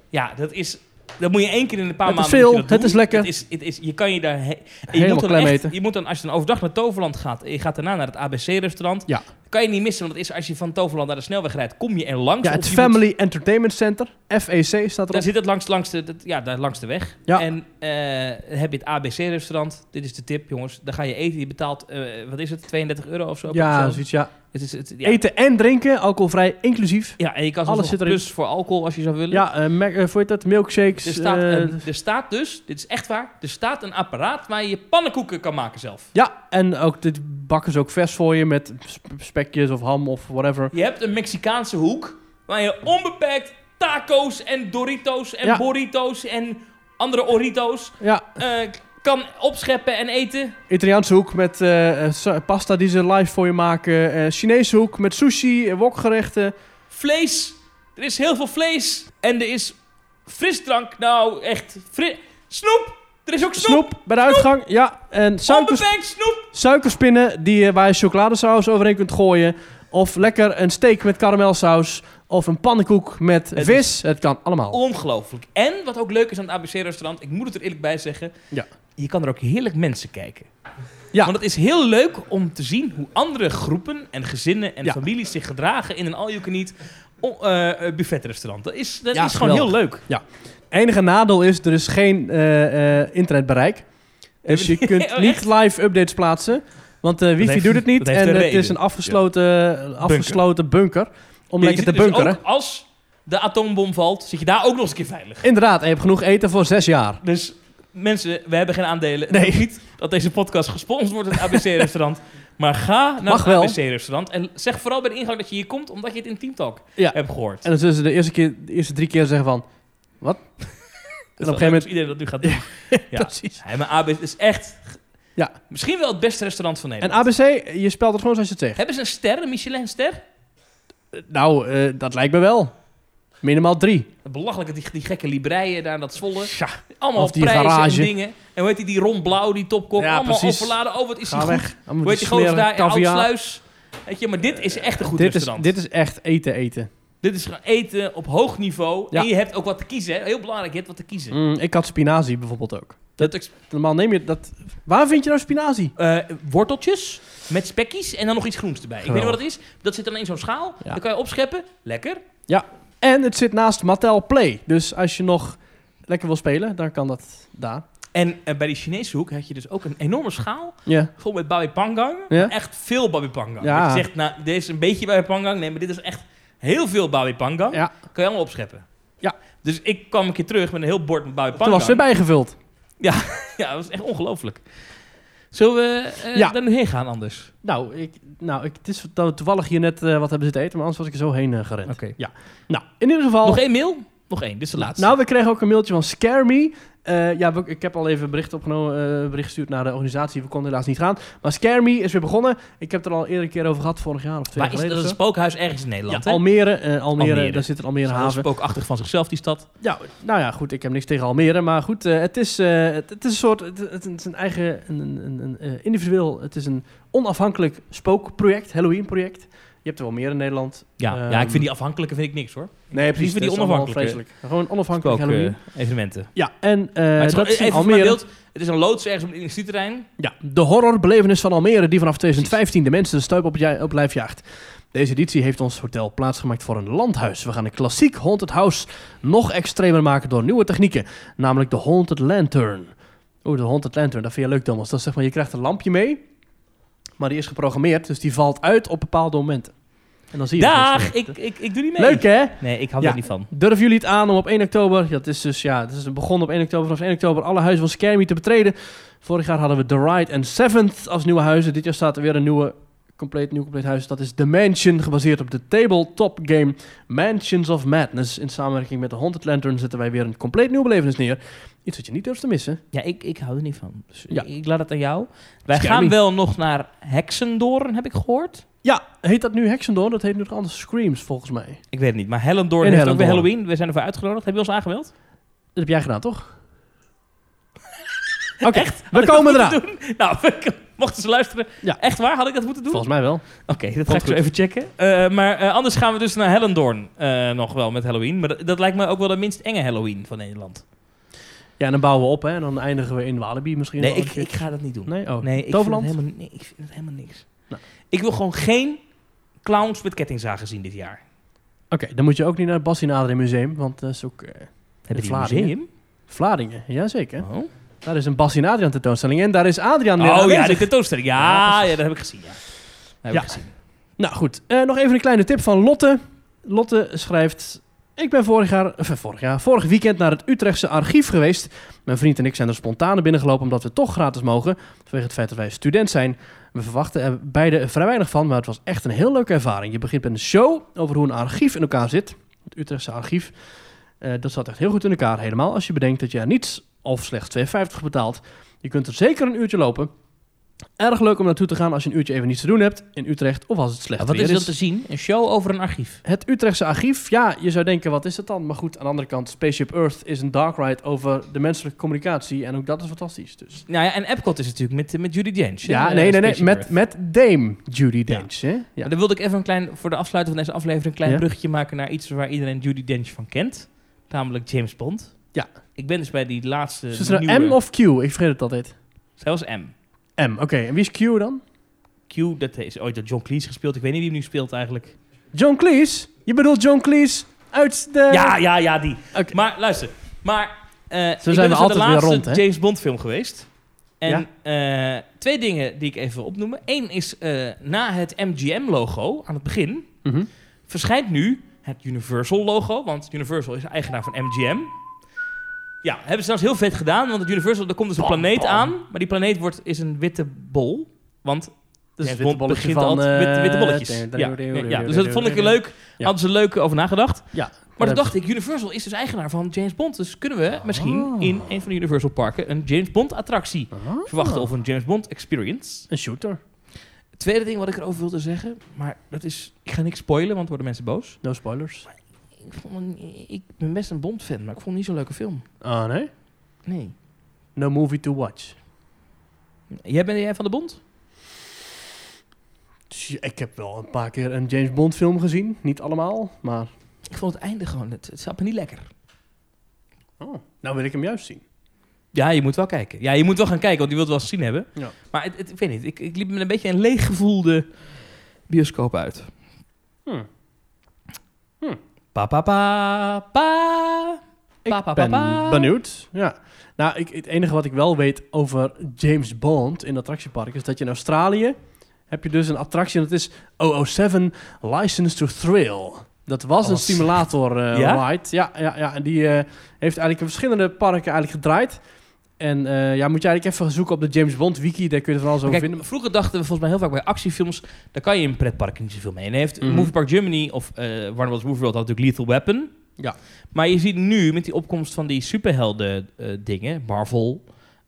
Ja. dat is... Dat moet je één keer in een paar
Het is
maanden moet je
veel,
dat doen.
het is lekker.
Het is, het is, je kan je daar... he- en je
Helemaal
moet dan
klein
echt-
meten.
Je moet dan, als je dan overdag naar Toverland gaat... en je gaat daarna naar het ABC-restaurant...
Ja.
kan je niet missen. Want het is, als je van Toverland naar de snelweg rijdt... kom je er langs.
Ja,
of
het
je moet-
Family Entertainment Center, FEC staat
Daar
erop.
zit het langs, langs, de, dat- ja, daar langs de weg.
Ja.
En eh, dan heb je het ABC-restaurant. Dit is de tip, jongens. Dan ga je eten. Je betaalt, eh, wat is het, 32 euro of zo?
Ja,
Zo.
zoiets, ja.
het is, het, ja.
Eten en drinken, alcoholvrij inclusief.
Ja, en je kan
Alles
alles
zit
zit
erin.
plus voor alcohol als je zou willen.
Ja, eh Mac, eh, hoe heet dat? Milkshakes.
Er staat,
eh,
een- er staat dus, dit is echt waar, er staat een apparaat waar je je pannenkoeken kan maken zelf.
ja, en ook dit bakken ze ook vers voor je met sp- spekjes of ham of whatever.
Je hebt een Mexicaanse hoek waar je onbeperkt taco's en Doritos en
Ja.
burritos en andere Orito's
Ja,
eh, kan opscheppen en eten.
Italiaanse hoek met eh, eh, sa- pasta die ze live voor je maken. eh, Chinese hoek met sushi, eh, wokgerechten.
Vlees, er is heel veel vlees en er is frisdrank. Nou, echt, fri- snoep, er is ook snoep.
Snoep bij de uitgang. Ja, en suikers,
Onbeperkt snoep.
suikerspinnen die, eh, waar je chocoladesaus overheen kunt gooien. Of lekker een steak met karamelsaus. Of een pannenkoek met
Het
vis. Het kan allemaal.
Ongelooflijk. En wat ook leuk is aan het ABC-restaurant, ik moet het er eerlijk bij zeggen.
Ja.
Je kan er ook heerlijk mensen kijken.
Ja.
Want het is heel leuk om te zien hoe andere groepen en gezinnen en
Ja.
families zich gedragen in een all-you-can-eat o- eh, eh, buffetrestaurant. Dat is, dat
Ja,
is gewoon heel
geweldig.
leuk.
enige nadeel is, er is geen eh, eh, internetbereik. Dus je kunt
Oh,
niet live updates plaatsen. Want eh wifi
heeft-
doet het niet.
dat heeft
En
een
het
reden.
is een afgesloten, afgesloten bunker. Om
Je
lekker te
zit dus
bunkeren.
ook als de atoombom valt, zit je daar ook nog eens een keer veilig.
Inderdaad, en je hebt genoeg eten voor zes jaar.
Dus mensen, we hebben geen aandelen.
Nee.
Nee. niet dat deze podcast gesponsord wordt door het ABC-restaurant. Maar ga naar
Mag
het
wel.
ABC-restaurant. En zeg vooral bij de ingang dat je hier komt, omdat je het in Team Talk
Ja.
hebt gehoord.
En dan zullen ze de eerste, keer, de eerste drie keer zeggen van... Wat?
Dus
En op een gegeven moment...
iedereen dat nu gaat doen. Ja.
Precies.
Nee, maar ABC is echt...
Ja.
Misschien wel het beste restaurant van
En
Nederland.
ABC, je spelt het gewoon zoals je het zegt.
Hebben ze een ster, een Michelin-ster?
Nou, eh, dat lijkt me wel. Minimaal drie.
Belachelijk, dat die, die gekke libreien daar in dat Zwolle.
Tja,
Allemaal
of die
prijzen
garage.
en dingen. En hoe heet die, die Ron Blauw, die topkok.
Ja,
allemaal
precies.
overladen. Oh, wat is die
ga
goed.
weg. Allemaal
Hoe heet die gozer
smerige
daar?
caviar.
Oudsluis. Weet je, maar dit is echt een goed
Dit is,
restaurant.
dit is echt eten eten.
Dit is gewoon eten op hoog niveau.
Ja.
En je hebt ook wat te kiezen. hè. Heel belangrijk, je hebt wat te kiezen.
Mm, ik had spinazie bijvoorbeeld ook.
Dat ex-
Normaal neem je dat. Waar vind je nou spinazie?
eh, worteltjes met spekkies en dan nog iets groens erbij. Ik weet niet wat
Geweldig.
dat is. Dat zit dan in zo'n schaal.
Ja.
Dan kan je opscheppen. Lekker.
En het zit naast Mattel Play. Dus als je nog lekker wil spelen, dan kan dat daar.
En eh, bij die Chinese hoek had je dus ook een enorme schaal.
Ja.
Vol met babi pangang.
Ja.
Echt veel babi pangang.
Ja.
Dat Je zegt, nou, dit is een beetje babi pangang. Nee, maar dit is echt heel veel babi pangang.
Ja.
Kan je allemaal opscheppen.
Ja.
Dus ik kwam een keer terug met een heel bord met babi
Toen was
pangang.
het weer bijgevuld.
Ja, dat was echt ongelooflijk. Zullen we eh,
Ja.
daar nu heen gaan anders?
Nou, ik, nou ik, het is dat we toevallig hier net eh, wat hebben zitten eten, maar anders was ik er zo heen eh, gerend.
Oké.
Ja. Nou, in ieder geval...
Nog één mail? Nog één, dit is de laatste.
Nou, we kregen ook een mailtje van Scare Me. Eh, ja, we- ik heb al even een bericht, opgenomen, eh, bericht gestuurd naar de organisatie. We konden helaas niet gaan. Maar Scare Me is weer begonnen. Ik heb het er al eerder een keer over gehad, vorig jaar of
Waar
twee jaar
is, dat is
geleden.
een
of zo.
spookhuis ergens in Nederland,
ja,
hè?
Almere, eh, Almere,
Almere. dus
daar zit een
Ze
Almere
zijn wel
haven.
Spookachtig van zichzelf, die stad.
Ja, nou ja, goed, ik heb niks tegen Almere. Maar goed, eh, het, is, eh, het, het is een soort, het, het is een eigen, een, een, een- een, eh, individueel, het is een onafhankelijk spookproject, Halloween project. Je hebt er wel meer in Nederland.
Ja,
Ehm,
ja ik vind die afhankelijke vind ik niks, hoor.
Nee, precies.
liever die
dat is allemaal
onafhankelijke.
vreselijk. Gewoon onafhankelijk Halloween.
Spook, eh, evenementen.
Ja, en eh,
Maar het is
dat
gewoon-
is in
even voor mijn
Almere.
beeld. Het is een loods ergens op een industrieterrein.
Ja, de horrorbelevenis van Almere die vanaf 2015 de mensen de stuip op, het jij- op lijf jaagt. Deze editie heeft ons hotel plaatsgemaakt voor een landhuis. We gaan een klassiek Haunted House nog extremer maken door nieuwe technieken. Namelijk de Haunted Lantern. Oeh, de Haunted Lantern, dat vind je leuk Thomas. Dat is zeg maar, je krijgt een lampje mee, maar die is geprogrammeerd. Dus die valt uit op bepaalde momenten. En dan zie je... dus
Dag, ik, ik, ik doe niet mee.
Leuk hè?
Nee, ik hou
Ja.
daar niet van.
Durven jullie het aan om op 1 oktober, dat is dus ja, het is begonnen op 1 oktober, vanaf 1 oktober alle huizen van Skermie te betreden. Vorig jaar hadden we The Ride en Seventh als nieuwe huizen. Dit jaar staat er weer een nieuwe, compleet, nieuw compleet huis. Dat is The Mansion, gebaseerd op de tabletop game Mansions of Madness. In samenwerking met de Haunted Lantern zetten wij weer een compleet nieuw belevenis neer. Iets wat je niet durft te missen.
Ja, ik, ik hou er niet van. Dus
Ja.
ik, ik laat het aan jou. Wij
Scary.
gaan wel nog naar Hexendoorn, heb ik gehoord.
Ja, heet dat nu Hexendoorn? Dat heet nu nog anders Screams volgens mij. Dat
Ik weet het niet, maar Hellendoorn
In
heeft ook weer
Hellendoorn.
Halloween. We zijn ervoor uitgenodigd. Heb je ons aangemeld?
heb jij gedaan toch? Oké, we komen eraan.
Nou, mochten ze luisteren.
Ja.
Echt waar? Had ik dat moeten doen?
Volgens mij wel.
Oké, dat ga ik zo
goed.
even checken. Eh, maar eh, anders gaan we dus naar Hellendoorn eh, nog wel met Halloween. Maar dat, dat lijkt me ook wel de minst enge Halloween van Nederland.
Ja, en dan bouwen we op hè, en dan eindigen we in Walibi misschien.
Nee,
wel een
ik,
keer.
ik ga dat niet doen.
Nee,
Nee,
oh.
ik vind, het
Toverland?
helemaal, nee, ik vind het helemaal niks.
Nou.
Ik wil gewoon geen clowns met kettingzagen zien dit jaar.
Oké, dan moet je ook niet naar het Bassinadre Museum, want dat is ook eh
Heb je een
Vlaardingen?
museum?
Vlaardingen. Jazeker.
Oh,
Daar is een Bassin Adriaan tentoonstelling en daar is Adriaan weer
oh ja,
aanwezig.
de tentoonstelling.
Ja,
Ja, ja,
precies.
dat heb ik gezien. Ja. Dat heb
Ja.
ik gezien.
Nou goed, eh, nog even een kleine tip van Lotte. Lotte schrijft... Ik ben vorig jaar, of, eh, vorig jaar, vorig weekend naar het Utrechtse archief geweest. Mijn vriend en ik zijn er spontaan naar binnengelopen omdat we toch gratis mogen. Vanwege het feit dat wij student zijn. We verwachten er beide vrij weinig van, maar het was echt een heel leuke ervaring. Je begint met een show over hoe een archief in elkaar zit. Het Utrechtse archief. Eh, dat zat echt heel goed in elkaar helemaal. Als je bedenkt dat je er niets of slechts 2,50 betaalt. Je kunt er zeker een uurtje lopen. Erg leuk om naartoe te gaan als je een uurtje even niets te doen hebt in Utrecht of als het slecht
Ja, wat
weer
is dat te zien? Een show over een archief.
het Utrechtse archief, ja, je zou denken, wat is dat dan? Maar goed, aan de andere kant, Spaceship Earth is een dark ride over de menselijke communicatie. En ook dat is fantastisch. Dus.
Nou ja, en Epcot is natuurlijk met, eh, met Judy Dench. hè,
Ja,
eh,
nee, nee, nee.
Spaceship Earth.
Met, met Dame Judy Dench. hè? Ja.
Maar dan wilde ik even een klein, voor de afsluiting van deze aflevering, een klein
Ja.
bruggetje maken naar iets waar iedereen Judy Dench van kent. Namelijk James Bond.
Ja.
Ik ben dus bij die laatste
Is het nou
nieuwe-
M of Q? Ik vergeet het altijd.
Zij was M.
M, oké. En wie is Q dan?
Q, dat is ooit door John Cleese gespeeld. Ik weet niet wie hem nu speelt eigenlijk.
John Cleese? Je bedoelt John Cleese uit de...
Ja, ja, ja, die.
Eh. Oké.
Maar luister, maar eh ik
we
ben dus naar
altijd
de
weer
laatste
rond, hè?
James Bond film geweest. En eh, twee dingen die ik even wil opnoemen. Eén is eh, na het MGM-logo aan het begin
Mhm.
verschijnt nu het Universal-logo, want Universal is eigenaar van MGM. Ja, hebben ze trouwens heel vet gedaan, want het Universal, er komt dus een
Bam,
planeet
bam.
aan, maar die planeet wordt, is een witte bol, want dus
Ja,
het
witte
Bond
bolletje
begint
van,
altijd met
eh,
witte bolletjes.
ding, ding,
Ja,
ding,
nee,
ding,
ja,
ding,
dus dat
ding,
vond ik
ding,
leuk,
Ja.
hadden ze leuk over nagedacht.
Ja.
Maar toen
dat
dacht ik, Universal is dus eigenaar van James Bond. Dus kunnen we misschien in een van de Universal parken een James Bond attractie
Ah.
verwachten. Of een James Bond experience.
Een shooter.
Het tweede ding wat ik erover wilde zeggen, maar dat is... Ik ga niks spoilen, want worden mensen boos.
No spoilers.
Ik, vond, ik ben best een Bond-fan, maar ik vond het niet zo'n leuke film.
Ah, nee?
Nee.
No movie to watch.
Jij bent jij van de Bond?
Dus ja, Ik heb wel een paar keer een James Bond film gezien. Niet allemaal, maar...
Ik vond het einde gewoon... Het, het zat me niet lekker.
Oh, nou wil ik hem juist zien.
Ja, je moet wel kijken. Ja, je moet wel gaan kijken, want je wilt het wel gezien hebben.
Ja.
Maar het, het- ik weet niet, ik, ik liep met een beetje een leeggevoelde bioscoop uit.
Hmm.
Pa, pa, pa, pa.
Ik
Pa, pa, pa,
ben
pa.
benieuwd. Ja. Nou, ik, het enige wat ik wel weet over James Bond in attractieparken is dat je in Australië heb je dus een attractie en dat is 007 License to Thrill. Dat was een
Als-
simulator eh
Ja?
ride. Ja, ja, ja. En die eh, heeft eigenlijk in verschillende parken eigenlijk gedraaid. En eh, ja, moet je eigenlijk even zoeken op de James Bond wiki. Daar kun je van alles over
Kijk,
vinden.
vroeger dachten we volgens mij heel vaak bij actiefilms, daar kan je in pretparken niet zoveel mee. En hij heeft
Mhm.
Movie Park Germany of eh Warner Bros. Movie World had natuurlijk Lethal Weapon.
Ja.
Maar je ziet nu met die opkomst van die superhelden eh, dingen, Marvel,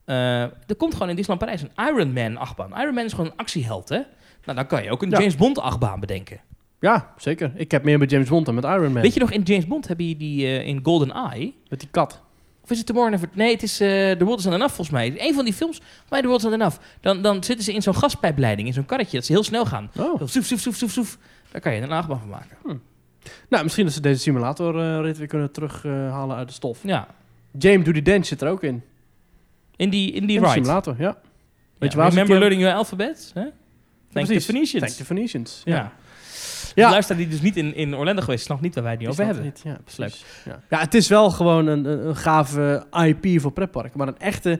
eh, er komt gewoon in Disneyland Parijs een Iron Man achtbaan. Iron Man is gewoon een actieheld, hè? Nou, dan kan je ook een
Ja.
James Bond achtbaan bedenken.
Ja, zeker. Ik heb meer met James Bond dan met Iron Man.
Weet je nog, in James Bond heb je die eh, in Golden Eye.
Met die kat.
Of is het Tomorrow Never... Nee, het is eh The World Is Not Enough volgens mij. Een van die films bij The World Is Not Enough. Dan, dan zitten ze in zo'n gaspijpleiding, in zo'n karretje, dat ze heel snel gaan.
Oh.
Zo, Soef, soef, soef, soef, soef. Daar kan je een achtbaan van maken.
Nou, misschien dat ze deze simulatorrit weer kunnen terughalen uit de stof.
Ja,
James Doody Dance zit er ook in.
in die, in die
In
ride.
de
Ja,
simulator, ja. Weet je waar ze
remember
het-
learning your alphabet? Hè? Thank the
precies.
Phoenicians.
Thank the Venetians.
Ja.
Ja.
De luisteraar die dus niet in, in Orlando geweest is, snapt niet waar wij het nu
Die
over
snap
hebben.
het niet, Ja, precies. Ja. ja, het is wel gewoon een, een, een gave IP voor pretparken. Maar een echte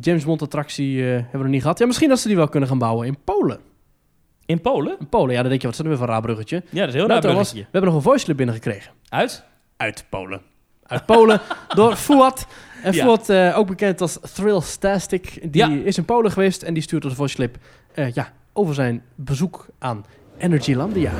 James Bond attractie eh, hebben we nog niet gehad. Ja, misschien dat ze die wel kunnen gaan bouwen in Polen.
In Polen?
In Polen, ja, dan denk je, wat is dat nu weer voor een raar bruggetje?
Ja, dat is heel
Nou,
raar
Thomas,
bruggetje.
we hebben nog een voice clip binnengekregen.
Uit?
Uit Polen. Uit Polen, door Fuat. En
Ja.
Fuat, eh, ook bekend als Thrillstastic, die
Ja.
is in Polen geweest en die stuurt ons een voice clip eh, ja, over zijn bezoek aan Energylandia.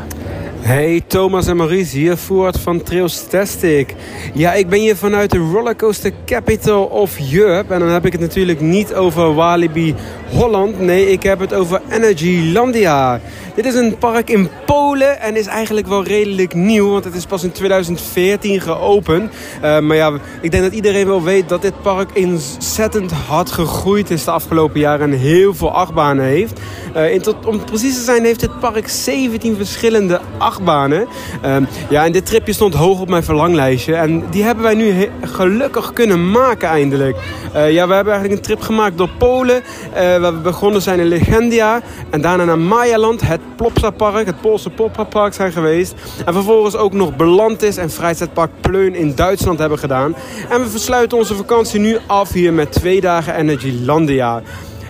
Hey Thomas en Maurice, hier Voort van Trailstastic. Ja, ik ben hier vanuit de Rollercoaster Capital of Europe. En dan heb ik het natuurlijk niet over Walibi Holland. Nee, ik heb het over Energylandia. Dit is een park in Polen en is eigenlijk wel redelijk nieuw. Want het is pas in 2014 geopend. Eh, maar ja, ik denk dat iedereen wel weet dat dit park ontzettend hard gegroeid is de afgelopen jaren. En heel veel achtbanen heeft. Eh, in tot, om precies te zijn heeft dit park 17 verschillende achtbanen. Ehm, ja, en dit tripje stond hoog op mijn verlanglijstje. En die hebben wij nu he- gelukkig kunnen maken eindelijk. Eh, ja, we hebben eigenlijk een trip gemaakt door Polen. eh, waar we begonnen zijn in Legendia. En daarna naar Mayaland, het Plopsa-park, het Poolse Poppa-park zijn geweest. En vervolgens ook nog Belantis en Vrijstaatpark Pleun in Duitsland hebben gedaan. En we versluiten onze vakantie nu af hier met twee dagen Energylandia.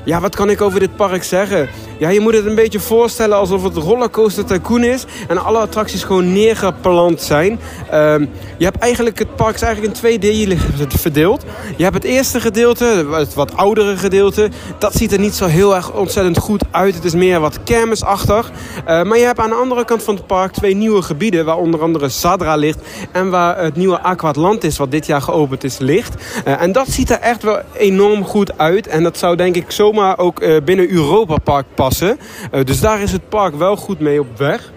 Ja, wat kan ik over dit park zeggen? Ja, je moet het een beetje voorstellen alsof het rollercoaster tycoon is en alle attracties gewoon neergeplant zijn. Ehm, je hebt eigenlijk het park is eigenlijk in twee delen verdeeld. Je hebt het eerste gedeelte, het wat oudere gedeelte. Dat ziet er niet zo heel erg ontzettend goed uit. Het is meer wat kermisachtig. Eh, maar je hebt aan de andere kant van het park twee nieuwe gebieden, waar onder andere Sadra ligt en waar het nieuwe Aquatlantis, wat dit jaar geopend is, ligt. Eh, en dat ziet er echt wel enorm goed uit. En dat zou denk ik zomaar ook eh, binnen Europa Park passen. Eh, dus daar is het park wel goed mee op weg.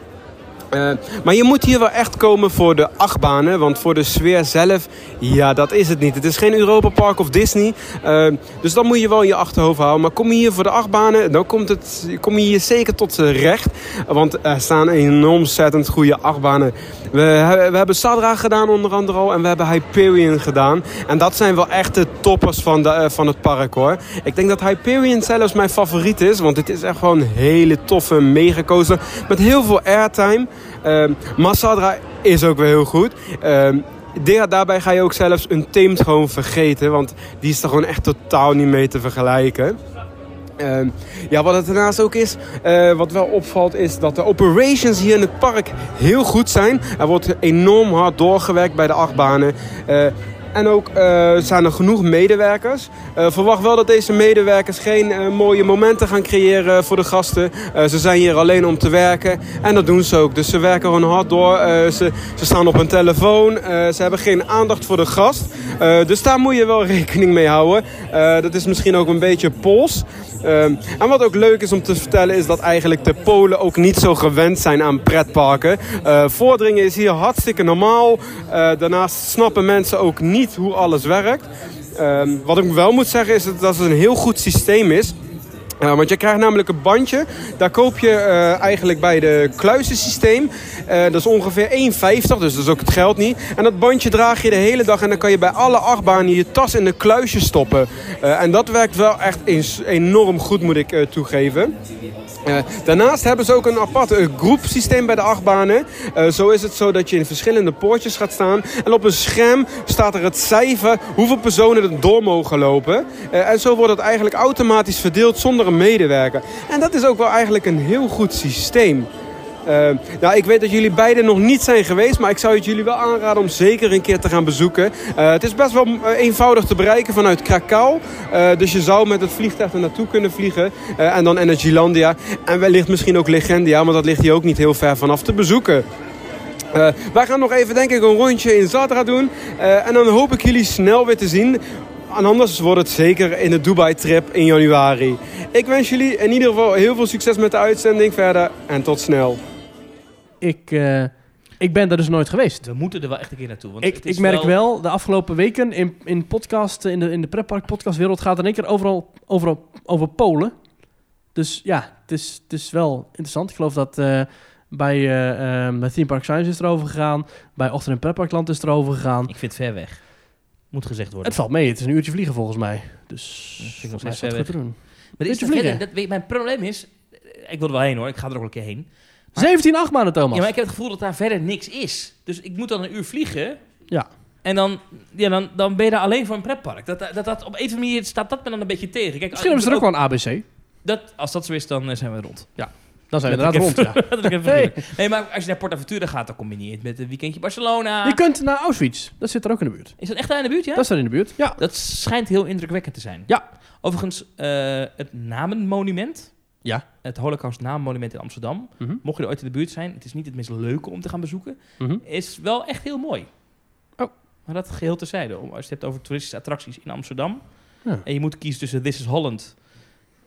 Eh, maar je moet hier wel echt komen voor de achtbanen. Want voor de sfeer zelf, ja, dat is het niet. Het is geen Europa Park of Disney. eh, dus dat moet je wel in je achterhoofd houden. Maar kom je hier voor de achtbanen, dan komt het, kom je hier zeker tot z'n recht. Want er staan enorm ontzettend goede achtbanen. We, he- we hebben Sadra gedaan onder andere al. En we hebben Hyperion gedaan. En dat zijn wel echt de toppers van, de, eh, van het park hoor. Ik denk dat Hyperion zelfs mijn favoriet is. Want dit is echt gewoon een hele toffe megacoaster. Met heel veel airtime. Ehm Massadra is ook wel heel goed. Ehm, da- daarbij ga je ook zelfs een Theemt gewoon vergeten. Want die is er gewoon echt totaal niet mee te vergelijken. Ehm, ja, wat het daarnaast ook is, eh, wat wel opvalt, is dat de operations hier in het park heel goed zijn. Er wordt enorm hard doorgewerkt bij de achtbanen. Eh, en ook eh, zijn er genoeg medewerkers. Eh, verwacht wel dat deze medewerkers geen eh, mooie momenten gaan creëren voor de gasten. Eh, ze zijn hier alleen om te werken en dat doen ze ook. Dus ze werken gewoon hard door. Eh, ze, ze staan op hun telefoon. Eh, ze hebben geen aandacht voor de gast. Eh, dus daar moet je wel rekening mee houden. Eh, dat is misschien ook een beetje Pools. Ehm, en wat ook leuk is om te vertellen is dat eigenlijk de Polen ook niet zo gewend zijn aan pretparken. Eh, voordringen is hier hartstikke normaal. Eh, daarnaast snappen mensen ook niet hoe alles werkt. Ehm, wat ik wel moet zeggen is dat het een heel goed systeem is. Eh, want je krijgt namelijk een bandje. Daar koop je eh, eigenlijk bij de kluizensysteem. Eh, dat is ongeveer 1,50, dus dat is ook het geld niet. En dat bandje draag je de hele dag. En dan kan je bij alle achtbanen je tas in een kluisje stoppen. Eh, en dat werkt wel echt eens enorm goed, moet ik eh, toegeven. Eh, daarnaast hebben ze ook een apart eh, groepsysteem bij de achtbanen. Eh, zo is het zo dat je in verschillende poortjes gaat staan. En op een scherm staat er het cijfer hoeveel personen er door mogen lopen. Eh, en zo wordt het eigenlijk automatisch verdeeld zonder een medewerker. En dat is ook wel eigenlijk een heel goed systeem. Eh, nou, ik weet dat jullie beiden nog niet zijn geweest, maar ik zou het jullie wel aanraden om zeker een keer te gaan bezoeken. Eh, het is best wel eh, eenvoudig te bereiken vanuit Krakau. Eh, dus je zou met het vliegtuig er naartoe kunnen vliegen. Eh, en dan Energylandia. En wellicht misschien ook Legendia, want dat ligt hier ook niet heel ver vanaf te bezoeken. Eh, wij gaan nog even, denk ik, een rondje in Zadra doen. Eh, en dan hoop ik jullie snel weer te zien. En anders wordt het zeker in de Dubai-trip in januari. Ik wens jullie in ieder geval heel veel succes met de uitzending verder. En tot snel.
Ik, eh, ik ben daar dus nooit geweest.
We moeten er wel echt een keer naartoe. Want
Ik,
het is
ik merk wel, de afgelopen weken in, in, podcast, in de, in de pretpark podcastwereld gaat er in één keer overal, overal over Polen. Dus ja, het is, het is wel interessant. Ik geloof dat eh, bij, eh eh, bij Theme Park Science is het erover gegaan. Bij Ochtend in Pretparkland is het erover gegaan.
Ik vind het ver weg. Moet gezegd worden.
Het valt mee, het is een uurtje vliegen volgens mij. Dus
Ja, vind ik nog
volgens mij
steeds
is dat
ver
goed te doen.
maar
Moet
is
je
er verder-
vliegen?
dat, weet je, mijn probleem is... Ik wil er wel heen hoor. Ik ga er ook wel een keer heen.
17 achtbanen, Thomas.
Ja, maar ik heb het gevoel dat daar verder niks is. Dus ik moet dan een uur vliegen.
Ja.
En dan, ja, dan, dan ben je daar alleen voor een pretpark. Dat, dat, dat, op een of andere manier staat dat me dan een beetje tegen. Kijk,
Misschien
als-
hebben ze er ook wel een ABC.
dat, Als dat zo is, dan eh, zijn we rond.
Dan zijn we
Dat
inderdaad rond, ja.
Dat ik even
Hey.
vergeten. Nee, maar als je naar Portaventura gaat, dan combineer je het met een weekendje Barcelona.
Je kunt naar Auschwitz. Dat zit er ook in de buurt.
Is dat echt daar in de buurt, ja?
Dat is daar in de buurt. Ja.
Dat schijnt heel indrukwekkend te zijn.
Ja.
Overigens, eh, het namenmonument.
Ja.
Het Holocaust namenmonument in Amsterdam.
Mhm.
Mocht je er ooit in de buurt zijn, het is niet het meest leuke om te gaan bezoeken.
Mhm.
Is wel echt heel mooi.
Oh.
Maar dat geheel terzijde. Om- Als je het hebt over toeristische attracties in Amsterdam.
Ja.
En je moet kiezen tussen This is Holland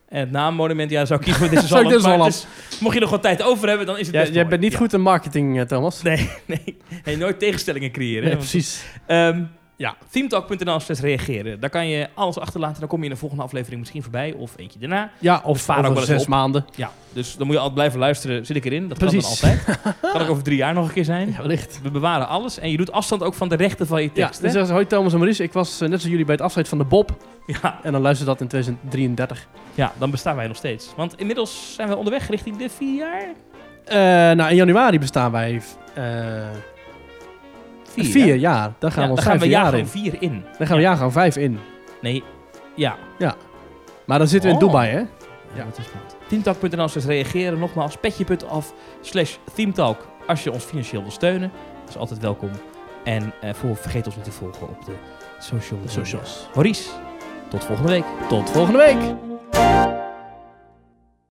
en het namenmonument. Ja, dan zou ik kiezen voor This is
Zou ik
Holland.
This is
maar het is- mocht je er gewoon tijd over hebben, dan is het
Jij,
best
jij
mooi.
bent
Ja.
niet goed in marketing, eh, Thomas.
Nee, nee. Hey, nooit tegenstellingen creëren. hè,
Nee,
want-
precies.
Ehm
Ja.
ja, themetalk.nl slash reageren. Daar kan je alles achterlaten. Dan kom je in de volgende aflevering misschien voorbij. Of eentje daarna.
Ja, of
vaak ook
over
wel eens
zes
op.
maanden.
Ja. Dus dan moet je altijd blijven luisteren. Zit ik erin? Dat
Precies.
kan dan altijd. kan ook over drie jaar nog een keer zijn.
Ja, wellicht.
We bewaren alles. En je doet afstand ook van de rechten van je
Ja, dus
tekst.
dan zeggen ze, hoi Thomas en Maurice, ik was eh, net zoals jullie bij het afscheid van de Bob.
hè? ja.
En dan luister dat in 2033.
ja, dan bestaan wij nog steeds. Want inmiddels zijn we onderweg richting de vier jaar.
Eh, nou, in januari bestaan wij eh, vier, jaar. Dan gaan
Ja,
we ons
dan gaan
vijfde
we
jaar
jagen
in.
vier in.
Dan gaan we jaar gewoon vijf in.
Nee, ja.
Maar dan zitten we in
Oh.
Dubai, hè?
Ja, dat is goed. Teamtalk.nl slash reageren. Nogmaals, petje.af slash teamtalk als je ons financieel wil steunen. Dat is altijd welkom. En eh, voor, vergeet ons niet te volgen op de social media.
Socials.
Maurice, tot volgende week.
Tot volgende week!